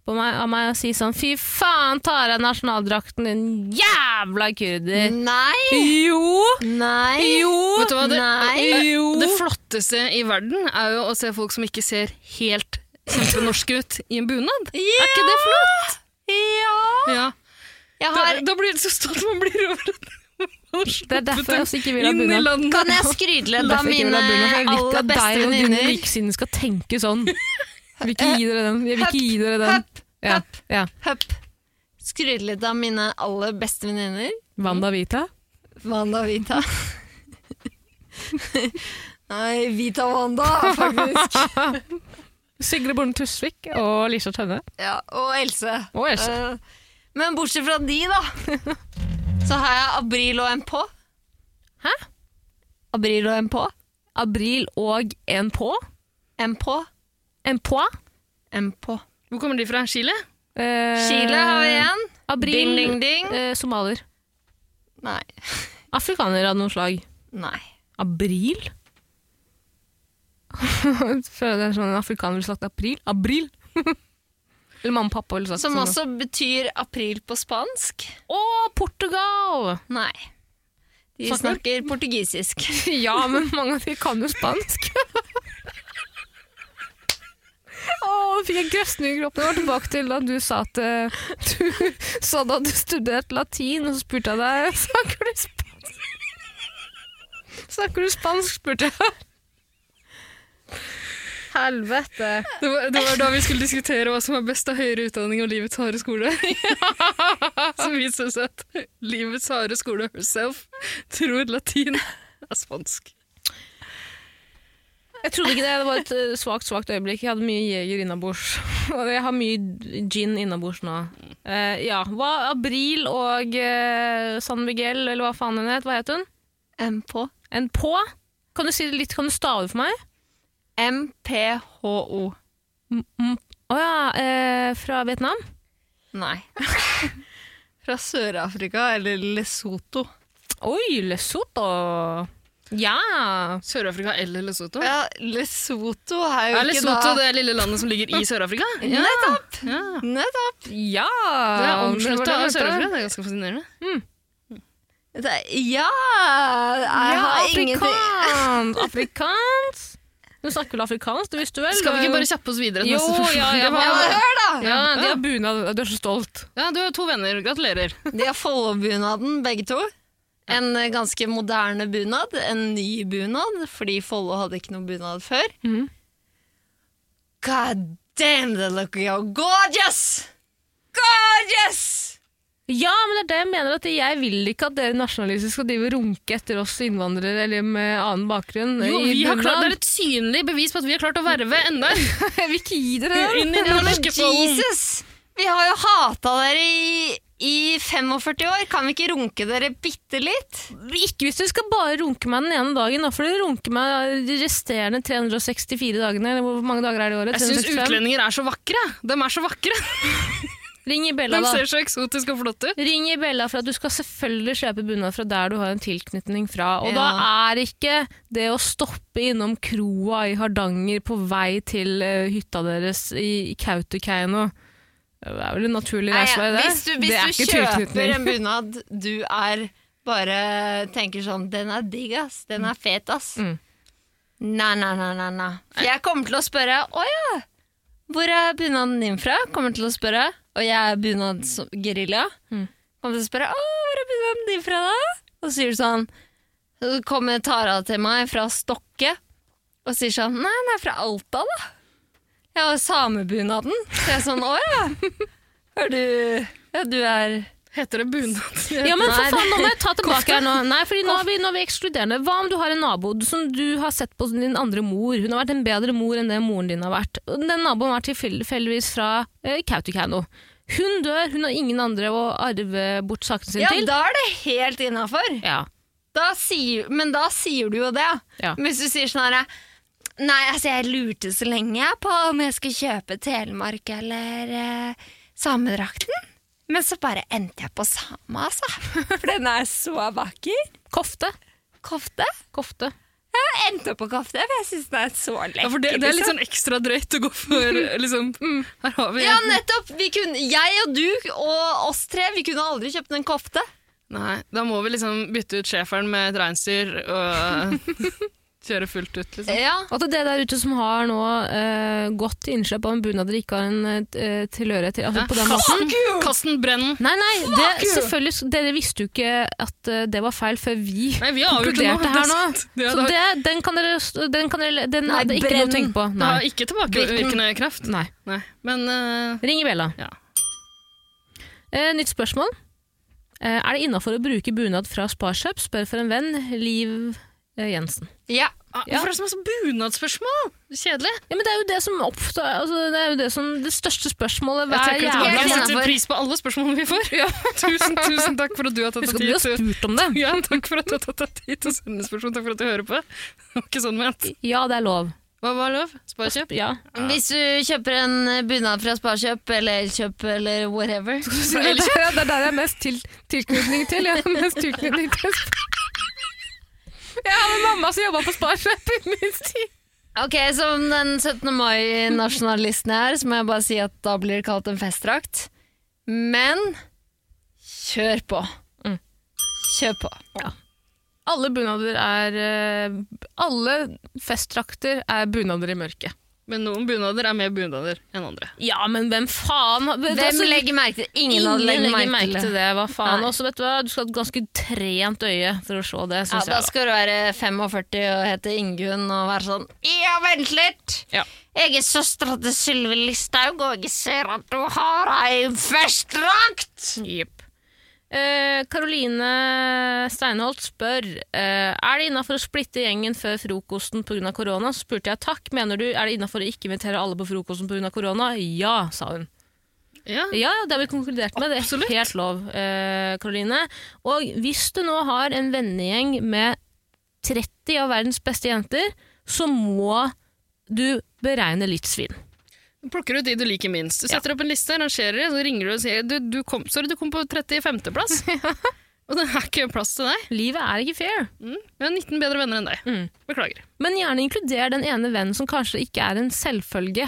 [SPEAKER 2] på meg, av meg og si sånn Fy faen, tar av nasjonaldrakten, din jævla kurder!
[SPEAKER 3] Nei!
[SPEAKER 2] Jo!
[SPEAKER 3] Nei!
[SPEAKER 2] Jo!
[SPEAKER 4] Vet du hva, det, eh,
[SPEAKER 3] Nei.
[SPEAKER 2] Jo!
[SPEAKER 4] det flotteste i verden er jo å se folk som ikke ser helt kjempenorske ut i en bunad. Er ikke det flott?
[SPEAKER 3] Ja!
[SPEAKER 4] Ja.
[SPEAKER 3] Jeg
[SPEAKER 4] Da,
[SPEAKER 3] har
[SPEAKER 4] da blir det så stolt man blir over at man har
[SPEAKER 2] Det er derfor jeg også ikke vil ha
[SPEAKER 4] inn i
[SPEAKER 2] bunad.
[SPEAKER 4] landet.
[SPEAKER 3] Kan jeg skryte litt av
[SPEAKER 2] Derfor jeg ikke vil
[SPEAKER 3] mine
[SPEAKER 2] ha bunad, for jeg vil ikke
[SPEAKER 3] aller
[SPEAKER 2] at
[SPEAKER 3] beste
[SPEAKER 2] deg og dine
[SPEAKER 3] venninner?
[SPEAKER 2] likesinnede skal tenke sånn. Jeg vil ikke gi dere den. Jeg vil ikke gi dere den.
[SPEAKER 3] Høpp,
[SPEAKER 2] Ja.
[SPEAKER 3] høpp.
[SPEAKER 2] ja.
[SPEAKER 3] høpp. Skryte litt av mine aller beste venninner.
[SPEAKER 2] Wanda Vita.
[SPEAKER 3] Wanda og Vita. Nei, Vita og Wanda, faktisk.
[SPEAKER 2] Sigrid Bonde Tusvik og Lisa Tønne.
[SPEAKER 3] Ja, og Else.
[SPEAKER 2] Og Else.
[SPEAKER 3] Eh, Men bortsett fra de, da, så har jeg Abril og en på.
[SPEAKER 2] Hæ?
[SPEAKER 3] Abril og en på.
[SPEAKER 2] Abril og en på.
[SPEAKER 3] En på.
[SPEAKER 2] En på.
[SPEAKER 3] En på.
[SPEAKER 4] Hvor kommer de fra? Chile?
[SPEAKER 2] Eh,
[SPEAKER 3] Chile har vi igjen.
[SPEAKER 2] Abril.
[SPEAKER 3] Ding, ding, ding.
[SPEAKER 2] Eh, somalier.
[SPEAKER 3] Nei.
[SPEAKER 2] Afrikaner av noe slag.
[SPEAKER 3] Nei.
[SPEAKER 2] Abril? Føler det er sånn en afrikaner ville sagt april. Abril! Eller mamma og pappa ville sagt
[SPEAKER 3] Som
[SPEAKER 2] sånn.
[SPEAKER 3] også betyr april på spansk.
[SPEAKER 2] Å, Portugal!
[SPEAKER 3] Nei. De
[SPEAKER 2] Snakker-
[SPEAKER 3] snakker portugisisk.
[SPEAKER 2] ja, men mange av de kan jo spansk. Å, nå fikk jeg grøsning i kroppen. Jeg var tilbake til da du sa at eh, du sa da du studerte latin, og så spurte jeg deg snakker du spansk. Snakker du spansk, spurte jeg. Helvete.
[SPEAKER 4] Det var, det var da vi skulle diskutere hva som er best av høyere utdanning og livets harde skole. Som viser seg at livets harde skole herself tror latin er spansk.
[SPEAKER 2] Jeg trodde ikke det. Det var et eh, svakt, svakt øyeblikk. Jeg hadde mye Jeger innabords. Og jeg har mye gin innabords nå. Eh, ja, hva Abril og eh, San Miguel, eller hva faen hun het, hva het hun?
[SPEAKER 3] En på.
[SPEAKER 2] En på? Kan du si det litt, kan du stave for meg?
[SPEAKER 3] MPHO.
[SPEAKER 2] M- m- Å ja, eh, fra Vietnam?
[SPEAKER 3] Nei. Fra Sør-Afrika, eller Lesotho.
[SPEAKER 2] Oi, Lesotho! Ja!
[SPEAKER 4] Sør-Afrika eller Lesotho?
[SPEAKER 3] Ja, Lesotho er jo
[SPEAKER 4] Er
[SPEAKER 3] ikke
[SPEAKER 4] Lesotho
[SPEAKER 3] da
[SPEAKER 4] det lille landet som ligger i Sør-Afrika? Ja.
[SPEAKER 3] Nettopp!
[SPEAKER 4] ja.
[SPEAKER 3] Nettopp!
[SPEAKER 2] Ja!
[SPEAKER 4] Det er
[SPEAKER 2] Det var det
[SPEAKER 4] omslutta av
[SPEAKER 2] jeg mente.
[SPEAKER 4] Sør-Afrika. Det er ganske fascinerende.
[SPEAKER 3] Det er, ja! Jeg
[SPEAKER 2] Ja,
[SPEAKER 3] har ingenting
[SPEAKER 2] afrikansk! Afrikansk! Du snakker vel afrikansk, det visste du vel?
[SPEAKER 4] Skal vi
[SPEAKER 2] Det er
[SPEAKER 4] ikke
[SPEAKER 2] jo-
[SPEAKER 4] bare kjappe oss videre? til
[SPEAKER 2] Jo,
[SPEAKER 4] neste
[SPEAKER 2] ja,
[SPEAKER 4] spørsmål?
[SPEAKER 2] ja,
[SPEAKER 4] Det var-
[SPEAKER 3] Ja, men hør, da!
[SPEAKER 2] Ja, de har bunad. Du er så stolt.
[SPEAKER 4] ja, du har to venner. Gratulerer.
[SPEAKER 3] De har Follo-bunaden, begge to. En eh, ganske moderne bunad, en ny bunad, fordi Follo hadde ikke noen bunad før.
[SPEAKER 2] Mhm.
[SPEAKER 3] God damn, they look go gorgeous! Gorgeous!
[SPEAKER 2] Ja, men det er det jeg mener. at Jeg vil ikke at dere nasjonalister skal drive og runke etter oss innvandrere eller med annen bakgrunn.
[SPEAKER 4] Jo,
[SPEAKER 2] i
[SPEAKER 4] vi har
[SPEAKER 2] bunad.
[SPEAKER 4] klart, det er et synlig bevis på at vi har klart å verve enda en
[SPEAKER 2] Jeg vil ikke gi dere det.
[SPEAKER 4] inn i
[SPEAKER 3] Ja,
[SPEAKER 4] den
[SPEAKER 3] men
[SPEAKER 4] norske folden.
[SPEAKER 3] Jesus! Vi har jo hata dere i, i 45 år. Kan vi ikke runke dere bitte litt?
[SPEAKER 2] Ikke hvis dere skal bare runke meg den ene dagen. Da får dere runke meg de resterende 364 dagene. Eller hvor mange dager er det i året?
[SPEAKER 4] Jeg syns utlendinger er så vakre. De er så vakre.
[SPEAKER 2] Ring i Bella,
[SPEAKER 4] De
[SPEAKER 2] da.
[SPEAKER 4] ser så eksotiske og flotte ut.
[SPEAKER 2] Ring i Bella for at du skal selvfølgelig kjøpe bunad fra der du har en tilknytning fra. Og da
[SPEAKER 3] Ja.
[SPEAKER 2] er ikke det å stoppe innom kroa i Hardanger på vei til eh, hytta deres i Kautokeino Det er vel en naturlig
[SPEAKER 3] Nei,
[SPEAKER 2] reisevei, det?
[SPEAKER 3] Hvis du, hvis
[SPEAKER 2] det er
[SPEAKER 3] du
[SPEAKER 2] ikke
[SPEAKER 3] kjøper
[SPEAKER 2] tilknytning.
[SPEAKER 3] en bunad du er bare tenker sånn 'Den er digg, ass. Den er fet, ass'.
[SPEAKER 2] Mm.
[SPEAKER 3] Nei, nei, nei, nei, nei. For jeg kommer til å spørre 'Å ja, hvor er bunaden din fra?' Kommer til å spørre. Og jeg er bunadsgerilja.
[SPEAKER 2] Mm.
[SPEAKER 3] Kommer til å spørre 'Å, hvor er bunaden din fra, da?' Og så sier du sånn Så kommer Tara til meg fra Stokke og sier sånn 'Nei, den er fra Alta, da'. Jeg har samebunaden. Så jeg er sånn 'Å ja'. Er du Ja, du er
[SPEAKER 4] Heter det bunad?
[SPEAKER 2] Ja, men for
[SPEAKER 3] Nei,
[SPEAKER 2] faen, nå må jeg ta tilbake her nå. Nei, fordi nå er, vi, nå er vi ekskluderende. Hva om du har en nabo som du har sett på som din andre mor? Hun har vært en bedre mor enn det moren din har vært. Og Den naboen var tilfeldigvis fra eh, Kautokeino. Hun dør, hun har ingen andre å arve bort sakene sine
[SPEAKER 3] Ja,
[SPEAKER 2] til.
[SPEAKER 3] da er det helt innafor.
[SPEAKER 2] Ja,
[SPEAKER 3] Men da sier du jo det.
[SPEAKER 2] Ja.
[SPEAKER 3] Men hvis du sier sånn herre Nei, altså, jeg lurte så lenge jeg på om jeg skulle kjøpe Telemark eller eh, samedrakten. Men så bare endte jeg på same, altså. For den er så vakker.
[SPEAKER 2] Kofte.
[SPEAKER 3] Kofte.
[SPEAKER 2] Kofte.
[SPEAKER 3] Jeg endte opp på kofte, for jeg syns den er så lekker.
[SPEAKER 4] Ja, for det, det er litt
[SPEAKER 3] liksom.
[SPEAKER 4] sånn ekstra drøyt å gå for liksom, Her har vi
[SPEAKER 3] ja, nettopp! Vi kunne, jeg og du og oss tre vi kunne aldri kjøpt en kofte.
[SPEAKER 4] Nei, da må vi liksom bytte ut schæferen med et reinsdyr og kjøre fullt ut, liksom.
[SPEAKER 3] Ja.
[SPEAKER 2] Og til det der ute som har nå eh, gått til innkjøp av en bunad dere ikke har en eh, tilhørighet til, altså på den måten
[SPEAKER 4] Kast den, brenn den!
[SPEAKER 2] Nei, nei, det, selvfølgelig, dere visste jo ikke at eh, det var feil før vi
[SPEAKER 4] Nei, vi har avgjort det nå.
[SPEAKER 2] konkluderte her nå.
[SPEAKER 4] Det, er sant. ja,
[SPEAKER 2] Så
[SPEAKER 4] det,
[SPEAKER 2] det, den kan dere Den, kan dere, den
[SPEAKER 3] Nei,
[SPEAKER 2] er det ikke noe å
[SPEAKER 3] brenn.
[SPEAKER 2] tenke på.
[SPEAKER 4] har- det
[SPEAKER 2] Nei.
[SPEAKER 4] har ikke tilbakevirkende kraft.
[SPEAKER 2] Nei.
[SPEAKER 4] Nei. Men eh,
[SPEAKER 2] Ring i bjella.
[SPEAKER 4] Ja.
[SPEAKER 2] Eh, nytt spørsmål. Eh, er det innafor å bruke bunad fra Sparkjøp? Spør for en venn. Liv eh, Jensen.
[SPEAKER 3] ja.
[SPEAKER 4] ah, hvorfor er det så masse bunadsspørsmål? Kjedelig.
[SPEAKER 2] Ja, men det er jo det som oppstår altså, Det er jo det som Det største spørsmålet
[SPEAKER 4] Jeg
[SPEAKER 2] hver
[SPEAKER 4] trekker
[SPEAKER 3] jævlig
[SPEAKER 4] tilbake.
[SPEAKER 2] jævla
[SPEAKER 4] Jeg
[SPEAKER 3] innenfor.
[SPEAKER 4] setter pris på alle spørsmålene vi får. Tusen, tusen takk for at du har tatt
[SPEAKER 2] Husk
[SPEAKER 4] deg
[SPEAKER 2] at du har
[SPEAKER 4] tid. til-
[SPEAKER 2] spurt om det.
[SPEAKER 4] Ja, takk for at du har tatt deg tid til å sende spørsmål. Takk for at du hører på. Det var ikke sånn ment.
[SPEAKER 2] Ja, det er lov.
[SPEAKER 4] Hva var lov? Sparekjøp?
[SPEAKER 2] Ja.
[SPEAKER 3] Hvis du kjøper en bunad fra Sparkjøp eller Elkjøp eller whatever
[SPEAKER 2] det er der jeg har mest tilknytning til. Jeg har mest tilknytning til Jeg har en mamma som jobba på Sparkjøp i min tid.
[SPEAKER 3] Ok, Som den 17. mai-nasjonalisten jeg er, så må jeg bare si at da blir det kalt en festdrakt. Men kjør på.
[SPEAKER 2] Mm.
[SPEAKER 3] Kjør på.
[SPEAKER 2] Alle bunader er eh, Alle festdrakter er bunader i mørket.
[SPEAKER 4] Men noen bunader er mer bunader enn andre.
[SPEAKER 2] Ja, men hvem faen Hvem
[SPEAKER 3] Hvem legger merke til det?
[SPEAKER 2] altså-
[SPEAKER 3] Ingen,
[SPEAKER 2] ingen
[SPEAKER 3] hadde
[SPEAKER 2] legger
[SPEAKER 3] legger
[SPEAKER 2] merke, til det? Hva faen?
[SPEAKER 3] Nei.
[SPEAKER 2] Også, vet du, hva? du skal ha et ganske trent øye for å se det,
[SPEAKER 3] Ja,
[SPEAKER 2] syns
[SPEAKER 3] da
[SPEAKER 2] jeg. da.
[SPEAKER 3] skal du være 45 og hete Ingunn og være sånn Ja, vent litt!
[SPEAKER 2] Ja.
[SPEAKER 3] Jeg er søstera til Sylvi Listhaug, og jeg ser at du har ei festdrakt!
[SPEAKER 2] Jepp. Karoline Eh, Steinholt spør eh, Er det innafor å splitte gjengen før frokosten pga. korona. Så spurte jeg takk. Mener du er det innafor å ikke invitere alle på frokosten pga. korona? Ja, sa hun.
[SPEAKER 4] Ja.
[SPEAKER 2] Ja, ja, det har vi konkludert med. Det er helt lov, eh, Karoline. Og hvis du nå har en vennegjeng med 30 av verdens beste jenter, så må du beregne litt svinn.
[SPEAKER 4] Du plukker ut de du liker minst. Du setter opp en liste, rangerer det, så ringer du og sier du, du kom, sorry, du kom på 35. plass. og det er ikke plass til deg.
[SPEAKER 2] Livet er ikke fair.
[SPEAKER 4] Mm. Vi har 19 bedre venner enn deg.
[SPEAKER 2] Mm.
[SPEAKER 4] Beklager.
[SPEAKER 2] Men gjerne inkluder den ene vennen som kanskje ikke er en selvfølge.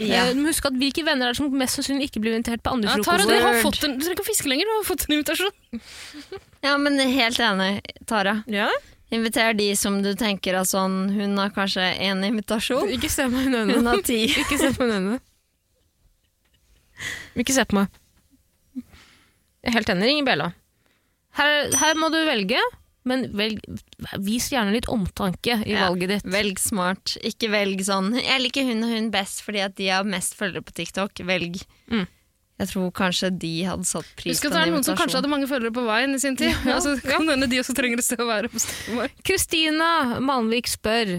[SPEAKER 2] Eh, men Husk at hvilke venner er det som mest sannsynlig ikke blir invitert på andre
[SPEAKER 4] Ja, Tara, du
[SPEAKER 2] frokoster?
[SPEAKER 4] har fått en, du trenger ikke å fiske lenger, du har fått en invitasjon.
[SPEAKER 3] Ja, men helt enig, Tara.
[SPEAKER 2] Ja,
[SPEAKER 3] Inviter de som du tenker er sånn Hun har kanskje én invitasjon,
[SPEAKER 2] ikke se meg i
[SPEAKER 3] hun
[SPEAKER 2] øynene.
[SPEAKER 3] har ti.
[SPEAKER 2] Ikke se på meg i øynene. Ikke se på meg. Jeg er helt enig, ring Bella. Her, her må du velge, men velg, vis gjerne litt omtanke i
[SPEAKER 3] Ja,
[SPEAKER 2] valget ditt.
[SPEAKER 3] Velg smart. Ikke velg sånn Jeg liker hun og hun best fordi at de har mest følgere på TikTok. Velg.
[SPEAKER 2] Mm.
[SPEAKER 3] Jeg tror kanskje de hadde satt pris på
[SPEAKER 4] Husk at det
[SPEAKER 3] en
[SPEAKER 4] er noen som kanskje
[SPEAKER 3] invitasjon.
[SPEAKER 4] hadde mange følgere på veien i sin tid. Ja, så kan hende de også trenger et sted å være på stedet vår.
[SPEAKER 2] Kristina Malmvik spør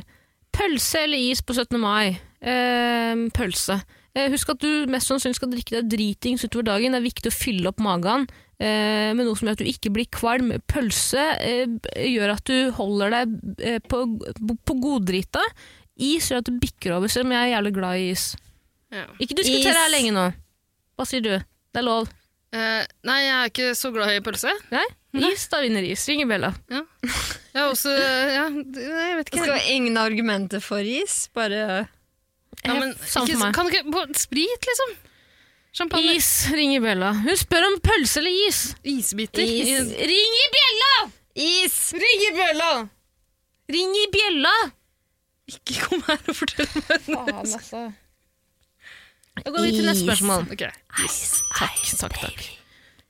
[SPEAKER 2] Pølse eller is på 17. mai? Ehm, pølse. Eh, husk at du mest sannsynlig skal drikke deg dritings utover dagen. Det er viktig å fylle opp magen eh, med noe som gjør at du ikke blir kvalm. Pølse eh, b- gjør at du holder deg eh, på, på goddrita. Is gjør at du bikker over, selv om jeg er jævlig glad i is.
[SPEAKER 4] Ja.
[SPEAKER 2] Ikke diskuter
[SPEAKER 3] Is.
[SPEAKER 2] det her lenge nå. Hva sier du? Det er lov.
[SPEAKER 4] Eh, nei, jeg er ikke så glad i pølse.
[SPEAKER 2] Nei? Is, da vinner is. Ringer Bella.
[SPEAKER 4] Jeg er også eh, ja, det- nei, Jeg vet
[SPEAKER 3] Det
[SPEAKER 4] ikke.
[SPEAKER 3] skal være ingen argumenter for is, bare
[SPEAKER 4] ja, men,
[SPEAKER 2] Samme for
[SPEAKER 4] ikke
[SPEAKER 2] meg.
[SPEAKER 4] kan du ikke på- Sprit, liksom. Champagne.
[SPEAKER 2] Is, ringer Bella. Hun spør om pølse eller is.
[SPEAKER 4] Isbiter.
[SPEAKER 3] Is.
[SPEAKER 2] Ring i bjella!
[SPEAKER 3] Is!
[SPEAKER 2] Ring i bjella! Ring i bjella!
[SPEAKER 4] Ikke kom her og fortell meg
[SPEAKER 2] Faen, altså. Da går vi til neste
[SPEAKER 3] Is.
[SPEAKER 2] spørsmål.
[SPEAKER 4] Ok.
[SPEAKER 3] Is,
[SPEAKER 2] Takk, takk, takk.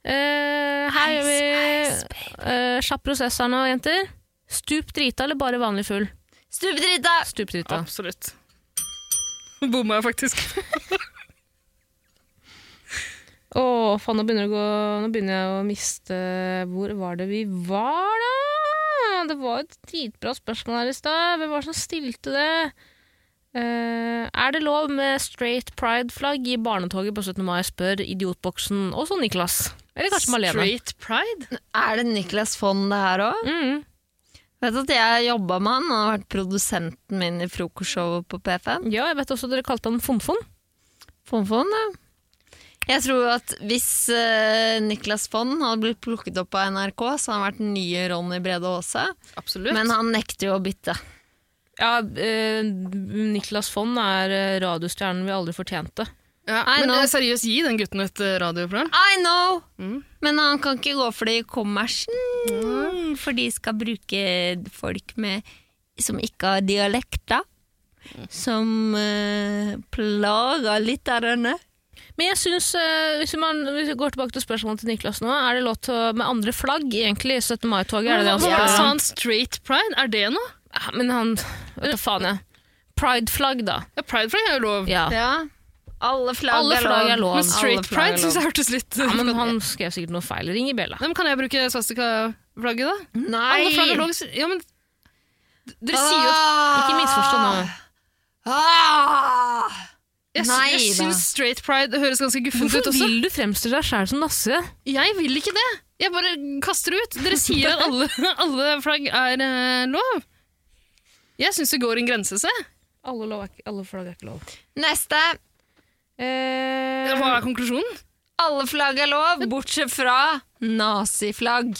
[SPEAKER 2] Eh, her gjør
[SPEAKER 3] Ice,
[SPEAKER 2] vi uh, kjapp prosess her nå, jenter. Stup drita eller bare vanlig full?
[SPEAKER 3] Stupedrita!
[SPEAKER 2] Stup drita.
[SPEAKER 4] Absolutt. Nå bomma jeg faktisk.
[SPEAKER 2] Å, faen, nå begynner, det å gå, nå begynner jeg å miste Hvor var det vi var, da? Det var et dritbra spørsmål her i stad. Hvem var det som stilte det? Eh, er det lov med straight pride-flagg i barnetoget på 17. mai, spør Idiotboksen. Også Niklas. Eller kanskje Malene.
[SPEAKER 4] Straight pride?
[SPEAKER 3] Er det Niklas Fonn det her òg?
[SPEAKER 2] Mm.
[SPEAKER 3] Vet at jeg jobba med han. Han har vært produsenten min i frokostshowet på P5.
[SPEAKER 2] Ja, jeg vet også dere kalte han Fonfon.
[SPEAKER 3] Fonn Fonn, ja. Jeg tror at hvis eh, Niklas Fonn hadde blitt plukket opp av NRK, så hadde han vært den nye Ronny Brede Aase.
[SPEAKER 4] Absolutt.
[SPEAKER 3] Men han nekter jo å bytte.
[SPEAKER 2] Ja, eh, Niklas Fonn er eh, radiostjernen vi aldri fortjente.
[SPEAKER 4] ja,
[SPEAKER 3] I
[SPEAKER 4] men
[SPEAKER 3] know.
[SPEAKER 4] eh, seriøst, gi den gutten et eh, radioprogram.
[SPEAKER 3] I know!
[SPEAKER 4] Mm.
[SPEAKER 3] Men han kan ikke gå for det i kommersen,
[SPEAKER 4] Mm.
[SPEAKER 3] for de skal bruke folk med, som ikke har dialekter.
[SPEAKER 4] Mm.
[SPEAKER 3] Som eh, plager lytterne.
[SPEAKER 2] Men jeg synes, eh, hvis, man, hvis vi går tilbake til spørsmålet til Niklas nå, er det lov til å, med andre flagg egentlig i 17. mai-toget? Er det det han
[SPEAKER 4] Hva- hva
[SPEAKER 2] spør
[SPEAKER 4] Sa
[SPEAKER 2] om?
[SPEAKER 4] han straight pride? Er det noe?
[SPEAKER 2] Ja, Men han Vet da faen, jeg. Pride-flagg, da.
[SPEAKER 4] Ja, pride pride er jo lov.
[SPEAKER 2] Ja.
[SPEAKER 3] Ja. Alle flagg,
[SPEAKER 2] Alle flagg er lov.
[SPEAKER 4] Men
[SPEAKER 3] Alle
[SPEAKER 4] straight
[SPEAKER 3] flagg er
[SPEAKER 4] pride syns
[SPEAKER 3] lov.
[SPEAKER 4] jeg hørtes litt
[SPEAKER 2] ja. Men han skrev sikkert noe feil. Ring i bjella.
[SPEAKER 4] Ja, men Kan jeg bruke svastika-flagget, da?
[SPEAKER 3] Nei!
[SPEAKER 4] Alle flagg er lov. Ja, men d- dere sier jo at
[SPEAKER 2] Ikke misforstå nå.
[SPEAKER 3] Ah!
[SPEAKER 4] Jeg, sy-
[SPEAKER 3] Nei
[SPEAKER 4] jeg
[SPEAKER 3] da.
[SPEAKER 4] syns straight pride høres ganske guffent ut
[SPEAKER 2] Hvorfor
[SPEAKER 4] også.
[SPEAKER 2] vil du fremstille deg sjæl som nasse?
[SPEAKER 4] Jeg vil ikke det! Jeg bare kaster det ut. Dere sier at alle, alle flagg er eh, lov. Jeg syns det går en grense, se.
[SPEAKER 2] Alle, lov er ikke, alle flagg er ikke lov.
[SPEAKER 3] Neste.
[SPEAKER 2] Eh,
[SPEAKER 4] Hva er konklusjonen?
[SPEAKER 3] Alle flagg er lov, bortsett fra naziflagg.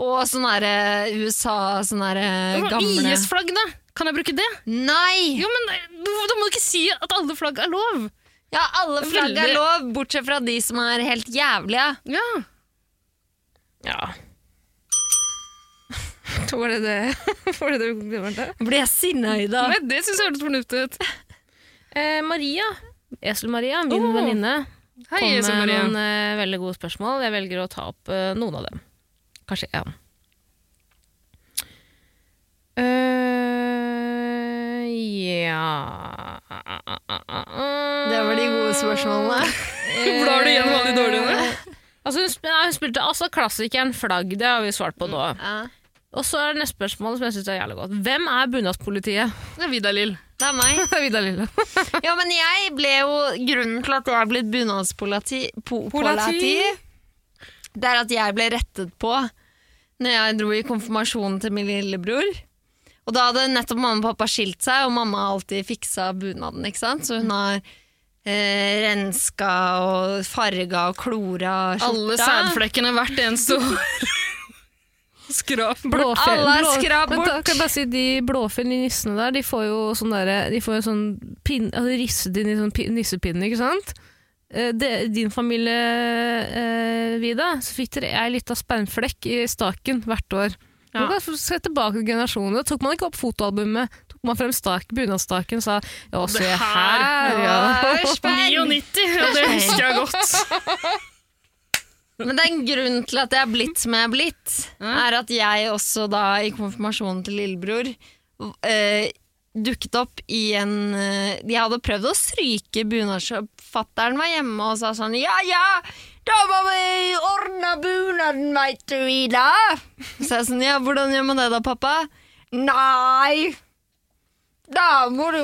[SPEAKER 3] Og sånn derre USA, sånn derre gamle
[SPEAKER 4] IS-flagg, da? Kan jeg bruke det?
[SPEAKER 3] Nei!
[SPEAKER 4] Jo, men eh, Da må du ikke si at alle flagg er lov!
[SPEAKER 3] Ja, alle flagg er
[SPEAKER 4] Veldig.
[SPEAKER 3] lov, bortsett fra de som er helt jævlige.
[SPEAKER 4] Ja.
[SPEAKER 2] ja. Var det det? Var det det? det, var det?
[SPEAKER 3] Blir jeg sinna i dag?
[SPEAKER 4] Nei, det syns jeg hørtes fornuftig ut.
[SPEAKER 2] Eh, Maria, Esel-Maria, min
[SPEAKER 4] Åh.
[SPEAKER 2] venninne,
[SPEAKER 4] Hei,
[SPEAKER 2] kom med
[SPEAKER 4] Esel-Maria.
[SPEAKER 2] noen eh, veldig gode spørsmål. Jeg velger å ta opp eh, noen av dem. Kanskje én. Eh, ja
[SPEAKER 3] Det var de gode spørsmålene. Eh,
[SPEAKER 4] Blar du gjennom alle de dårlige?
[SPEAKER 2] Eh, Altså, hun, sp- nei, hun spilte altså klassikeren Flagg, det har vi svart på nå.
[SPEAKER 3] Ja.
[SPEAKER 2] Og så er det neste spørsmål som jeg synes er jævlig godt. Hvem er bunadspolitiet?
[SPEAKER 4] Det er Vidar Lill.
[SPEAKER 3] Det er meg.
[SPEAKER 2] Vidar Lille.
[SPEAKER 3] Ja, men jeg ble jo Grunnen til at jeg er blitt bunadspolati po-
[SPEAKER 2] Polati.
[SPEAKER 3] polati, Det er at jeg ble rettet på Når jeg dro i konfirmasjonen til min lillebror Og da hadde nettopp mamma og pappa skilt seg Og mamma har alltid fiksa bunaden, ikke sant?
[SPEAKER 2] Mm.
[SPEAKER 3] Så hun har eh, renska og farga og klora skjorta
[SPEAKER 4] Alle sædflekkene hvert eneste år. Skrap.
[SPEAKER 2] Blåfjell.
[SPEAKER 3] Alle er
[SPEAKER 2] blå-
[SPEAKER 3] skrap
[SPEAKER 2] Men da
[SPEAKER 3] bort.
[SPEAKER 2] Kan jeg bare si, de blåfjell, de nissene der, de får jo sånn derre- De får jo sånn pin, altså risset inn i sånn pin, nissepinne, ikke sant? Eh, det- din familie, eh, Vida, så fikk dere ei lita spennflekk i staken hvert år.
[SPEAKER 3] Ja.
[SPEAKER 2] Man kan se tilbake til generasjoner. Da tok man ikke opp fotoalbumet, tok man frem stak, bunadsstaken og sa Ja, se
[SPEAKER 4] her
[SPEAKER 2] her, ja.
[SPEAKER 3] Å, spenn!
[SPEAKER 4] 99, ja, det husker jeg godt.
[SPEAKER 3] Men det er en grunn til at jeg er blitt som jeg er blitt, er at jeg også da i konfirmasjonen til lillebror eh, dukket opp i en eh, De hadde prøvd å stryke bunadsskjorta. Fattern var hjemme og sa sånn Ja, ja, da må vi ordne bunaden, veit du, Ida. Så jeg sånn Ja, hvordan gjør man det da, pappa? Nei. Da må du,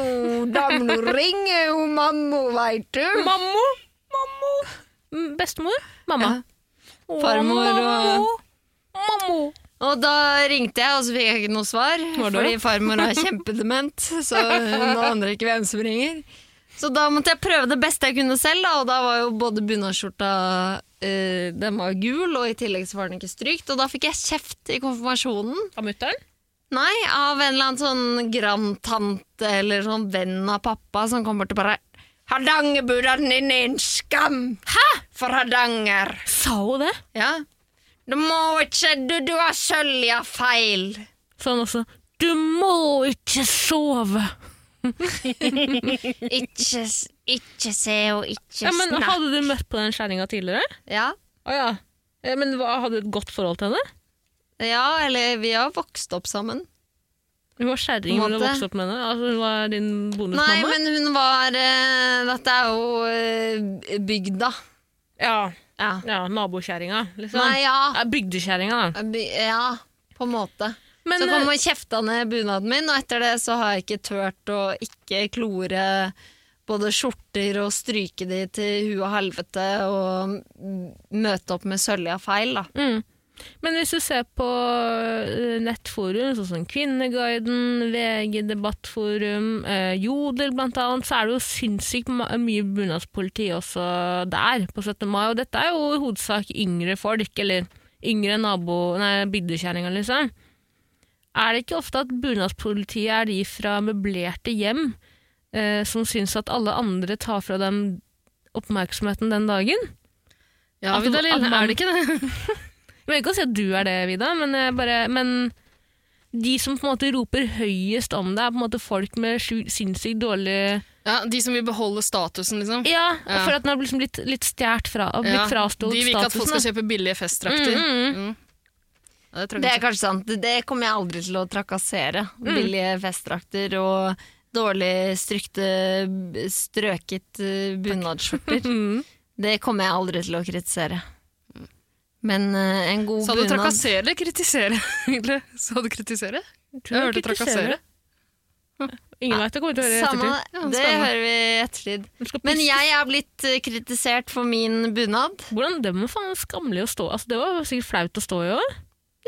[SPEAKER 3] da må du ringe jo mamma, veit du.
[SPEAKER 2] Mammo! Mammo! Mm, Bestemor? Mamma.
[SPEAKER 3] Farmor og-
[SPEAKER 2] Mammo!
[SPEAKER 3] Og da ringte jeg, og så fikk jeg ikke noe svar.
[SPEAKER 2] Var det?
[SPEAKER 3] Fordi farmor er kjempedement, så hun aner ikke hvem som ringer. Så da måtte jeg prøve det beste jeg kunne selv, da, og da var jo både bunadsskjorta eh, Den var gul, og i tillegg så var den ikke strykt. Og da fikk jeg kjeft i konfirmasjonen.
[SPEAKER 2] Av mutter'n?
[SPEAKER 3] Nei, av en eller annen sånn grandtante eller sånn venn av pappa som kommer til bare Hardangerbuddhaen din er en skam! Hæ? For Hardanger!
[SPEAKER 2] Sa hun det?
[SPEAKER 3] Ja. Du må ikke Du, du har sølja feil!
[SPEAKER 2] Sa hun også. Du må ikke sove!
[SPEAKER 3] Ikke, s- ikke se og ikke
[SPEAKER 2] Ja, men
[SPEAKER 3] snakke.
[SPEAKER 2] Hadde du møtt på den skjæringa tidligere?
[SPEAKER 3] Ja.
[SPEAKER 2] Å ja. Eh, Men hva, hadde du et godt forhold til henne?
[SPEAKER 3] ja, eller vi har vokst opp sammen.
[SPEAKER 2] Hun var skjæring
[SPEAKER 3] På
[SPEAKER 2] men
[SPEAKER 3] en
[SPEAKER 2] du
[SPEAKER 3] måte.
[SPEAKER 2] vokste opp med henne? Altså, hun var din bonusmamma?
[SPEAKER 3] Nei, men hun var eh, Dette er jo eh, bygda.
[SPEAKER 2] Ja,
[SPEAKER 3] Ja.
[SPEAKER 2] ja nabokjerringa, liksom.
[SPEAKER 3] Nei, ja.
[SPEAKER 2] Ja, Bygdekjerringa, da.
[SPEAKER 3] By, ja, på en måte.
[SPEAKER 2] Men,
[SPEAKER 3] så kom
[SPEAKER 2] eh,
[SPEAKER 3] hun og kjefta ned bunaden min, og etter det så har jeg ikke turt å ikke klore både skjorter og stryke de til huet og helvete og m- møte opp med sølja feil, da.
[SPEAKER 2] Mm. Men hvis du ser på eh, nettforum, sånn som Kvinneguiden, VG debattforum, eh, Jodel blant annet, så er det jo sinnssykt ma- mye bunadspoliti også der på 17. mai. Og dette er jo i hovedsak yngre folk, eller yngre nabo... Nei, bygdekjerringer, liksom. Er det ikke ofte at bunadspolitiet er de fra møblerte hjem eh, som syns at alle andre tar fra dem oppmerksomheten den dagen?
[SPEAKER 4] Ja,
[SPEAKER 2] At- at
[SPEAKER 4] Vidar Lill,
[SPEAKER 2] man-
[SPEAKER 4] er det ikke det?
[SPEAKER 2] Jeg vil ikke si at du er det, Vida, men, jeg bare, men de som på en måte roper høyest om deg, er på en måte folk med sju- sinnssykt dårlig
[SPEAKER 4] Ja, De som vil beholde statusen, liksom.
[SPEAKER 2] Ja,
[SPEAKER 4] Ja.
[SPEAKER 2] for at den har blitt, liksom litt, litt stjålet fra og blitt
[SPEAKER 4] Ja,
[SPEAKER 2] frastått
[SPEAKER 4] De vil ikke at folk skal
[SPEAKER 2] statusen.
[SPEAKER 4] kjøpe billige festdrakter.
[SPEAKER 2] Mm, mm,
[SPEAKER 4] Mm. Ja, det tror jeg
[SPEAKER 3] Det er
[SPEAKER 4] ikke.
[SPEAKER 3] kanskje sant. Det kommer jeg aldri til å trakassere.
[SPEAKER 4] Mm.
[SPEAKER 3] Billige festdrakter og dårlig strykte, b- strøket eh, bunadsskjorter.
[SPEAKER 2] Mm.
[SPEAKER 3] Det kommer jeg aldri til å kritisere. Men eh, en god
[SPEAKER 4] Sa du
[SPEAKER 3] bunad
[SPEAKER 4] trakassere eller kritisere? egentlig? Sa du kritisere? Jeg hørte trakassere.
[SPEAKER 2] Ingen veit det kommer til å høre i
[SPEAKER 3] Samme,
[SPEAKER 2] ettertid.
[SPEAKER 4] Ja,
[SPEAKER 3] det
[SPEAKER 4] spennende.
[SPEAKER 3] hører vi i ettertid.
[SPEAKER 2] Du skal
[SPEAKER 3] Men
[SPEAKER 2] pisse.
[SPEAKER 3] jeg er blitt eh, kritisert for min bunad.
[SPEAKER 2] Hvordan, det var faen skammelig å stå altså, Det var sikkert flaut å stå i òg.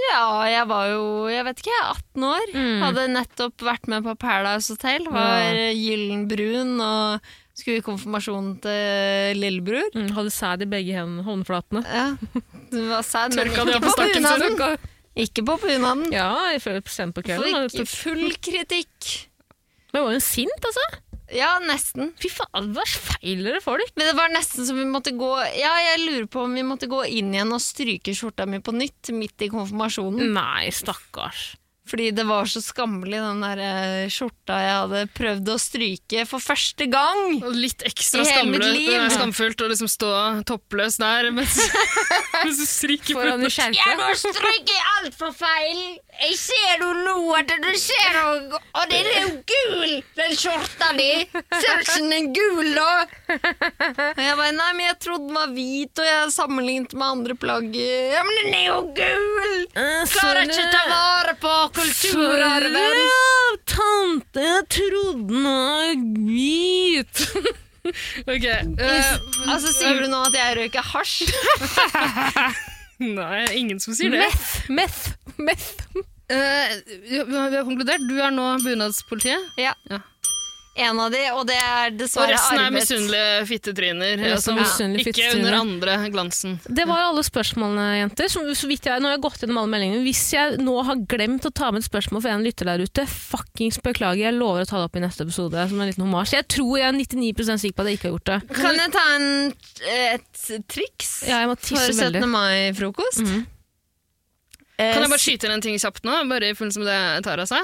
[SPEAKER 3] Ja, jeg var jo, jeg vet ikke, jeg er 18 år.
[SPEAKER 2] Mm.
[SPEAKER 3] Hadde nettopp vært med på Paradise Hotel. Var eh, gyllen brun og skulle i konfirmasjonen til lillebror.
[SPEAKER 2] Mm, hadde sæd i begge hendene, håndflatene.
[SPEAKER 3] Ja, du var sad, men
[SPEAKER 4] Tørka
[SPEAKER 3] ikke
[SPEAKER 4] det opp i
[SPEAKER 3] på
[SPEAKER 4] stakken sin.
[SPEAKER 3] bunaden. Ikke på bunaden.
[SPEAKER 2] Ja, i før- sent på kvelden. og-
[SPEAKER 3] Fikk full kritikk.
[SPEAKER 2] Men jeg var jo sint, altså.
[SPEAKER 3] Ja, nesten.
[SPEAKER 2] Fy faen, hva feiler det folk?
[SPEAKER 3] Men det var nesten som vi måtte gå Ja, jeg lurer på om vi måtte gå inn igjen og stryke skjorta mi på nytt midt i konfirmasjonen.
[SPEAKER 4] Mm.
[SPEAKER 2] Nei, stakkars.
[SPEAKER 3] Fordi det var så skammelig, den der eh, skjorta jeg hadde prøvd å stryke for første gang.
[SPEAKER 4] Og Litt ekstra
[SPEAKER 3] I hele mitt
[SPEAKER 4] skamle,
[SPEAKER 3] liv.
[SPEAKER 4] nei, skamfullt å liksom stå toppløs der mens, mens du stryker på
[SPEAKER 2] Foran i skjerfet.
[SPEAKER 3] nå stryker jeg altfor feil! Jeg ser jo nå at du ser Og, og den er jo gul, den skjorta di! Ser du ikke den er gul, da? Og jeg bare Nei, men jeg trodde den var hvit, og jeg sammenlignet med andre plagg. Ja, men den er jo gul!
[SPEAKER 2] Eh,
[SPEAKER 3] Klarer ikke å ta vare på kulturarven!
[SPEAKER 2] Tante, jeg trodde den var hvit.
[SPEAKER 4] Ok, eh,
[SPEAKER 3] Altså, Sier du nå at jeg røyker hasj?
[SPEAKER 4] Nei, ingen som sier det.
[SPEAKER 2] Meth, meth, meth.
[SPEAKER 4] Eh, vi har vi har konkludert. Du er nå bunadspolitiet.
[SPEAKER 3] Ja.
[SPEAKER 4] Ja.
[SPEAKER 3] En av de, og det er
[SPEAKER 4] Og
[SPEAKER 3] dessverre
[SPEAKER 4] resten er
[SPEAKER 3] arvet.
[SPEAKER 4] misunnelige fittetryner.
[SPEAKER 2] Resten er
[SPEAKER 4] som
[SPEAKER 2] misunnelige
[SPEAKER 4] ikke
[SPEAKER 2] fittetryner.
[SPEAKER 4] under andre glansen.
[SPEAKER 2] Det var alle spørsmålene, jenter. Som, så vidt jeg, nå har jeg gått gjennom alle meldingene. Hvis jeg nå har glemt å ta med et spørsmål for en lytter der ute, fuckings beklager. Jeg lover å ta det opp i neste episode som en liten homasj. Jeg tror jeg er 99 sikker på at jeg ikke har gjort det.
[SPEAKER 3] Kan jeg ta en, et triks
[SPEAKER 2] Ja, jeg må
[SPEAKER 3] for
[SPEAKER 2] tisse
[SPEAKER 3] 17.
[SPEAKER 2] veldig.
[SPEAKER 3] mai-frokost?
[SPEAKER 2] Mhm.
[SPEAKER 3] Eh,
[SPEAKER 4] Kan jeg bare skyte inn en ting kjapt nå? Bare i forbindelse med det Tara sa.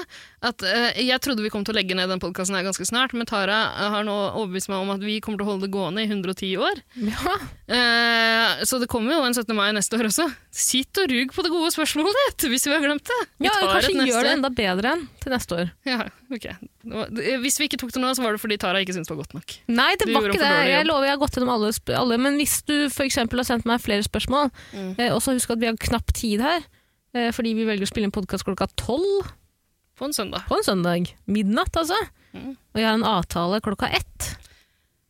[SPEAKER 4] At eh, Jeg trodde vi kom til å legge ned den podkasten ganske snart, men Tara eh, har nå overbevist meg om at vi kommer til å holde det gående i 110 år.
[SPEAKER 2] Ja.
[SPEAKER 4] Eh, så det kommer jo en 17. mai neste år også. Sitt og rug på det gode spørsmålet ditt, hvis vi har glemt det. Vi
[SPEAKER 2] ja,
[SPEAKER 4] tar et
[SPEAKER 2] kanskje
[SPEAKER 4] neste
[SPEAKER 2] gjør det
[SPEAKER 4] år.
[SPEAKER 2] enda bedre enn til neste år.
[SPEAKER 4] Ja, ok. Det var- det- Hvis vi ikke tok det nå, så var det fordi Tara ikke syntes det var godt nok.
[SPEAKER 2] Nei, det
[SPEAKER 4] Du
[SPEAKER 2] var
[SPEAKER 4] gjorde
[SPEAKER 2] ikke
[SPEAKER 4] en
[SPEAKER 2] det.
[SPEAKER 4] for dårlig
[SPEAKER 2] Jeg
[SPEAKER 4] jobb.
[SPEAKER 2] lover jeg har gått gjennom alle, sp- alle. Men hvis du f.eks. har sendt meg flere spørsmål,
[SPEAKER 4] Mm.
[SPEAKER 2] eh, og så husk at vi har knapp tid her, eh, fordi vi velger å spille inn podkast klokka tolv
[SPEAKER 4] På en søndag.
[SPEAKER 2] på en søndag. Midnatt, altså.
[SPEAKER 4] Mm.
[SPEAKER 2] Og jeg har en avtale klokka ett.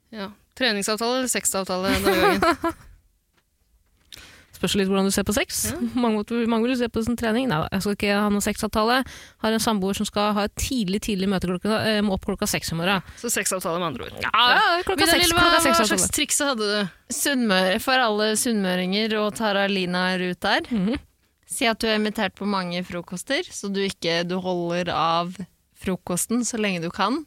[SPEAKER 4] Ja. Treningsavtale eller sexavtale denne gangen?
[SPEAKER 2] spørs litt hvordan du ser på sex. Mange, måter- mange vil jo se på det som trening. Nei da, jeg skal ikke ha noen sexavtale. Har en samboer som skal ha et tidlig tidlig møte klokka, eh, opp klokka seks i morgen.
[SPEAKER 4] Så sexavtale, med andre ord.
[SPEAKER 2] Ja, klokka
[SPEAKER 4] Vidar
[SPEAKER 2] seks.
[SPEAKER 4] Lill,
[SPEAKER 2] Klokka
[SPEAKER 4] hva,
[SPEAKER 2] seks altså.
[SPEAKER 4] hva
[SPEAKER 2] avtale.
[SPEAKER 4] slags triks hadde du?
[SPEAKER 3] Sunnmøre, for alle sunnmøringer og Tara Lina Ruth der.
[SPEAKER 2] Mhm.
[SPEAKER 3] Si at du er invitert på mange frokoster, så du ikke du holder av frokosten så lenge du kan.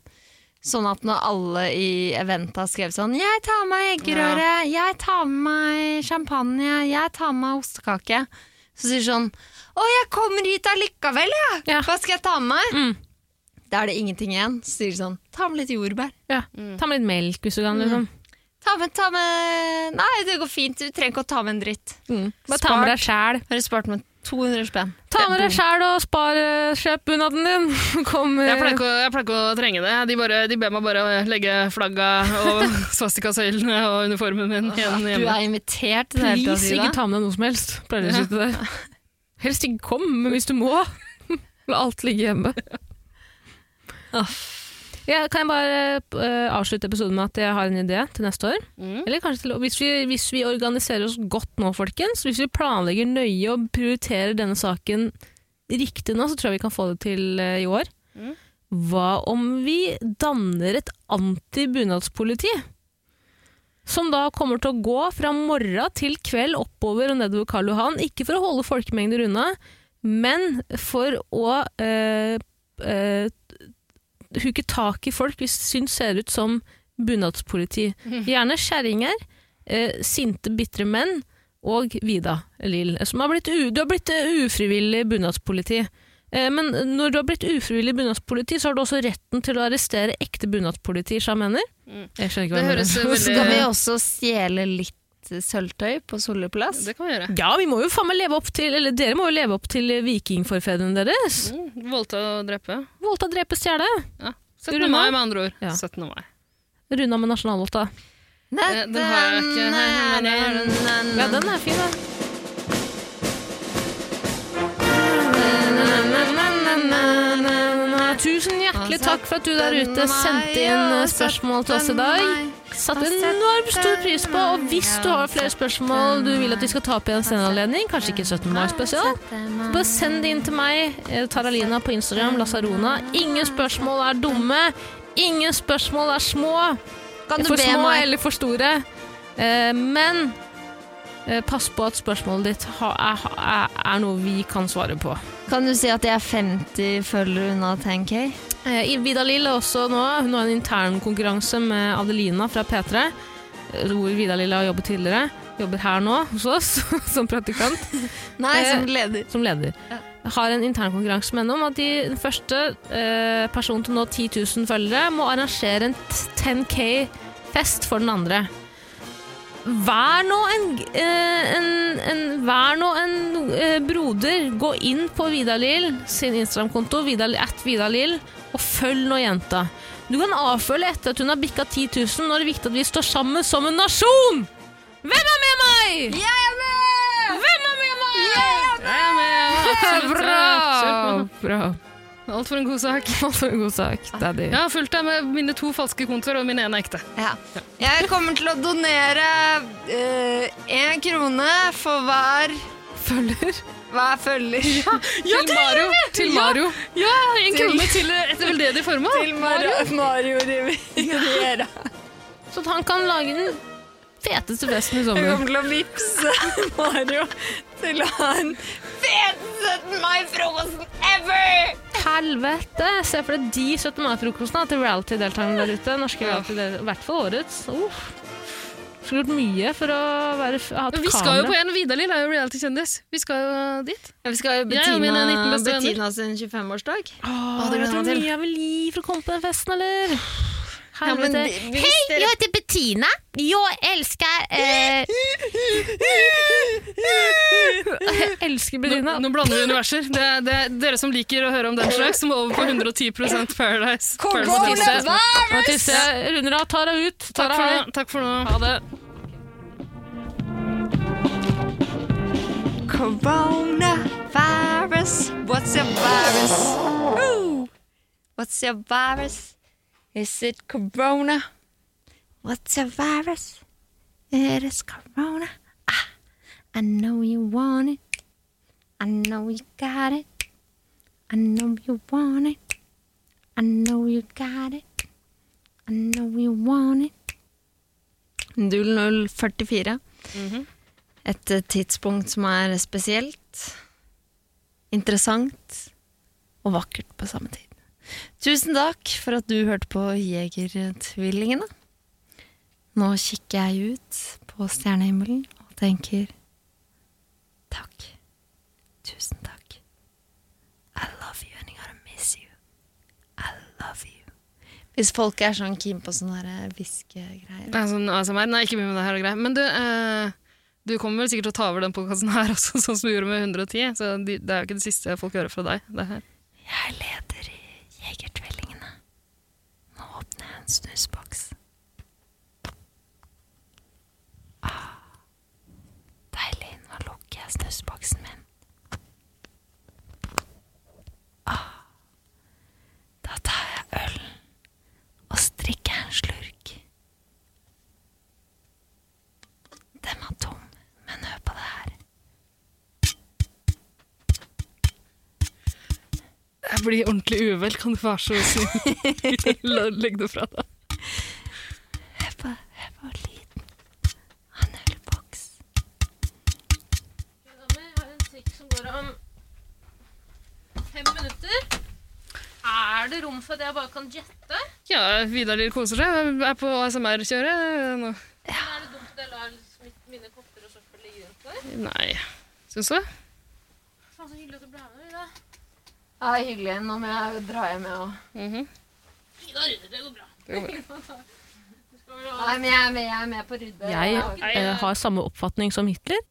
[SPEAKER 3] Sånn at når alle i eventet har skrevet sånn 'Jeg tar med meg eggerøre', 'Jeg tar med meg champagne', 'Jeg tar med meg ostekake', så sier du sånn 'Å, jeg kommer hit allikevel, jeg!
[SPEAKER 2] Ja.
[SPEAKER 3] Hva skal jeg ta med meg?'
[SPEAKER 2] Mm.
[SPEAKER 3] Da er det ingenting igjen. Så sier du sånn 'Ta med litt jordbær'.
[SPEAKER 2] Ja.
[SPEAKER 4] Mm.
[SPEAKER 2] Ta med litt melk hvis du kan. Liksom.
[SPEAKER 3] Ta med, ta med Nei, det går fint. Du trenger ikke å ta med en dritt.
[SPEAKER 2] Mm. Bare ta med deg sjæl.
[SPEAKER 3] Har du spart meg 200 spenn?
[SPEAKER 2] Ta med deg sjæl og spar eh, kjøp bunaden din. Kom, eh,
[SPEAKER 4] Jeg pleier, ikke å, jeg pleier ikke å trenge det. De, bare, de ber meg bare legge flagga og svastikasøylene og uniformen min
[SPEAKER 2] Ah,
[SPEAKER 4] igjen
[SPEAKER 3] Du
[SPEAKER 4] hjemme.
[SPEAKER 3] er invitert til det hele tatt,
[SPEAKER 2] please,
[SPEAKER 3] Ida.
[SPEAKER 2] ikke ta med deg noe som helst. Pleier du å si til deg. Helst ikke kom, men hvis du må, la alt ligge hjemme. Ja, kan jeg bare eh, avslutte episoden med at jeg har en idé til neste år?
[SPEAKER 4] Mm.
[SPEAKER 2] Eller kanskje til, hvis, vi, hvis vi organiserer oss godt nå, folkens, hvis vi planlegger nøye og prioriterer denne saken riktig nå, så tror jeg vi kan få det til eh, i år.
[SPEAKER 4] Mm.
[SPEAKER 2] Hva om vi danner et antibunadspoliti? Som da kommer til å gå fra morgen til kveld oppover og nedover Karl Johan. Ikke for å holde folkemengder unna, men for å eh, eh, huke tak i folk vi syns ser ut som bunadspoliti. Gjerne kjerringer, eh, sinte, bitre menn og Vida Lill. Som har blitt u du har blitt eh, ufrivillig bunadspoliti. Eh, men når du har blitt ufrivillig bunadspoliti, så har du også retten til å arrestere ekte bunadspoliti, sa jeg mener.
[SPEAKER 4] Mm.
[SPEAKER 2] Jeg skjønner ikke
[SPEAKER 4] Det
[SPEAKER 2] hva jeg
[SPEAKER 4] høres
[SPEAKER 2] mener.
[SPEAKER 3] Så kan vi
[SPEAKER 4] veldig
[SPEAKER 3] også stjele litt eh, sølvtøy på Solli plass.
[SPEAKER 4] Det kan vi gjøre.
[SPEAKER 2] Ja, vi må jo faen meg leve opp til Eller dere må jo leve opp til vikingforfedrene deres.
[SPEAKER 4] Mm. Voldta og drepe.
[SPEAKER 2] Voldta, drepe, stjele.
[SPEAKER 4] Ja.
[SPEAKER 2] du
[SPEAKER 4] 17.
[SPEAKER 2] runde
[SPEAKER 4] mai,
[SPEAKER 2] av?
[SPEAKER 4] med andre ord.
[SPEAKER 2] Ja.
[SPEAKER 4] 17. mai.
[SPEAKER 2] Runda med nasjonallåta.
[SPEAKER 4] Eh, den har jeg ikke. Her, her, her, her,
[SPEAKER 2] Ja, den er fin, da. Tusen hjertelig takk for at du der ute sendte inn eh, spørsmål til oss i dag. Satte enormt stor pris på, og hvis du har flere spørsmål du vil at vi skal ta opp i en senere anledning, kanskje ikke 17. mai spesial, Bare send det inn til meg, eh, Taralina på Instagram, Lasarona. Ingen spørsmål er dumme. Ingen spørsmål er små.
[SPEAKER 3] Kan du
[SPEAKER 2] For
[SPEAKER 3] be
[SPEAKER 2] små
[SPEAKER 3] meg
[SPEAKER 2] eller for store. Eh, Men eh, pass på at spørsmålet ditt ha- er, er, er noe vi kan svare på.
[SPEAKER 3] Kan du si at jeg er 50 følgere unna 10K?
[SPEAKER 2] Eh, Vida Lill er også nå Hun har en intern konkurranse med Adelina fra P3, eh, hvor Vida Lill har jobbet tidligere. Jobber her nå hos oss som praktikant.
[SPEAKER 3] Nei,
[SPEAKER 2] som
[SPEAKER 3] leder.
[SPEAKER 2] som leder, har en intern konkurranse med henne om at de, den første eh, personen til å nå 10 000 følgere må arrangere en t- 10K-fest for den andre. Vær nå en, eh, en, en, vær nå en eh, broder. Gå inn på Vidalil sin Instagram-konto, Vidal, at Vidalil, og følg nå jenta. Du kan avfølge etter at hun har bikka 10 000. Nå er det viktig at vi står sammen som en nasjon! Hvem er med meg?!
[SPEAKER 3] Jeg er med!
[SPEAKER 2] Hvem er med meg?!
[SPEAKER 4] Jeg er med! Absolutt.
[SPEAKER 2] Bra! Bra.
[SPEAKER 4] Alt for en god sak.
[SPEAKER 2] For en god sak, daddy.
[SPEAKER 4] Jeg har fulgt deg med mine to falske kontoer og min ene ekte.
[SPEAKER 3] Ja. Jeg kommer til å donere én krone for hver
[SPEAKER 2] Følger
[SPEAKER 3] Hver følger
[SPEAKER 4] til Mario! Til Mario. Ja, en
[SPEAKER 3] Til-
[SPEAKER 4] krone til et veldedig formål.
[SPEAKER 3] til Mario, Mario Riviera.
[SPEAKER 2] Så at han kan lage den feteste festen i
[SPEAKER 3] Jeg
[SPEAKER 2] sommer.
[SPEAKER 3] kommer til å vippse Mario til å ha en fet 17. mai-frokosten ever!
[SPEAKER 2] Helvete! Se for deg de 17. mai-frokostene til reality-deltakerne der ute. Norske reality-deltakerne. I hvert fall årets. Uff. Skulle gjort mye for å være, ha et
[SPEAKER 4] Vi skal jo på
[SPEAKER 2] kamera.
[SPEAKER 4] en Vidar-Lill, er jo reality-kjendis. Vi skal jo dit.
[SPEAKER 3] Vi skal jo
[SPEAKER 4] Jeg og mine 19
[SPEAKER 3] Bettina,
[SPEAKER 4] beste venner.
[SPEAKER 3] Bettina sin 25-årsdag.
[SPEAKER 2] Åh,
[SPEAKER 3] Å, det
[SPEAKER 2] vet
[SPEAKER 3] gleder jeg
[SPEAKER 2] du hvor
[SPEAKER 3] meg til.
[SPEAKER 2] mye jeg vil gi for å komme på den festen, eller?
[SPEAKER 3] Ja, men
[SPEAKER 2] Helvete.
[SPEAKER 3] vi- hvis dere-
[SPEAKER 2] heter Bettina. Jeg elsker eh, Jeg elsker
[SPEAKER 4] Nå,
[SPEAKER 2] Bettina.
[SPEAKER 4] nå blander vi universer. Det, er- det, er dere som liker å høre om den slags, må over på 110 Paradise. Paradise Hotel.
[SPEAKER 2] Nå tisser jeg. Runder av. Tara ut.
[SPEAKER 4] Takk
[SPEAKER 2] Tara
[SPEAKER 4] for
[SPEAKER 2] her.
[SPEAKER 4] nå. Takk for nå.
[SPEAKER 2] Ha det.
[SPEAKER 3] Coronavirus. What's your virus? Woo! What's your virus? Is it corona? What's your virus? It is corona. Ah, I know you want it. I know you got it. I know you want it. I know you got it. I know you want it. 0044. Et eh, tidspunkt som er spesielt, interessant og vakkert på samme tid. Tusen takk for at du hørte på Jegertvillingene. Nå kikker jeg ut på stjernehimmelen og tenker Takk. Tusen takk. I love you and I'm gonna miss you. I love you. Hvis folk er sånn keen på sånne her hviskegreier.
[SPEAKER 4] Nei, sånn ASMR. Nei, ikke begynn med det her og greier. Men du, eh, du kommer vel sikkert til å ta over den podkasten her også, sånn som du gjorde med 110. Så de, det er jo ikke det siste folk hører fra deg. Det her.
[SPEAKER 3] Jeg er leder i Jegertvillingene. Nå åpner jeg en snusboks. Ah, deilig. Nå lukker jeg snusboksen min. Ah, da tar jeg øl og strikker en slurk. Den var tom, men hør på det her.
[SPEAKER 4] Jeg blir ordentlig uvel. Kan du være så snill La- legg det fra deg?
[SPEAKER 3] Hør på, hør på lyden av en ølboks.
[SPEAKER 2] Jeg har en trikk som går om fem minutter. Er det rom for at jeg bare kan jette?
[SPEAKER 4] Ja, Vidar Lill koser seg. Jeg er på ASMR-kjøret nå.
[SPEAKER 2] Eller er det dumt at jeg lar mitt- mine kopper og søppel ligge rundt der?
[SPEAKER 4] Nei, syns du?
[SPEAKER 2] Faen, så hyggelig at du ble med. Ida.
[SPEAKER 3] Ja, det er hyggelig. Nå må jeg dra hjem, jeg òg.
[SPEAKER 4] Mhm.
[SPEAKER 2] Ida rydder, det går bra.
[SPEAKER 4] Det går
[SPEAKER 3] Nei, men jeg er med, jeg er med på å rydde.
[SPEAKER 2] Jeg
[SPEAKER 4] Nei,
[SPEAKER 2] eh, har samme oppfatning som Hitler.